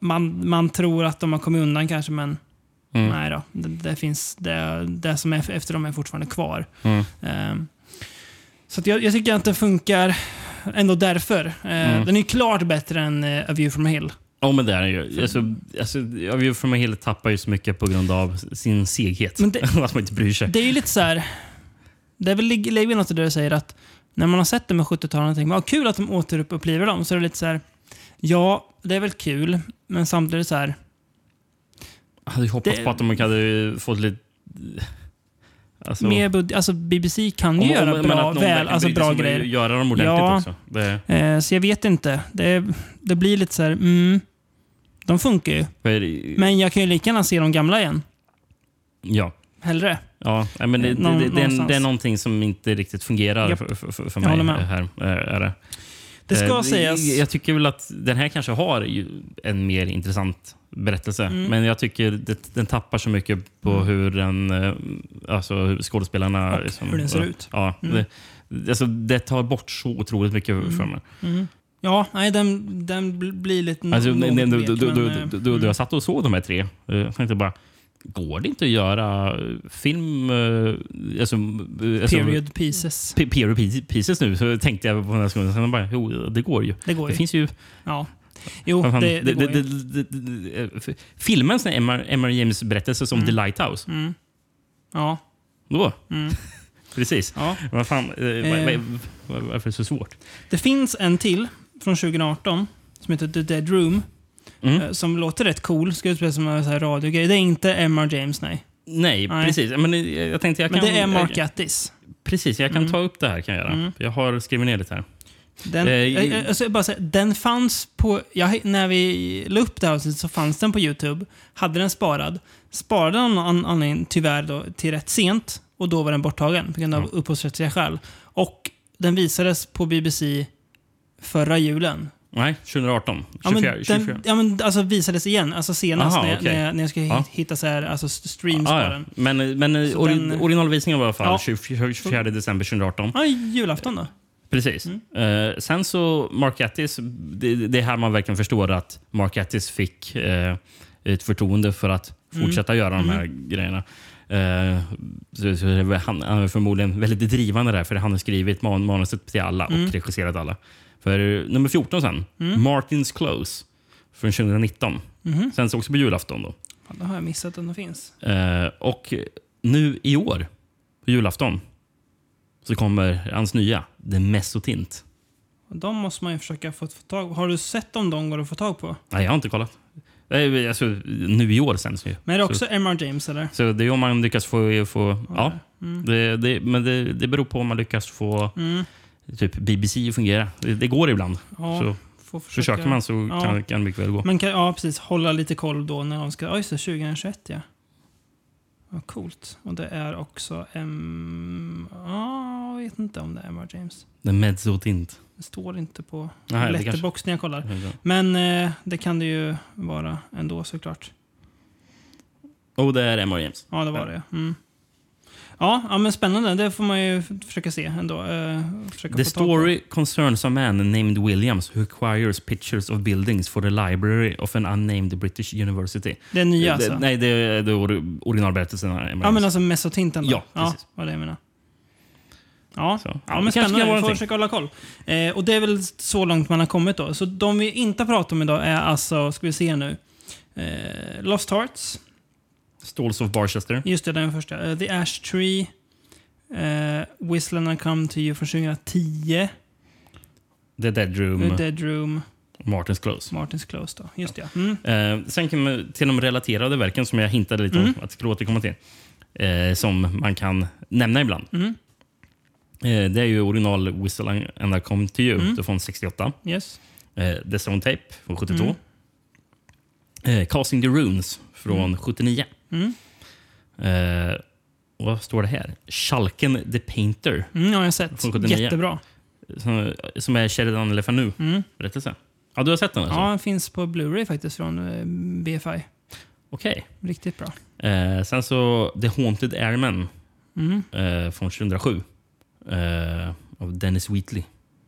[SPEAKER 1] man, man tror att de har kommit undan kanske, men
[SPEAKER 2] Mm.
[SPEAKER 1] nej då. Det, det, finns, det, det som
[SPEAKER 2] Mm.
[SPEAKER 1] är efter dem är fortfarande kvar. Ehm, så att jag, jag tycker att den funkar. ändå därför. Eh,
[SPEAKER 2] Mm.
[SPEAKER 1] Den är ju klart bättre än eh, A View from a Hill.
[SPEAKER 2] Ja, men det är den ju. Alltså, alltså, jag vill för mig helt tappar ju så mycket på grund av sin seghet.
[SPEAKER 1] Men det-
[SPEAKER 2] *laughs* att man inte bryr sig.
[SPEAKER 1] Det är ju lite så här. Det är väl ligger ligger något i det du säger att när man har sett det med 70-talet och tänker vad kul att de återupplever dem, så är det lite så här. Ja, det är väl kul, men samtidigt så här.
[SPEAKER 2] jag hade ju hoppats
[SPEAKER 1] det-
[SPEAKER 2] på att de hade fått lite... Alltså,
[SPEAKER 1] Mer bud- alltså BBC kan ju
[SPEAKER 2] om- om-
[SPEAKER 1] göra
[SPEAKER 2] men att
[SPEAKER 1] bra,
[SPEAKER 2] någon
[SPEAKER 1] väl,
[SPEAKER 2] verkligen
[SPEAKER 1] alltså
[SPEAKER 2] brydde sig
[SPEAKER 1] bra
[SPEAKER 2] om att
[SPEAKER 1] grejer.
[SPEAKER 2] Göra dem ordentligt
[SPEAKER 1] Ja.
[SPEAKER 2] också. Det,
[SPEAKER 1] Eh, så jag vet inte. Det, det blir lite så här, mm, de funkar ju.
[SPEAKER 2] för,
[SPEAKER 1] Men jag kan ju lika gärna se de gamla igen.
[SPEAKER 2] ja.
[SPEAKER 1] Hellre.
[SPEAKER 2] Ja, nej, men det,
[SPEAKER 1] Någon-
[SPEAKER 2] det, det, det, är en-
[SPEAKER 1] någonstans.
[SPEAKER 2] det är någonting som inte riktigt fungerar
[SPEAKER 1] Japp.
[SPEAKER 2] för, för, för
[SPEAKER 1] Jag
[SPEAKER 2] mig.
[SPEAKER 1] håller med.
[SPEAKER 2] Här, eh, är det.
[SPEAKER 1] Det ska
[SPEAKER 2] Eh,
[SPEAKER 1] sägas.
[SPEAKER 2] Jag tycker väl att den här kanske har ju en mer intressant berättelse.
[SPEAKER 1] Mm.
[SPEAKER 2] Men jag tycker det, den tappar så mycket på hur den, eh, alltså hur skådespelarna... liksom-
[SPEAKER 1] Och hur den ser ut. Mm.
[SPEAKER 2] Ja, det, alltså, det tar bort så otroligt mycket för mig.
[SPEAKER 1] Ja, nej, den, den bl- blir lite...
[SPEAKER 2] Alltså,
[SPEAKER 1] Mm. något
[SPEAKER 2] nej, nej, du,
[SPEAKER 1] blek,
[SPEAKER 2] du, du,
[SPEAKER 1] men,
[SPEAKER 2] du,
[SPEAKER 1] eh,
[SPEAKER 2] du, du, jag satt och såg de här tre. Eh, Jag tänkte bara, går det inte att göra eh, film... eh, Alltså, eh, alltså,
[SPEAKER 1] Period pieces.
[SPEAKER 2] pe- Period pie- pieces nu, så tänkte jag på den här sekunden. Sen bara, jo, det går ju.
[SPEAKER 1] Det går
[SPEAKER 2] Det
[SPEAKER 1] ju.
[SPEAKER 2] finns ju...
[SPEAKER 1] Ja. Jo,
[SPEAKER 2] Vad fan,
[SPEAKER 1] det, det,
[SPEAKER 2] det-
[SPEAKER 1] går ju.
[SPEAKER 2] det- det- det- eh, f- Filmens Emma, Emma James berättelse
[SPEAKER 1] Mm.
[SPEAKER 2] som The Lighthouse.
[SPEAKER 1] Ja. mm.
[SPEAKER 2] Då. Precis.
[SPEAKER 1] Ja.
[SPEAKER 2] Vad fan, eh,
[SPEAKER 1] Eh.
[SPEAKER 2] var, var, varför är det så svårt?
[SPEAKER 1] Det finns en till från 2018 som heter The Dead Room.
[SPEAKER 2] Mm.
[SPEAKER 1] eh, Som låter rätt cool. Ska utspela sig som en sån här radiogrej. Det är inte Emma James, nej.
[SPEAKER 2] Nej,
[SPEAKER 1] Nej.
[SPEAKER 2] precis. Men eh, jag tänkte jag
[SPEAKER 1] Men
[SPEAKER 2] kan...
[SPEAKER 1] det är Mm. Mark
[SPEAKER 2] jag,
[SPEAKER 1] Gattis.
[SPEAKER 2] Precis, jag kan ta upp det här. kan Jag göra. Jag har skrivit ner det här.
[SPEAKER 1] Den,
[SPEAKER 2] Eh,
[SPEAKER 1] eh,
[SPEAKER 2] i-
[SPEAKER 1] eh, alltså, jag bara säga, den fanns på... Jag, när vi la upp det här avsnittet så fanns den på YouTube. Hade den sparad. Sparade den av någon an- anledning tyvärr då, till rätt sent. Och då var den borttagen på grund av upphovsrättsliga skäl. Och den visades på BBC förra julen.
[SPEAKER 2] Nej, 2018. 24.
[SPEAKER 1] Ja men,
[SPEAKER 2] 24.
[SPEAKER 1] den, ja, men alltså visades igen. Alltså senast
[SPEAKER 2] Aha,
[SPEAKER 1] när,
[SPEAKER 2] okej.
[SPEAKER 1] när, jag, när jag skulle
[SPEAKER 2] Ja.
[SPEAKER 1] hitta så här, alltså st- streams
[SPEAKER 2] Ah,
[SPEAKER 1] på
[SPEAKER 2] ja.
[SPEAKER 1] den.
[SPEAKER 2] Men, men eh,
[SPEAKER 1] Så
[SPEAKER 2] ori
[SPEAKER 1] den-
[SPEAKER 2] originalvisningen var i alla fall
[SPEAKER 1] Ja.
[SPEAKER 2] 24, 24 december 2018.
[SPEAKER 1] Ja, julafton då.
[SPEAKER 2] Precis. Eh, sen så, Mark Attis, det, det är här man verkligen förstår att Mark Attis fick eh, ett förtroende för att fortsätta göra de här grejerna. Eh, så, så det var- han, han är förmodligen väldigt drivande där, för han har skrivit man, manuset till alla och regisserat alla. För eh, nummer 14 sen, Martins Close från 2019. Sen så också på julafton. Då.
[SPEAKER 1] Fan, Då har jag missat att den finns.
[SPEAKER 2] Eh, och nu i år, på julafton, så kommer hans nya, The Mesotint.
[SPEAKER 1] Och De måste man ju försöka få, få tag på. Har du sett om de går att få tag på?
[SPEAKER 2] Nej, jag har inte kollat. Nej, Alltså, nu i år sänds ju.
[SPEAKER 1] Men är det
[SPEAKER 2] Så,
[SPEAKER 1] också Emma James eller?
[SPEAKER 2] så det är om man lyckas få... få ja,
[SPEAKER 1] mm.
[SPEAKER 2] det, det, men det, det beror på om man lyckas få typ BBC att fungera. Det, det går ibland.
[SPEAKER 1] Ja,
[SPEAKER 2] Så
[SPEAKER 1] får försöka-
[SPEAKER 2] försöker man så
[SPEAKER 1] Ja.
[SPEAKER 2] kan, kan det mycket väl gå.
[SPEAKER 1] Man kan ja, precis, hålla lite koll då när de ska... Ja, just det. 2021 ja. Vad coolt. Och det är också... Um, ja, jag vet inte om det är Emma James.
[SPEAKER 2] The Mesotint.
[SPEAKER 1] Det står inte på
[SPEAKER 2] Nej, det
[SPEAKER 1] Letterboxd när jag kollar.
[SPEAKER 2] kanske-
[SPEAKER 1] Men eh, det kan det ju vara ändå såklart.
[SPEAKER 2] Och det är Emma James.
[SPEAKER 1] Ja, det var det. ja. Mm. Ja, ja, men spännande. Det får man ju f- försöka se ändå. Eh, försöka
[SPEAKER 2] The
[SPEAKER 1] få tag på.
[SPEAKER 2] story concerns a man named Williams who acquires pictures of buildings for the library of an unnamed British university.
[SPEAKER 1] Det är nya alltså?
[SPEAKER 2] Det, nej, det är det är or- originalberättelsen. här, Emma
[SPEAKER 1] ja, men
[SPEAKER 2] James.
[SPEAKER 1] alltså messotinten då?
[SPEAKER 2] Ja, precis.
[SPEAKER 1] vad det jag menar. Ja,
[SPEAKER 2] Så.
[SPEAKER 1] ja,
[SPEAKER 2] Ja, det
[SPEAKER 1] men
[SPEAKER 2] kanske kan
[SPEAKER 1] spännande.
[SPEAKER 2] vara
[SPEAKER 1] Vi får
[SPEAKER 2] någonting.
[SPEAKER 1] försöka hålla koll. Eh, och det är väl så långt man har kommit då. Så de vi inte pratar om idag är alltså, ska vi se nu. Eh, Lost Hearts. alltså-
[SPEAKER 2] Stalls of Barchester.
[SPEAKER 1] Just det, den första. Eh, The Ash Tree. Uh, Whistling and Come To You från 2010.
[SPEAKER 2] The Dead Room.
[SPEAKER 1] The Dead Room.
[SPEAKER 2] Martins Close.
[SPEAKER 1] Martins Close då. Just det, ja. Mm.
[SPEAKER 2] Eh, sen kan man, till de relaterade verken som jag hintade lite om att skulle återkomma till. Eh, som man kan nämna ibland. Eh, det är ju original Whistle and I Come To You från 68.
[SPEAKER 1] Yes.
[SPEAKER 2] Eh, The Stone Tape från 72. Eh, Casting the Runes från 79. Eh, och vad står det här? Schalken the Painter,
[SPEAKER 1] Mm, ja, jag har sett.
[SPEAKER 2] Från 79.
[SPEAKER 1] Jättebra. Mm.
[SPEAKER 2] som, som är Sheridan Le Fanu. Berättelse. Ja, du har sett den alltså?
[SPEAKER 1] Ja, den finns på Blu-ray faktiskt från eh, BFI.
[SPEAKER 2] Okej.
[SPEAKER 1] Riktigt bra.
[SPEAKER 2] Eh, sen så The Haunted Airman
[SPEAKER 1] Mm.
[SPEAKER 2] eh, från 2007 eh, av Dennis Wheatley.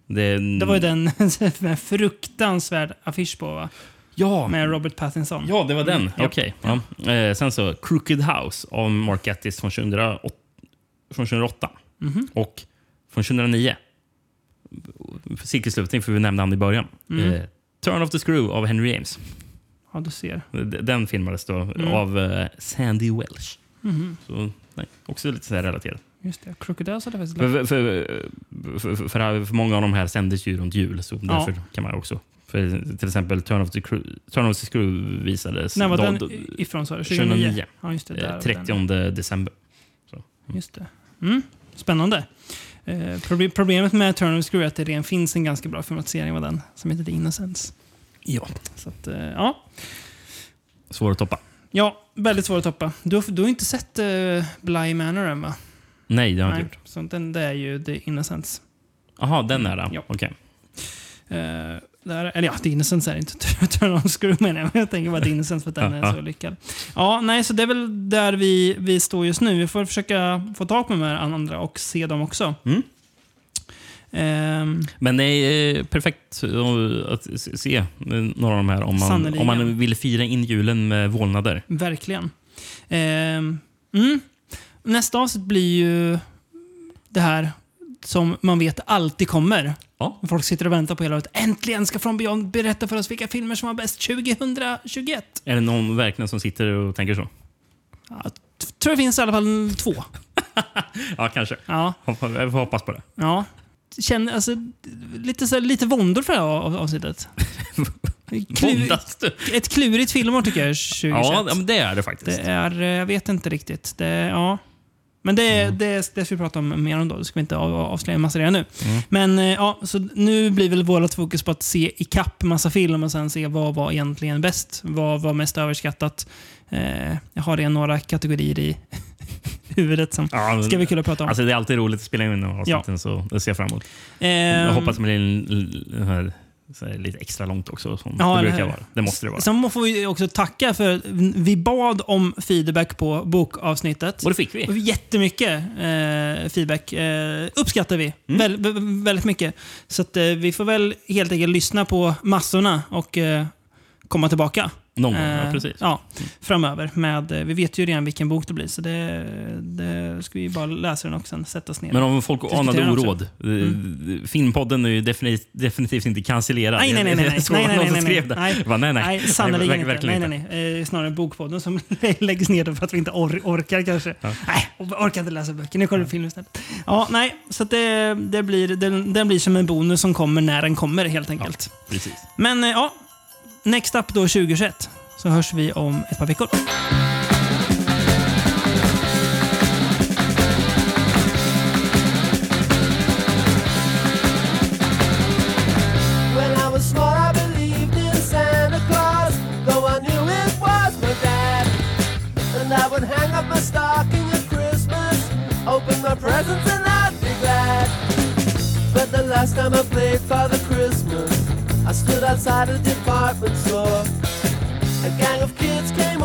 [SPEAKER 2] Det,
[SPEAKER 1] Det var ju den
[SPEAKER 2] Mm.
[SPEAKER 1] *laughs* med fruktansvärd affisch på va?
[SPEAKER 2] Ja,
[SPEAKER 1] Med Robert Pattinson.
[SPEAKER 2] ja det var den.
[SPEAKER 1] Ja.
[SPEAKER 2] Okej. Ja. Eh, sen så Crooked House av Mark Gatiss från
[SPEAKER 1] Mhm.
[SPEAKER 2] 2008. Från 2008. Och från 2009. cirkelslutning, för vi nämnde han i början. Eh, Turn of the Screw av Henry James.
[SPEAKER 1] Mm. Ja, du ser.
[SPEAKER 2] D- Den filmades då
[SPEAKER 1] Mm.
[SPEAKER 2] av eh, Sandy Welsh. Så, nej, också lite sådär relaterat.
[SPEAKER 1] Mhm. Just det. Crocodiles hade faktiskt lagt.
[SPEAKER 2] För, för, för, för, för, för många av de här sändes ju runt jul, så
[SPEAKER 1] Ja.
[SPEAKER 2] därför kan man också... För till exempel Turn of the, Cru- Turn of the Screw visades
[SPEAKER 1] När var
[SPEAKER 2] då-
[SPEAKER 1] den
[SPEAKER 2] då-
[SPEAKER 1] ifrån sa du?
[SPEAKER 2] 2009.
[SPEAKER 1] 2009? Ja, just det. Där
[SPEAKER 2] eh,
[SPEAKER 1] var den.
[SPEAKER 2] 30 december.
[SPEAKER 1] Just det. Mm. Spännande. Eh, proble- problemet med Turn of Screw är att det redan finns en ganska bra filmatisering av den som heter The Innocence.
[SPEAKER 2] Ja.
[SPEAKER 1] Så att, eh, ja.
[SPEAKER 2] Svår att toppa.
[SPEAKER 1] ja, väldigt svår att toppa. Du har, du har inte sett eh, Bly Manor än va?
[SPEAKER 2] Nej, det har jag inte gjort.
[SPEAKER 1] Så den, det är ju The Innocence.
[SPEAKER 2] Jaha, den är det.
[SPEAKER 1] Ja.
[SPEAKER 2] Okej.
[SPEAKER 1] Eh, där, eller ja, The Innocence är det inte *laughs* Turn of Screw menar jag. Men jag tänker bara The Innocence för att den
[SPEAKER 2] *laughs*
[SPEAKER 1] är så lyckad. Ja, nej, så det är väl där vi, vi står just nu. Vi får försöka få tag på de här andra och se dem också.
[SPEAKER 2] Mm.
[SPEAKER 1] Ehm,
[SPEAKER 2] Men det är eh, perfekt eh, att se- se eh, några av de här om man,
[SPEAKER 1] Sannerligen.
[SPEAKER 2] om man vill fira in julen med vålnader.
[SPEAKER 1] Verkligen. Ehm, mm. Nästa avsnitt blir ju det här som man vet alltid kommer.
[SPEAKER 2] Ja.
[SPEAKER 1] Folk sitter och väntar på hela året. Äntligen ska From Beyond berätta för oss vilka filmer som var bäst 2021.
[SPEAKER 2] Är det någon verkligen som sitter och tänker så?
[SPEAKER 1] Ja, t- tror det finns i alla fall två.
[SPEAKER 2] Ja, kanske.
[SPEAKER 1] Ja,
[SPEAKER 2] Hoppa- Jag får hoppas på det.
[SPEAKER 1] ja. Känner, alltså, lite, så här, lite våndor för det här av-
[SPEAKER 2] *laughs*
[SPEAKER 1] avsnittet. Klur,
[SPEAKER 2] Bondas du?
[SPEAKER 1] ett klurigt filmår tycker jag 2021.
[SPEAKER 2] Ja, ja, men det är det faktiskt.
[SPEAKER 1] Det är, eh, jag vet inte riktigt. Det, ja. Men det,
[SPEAKER 2] Mm.
[SPEAKER 1] det, det ska vi prata om mer om då. Det ska vi inte av- avslöja en massa redan nu.
[SPEAKER 2] Mm.
[SPEAKER 1] Men eh, ja, så nu blir väl vårt fokus på att se ikapp massa film och sen se vad var egentligen bäst? Vad var mest överskattat? Eh, jag har redan några kategorier i *laughs* huvudet som
[SPEAKER 2] Ja, men-
[SPEAKER 1] ska bli kul att prata om.
[SPEAKER 2] Alltså, det är alltid roligt att spela in de här avsnitten, så det ser jag fram emot. Jag
[SPEAKER 1] Ehm,
[SPEAKER 2] hoppas att det blir en- den här, så här, lite extra långt också, som
[SPEAKER 1] Ja,
[SPEAKER 2] det
[SPEAKER 1] eller
[SPEAKER 2] brukar
[SPEAKER 1] hur?
[SPEAKER 2] vara. Det måste det vara.
[SPEAKER 1] Sen må- får vi också tacka för att vi bad om feedback på bokavsnittet.
[SPEAKER 2] Och det fick vi.
[SPEAKER 1] Och Jättemycket eh, feedback eh, uppskattar vi.
[SPEAKER 2] Mm.
[SPEAKER 1] Väl, vä- vä- väldigt mycket. Så att, eh, vi får väl helt enkelt lyssna på massorna och eh, komma tillbaka.
[SPEAKER 2] Någon gång, ja,
[SPEAKER 1] Eh,
[SPEAKER 2] precis. Mm.
[SPEAKER 1] Ja, framöver. Med, eh, vi vet ju redan vilken bok det blir, så det, det ska vi bara läsa den och sen sätta oss ner.
[SPEAKER 2] Men om folk
[SPEAKER 1] Diskutera
[SPEAKER 2] anade
[SPEAKER 1] också. Mm.
[SPEAKER 2] oråd. eh, Filmpodden är ju definitivt, definitivt inte cancellerad.
[SPEAKER 1] Nej, nej, nej. nej, nej.
[SPEAKER 2] *laughs* Så var det
[SPEAKER 1] nej, nej,
[SPEAKER 2] någon som
[SPEAKER 1] nej,
[SPEAKER 2] skrev det.
[SPEAKER 1] Nej,
[SPEAKER 2] Jag bara, *laughs* nej, nej.
[SPEAKER 1] nej sannerligen
[SPEAKER 2] verk-
[SPEAKER 1] inte.
[SPEAKER 2] verkligen
[SPEAKER 1] Nej, nej, nej. Eh, snarare bokpodden som *laughs* läggs ner för att vi inte or- orkar kanske. Nej, jag orkar inte läsa böcker. Nu kollar vi film istället. Ja, nej, så att det, det blir, den, den blir som en bonus som kommer när den kommer helt enkelt.
[SPEAKER 2] Precis.
[SPEAKER 1] Men eh, ja, next up då 2021 så hörs vi om ett par veckor.
[SPEAKER 9] When I was small, I believed in Santa Claus, though I knew it was my dad. And I would hang up my stocking at Christmas, open my presents, and I'd be glad. But the last time I played Father Christmas, I stood outside a department store. A gang of kids came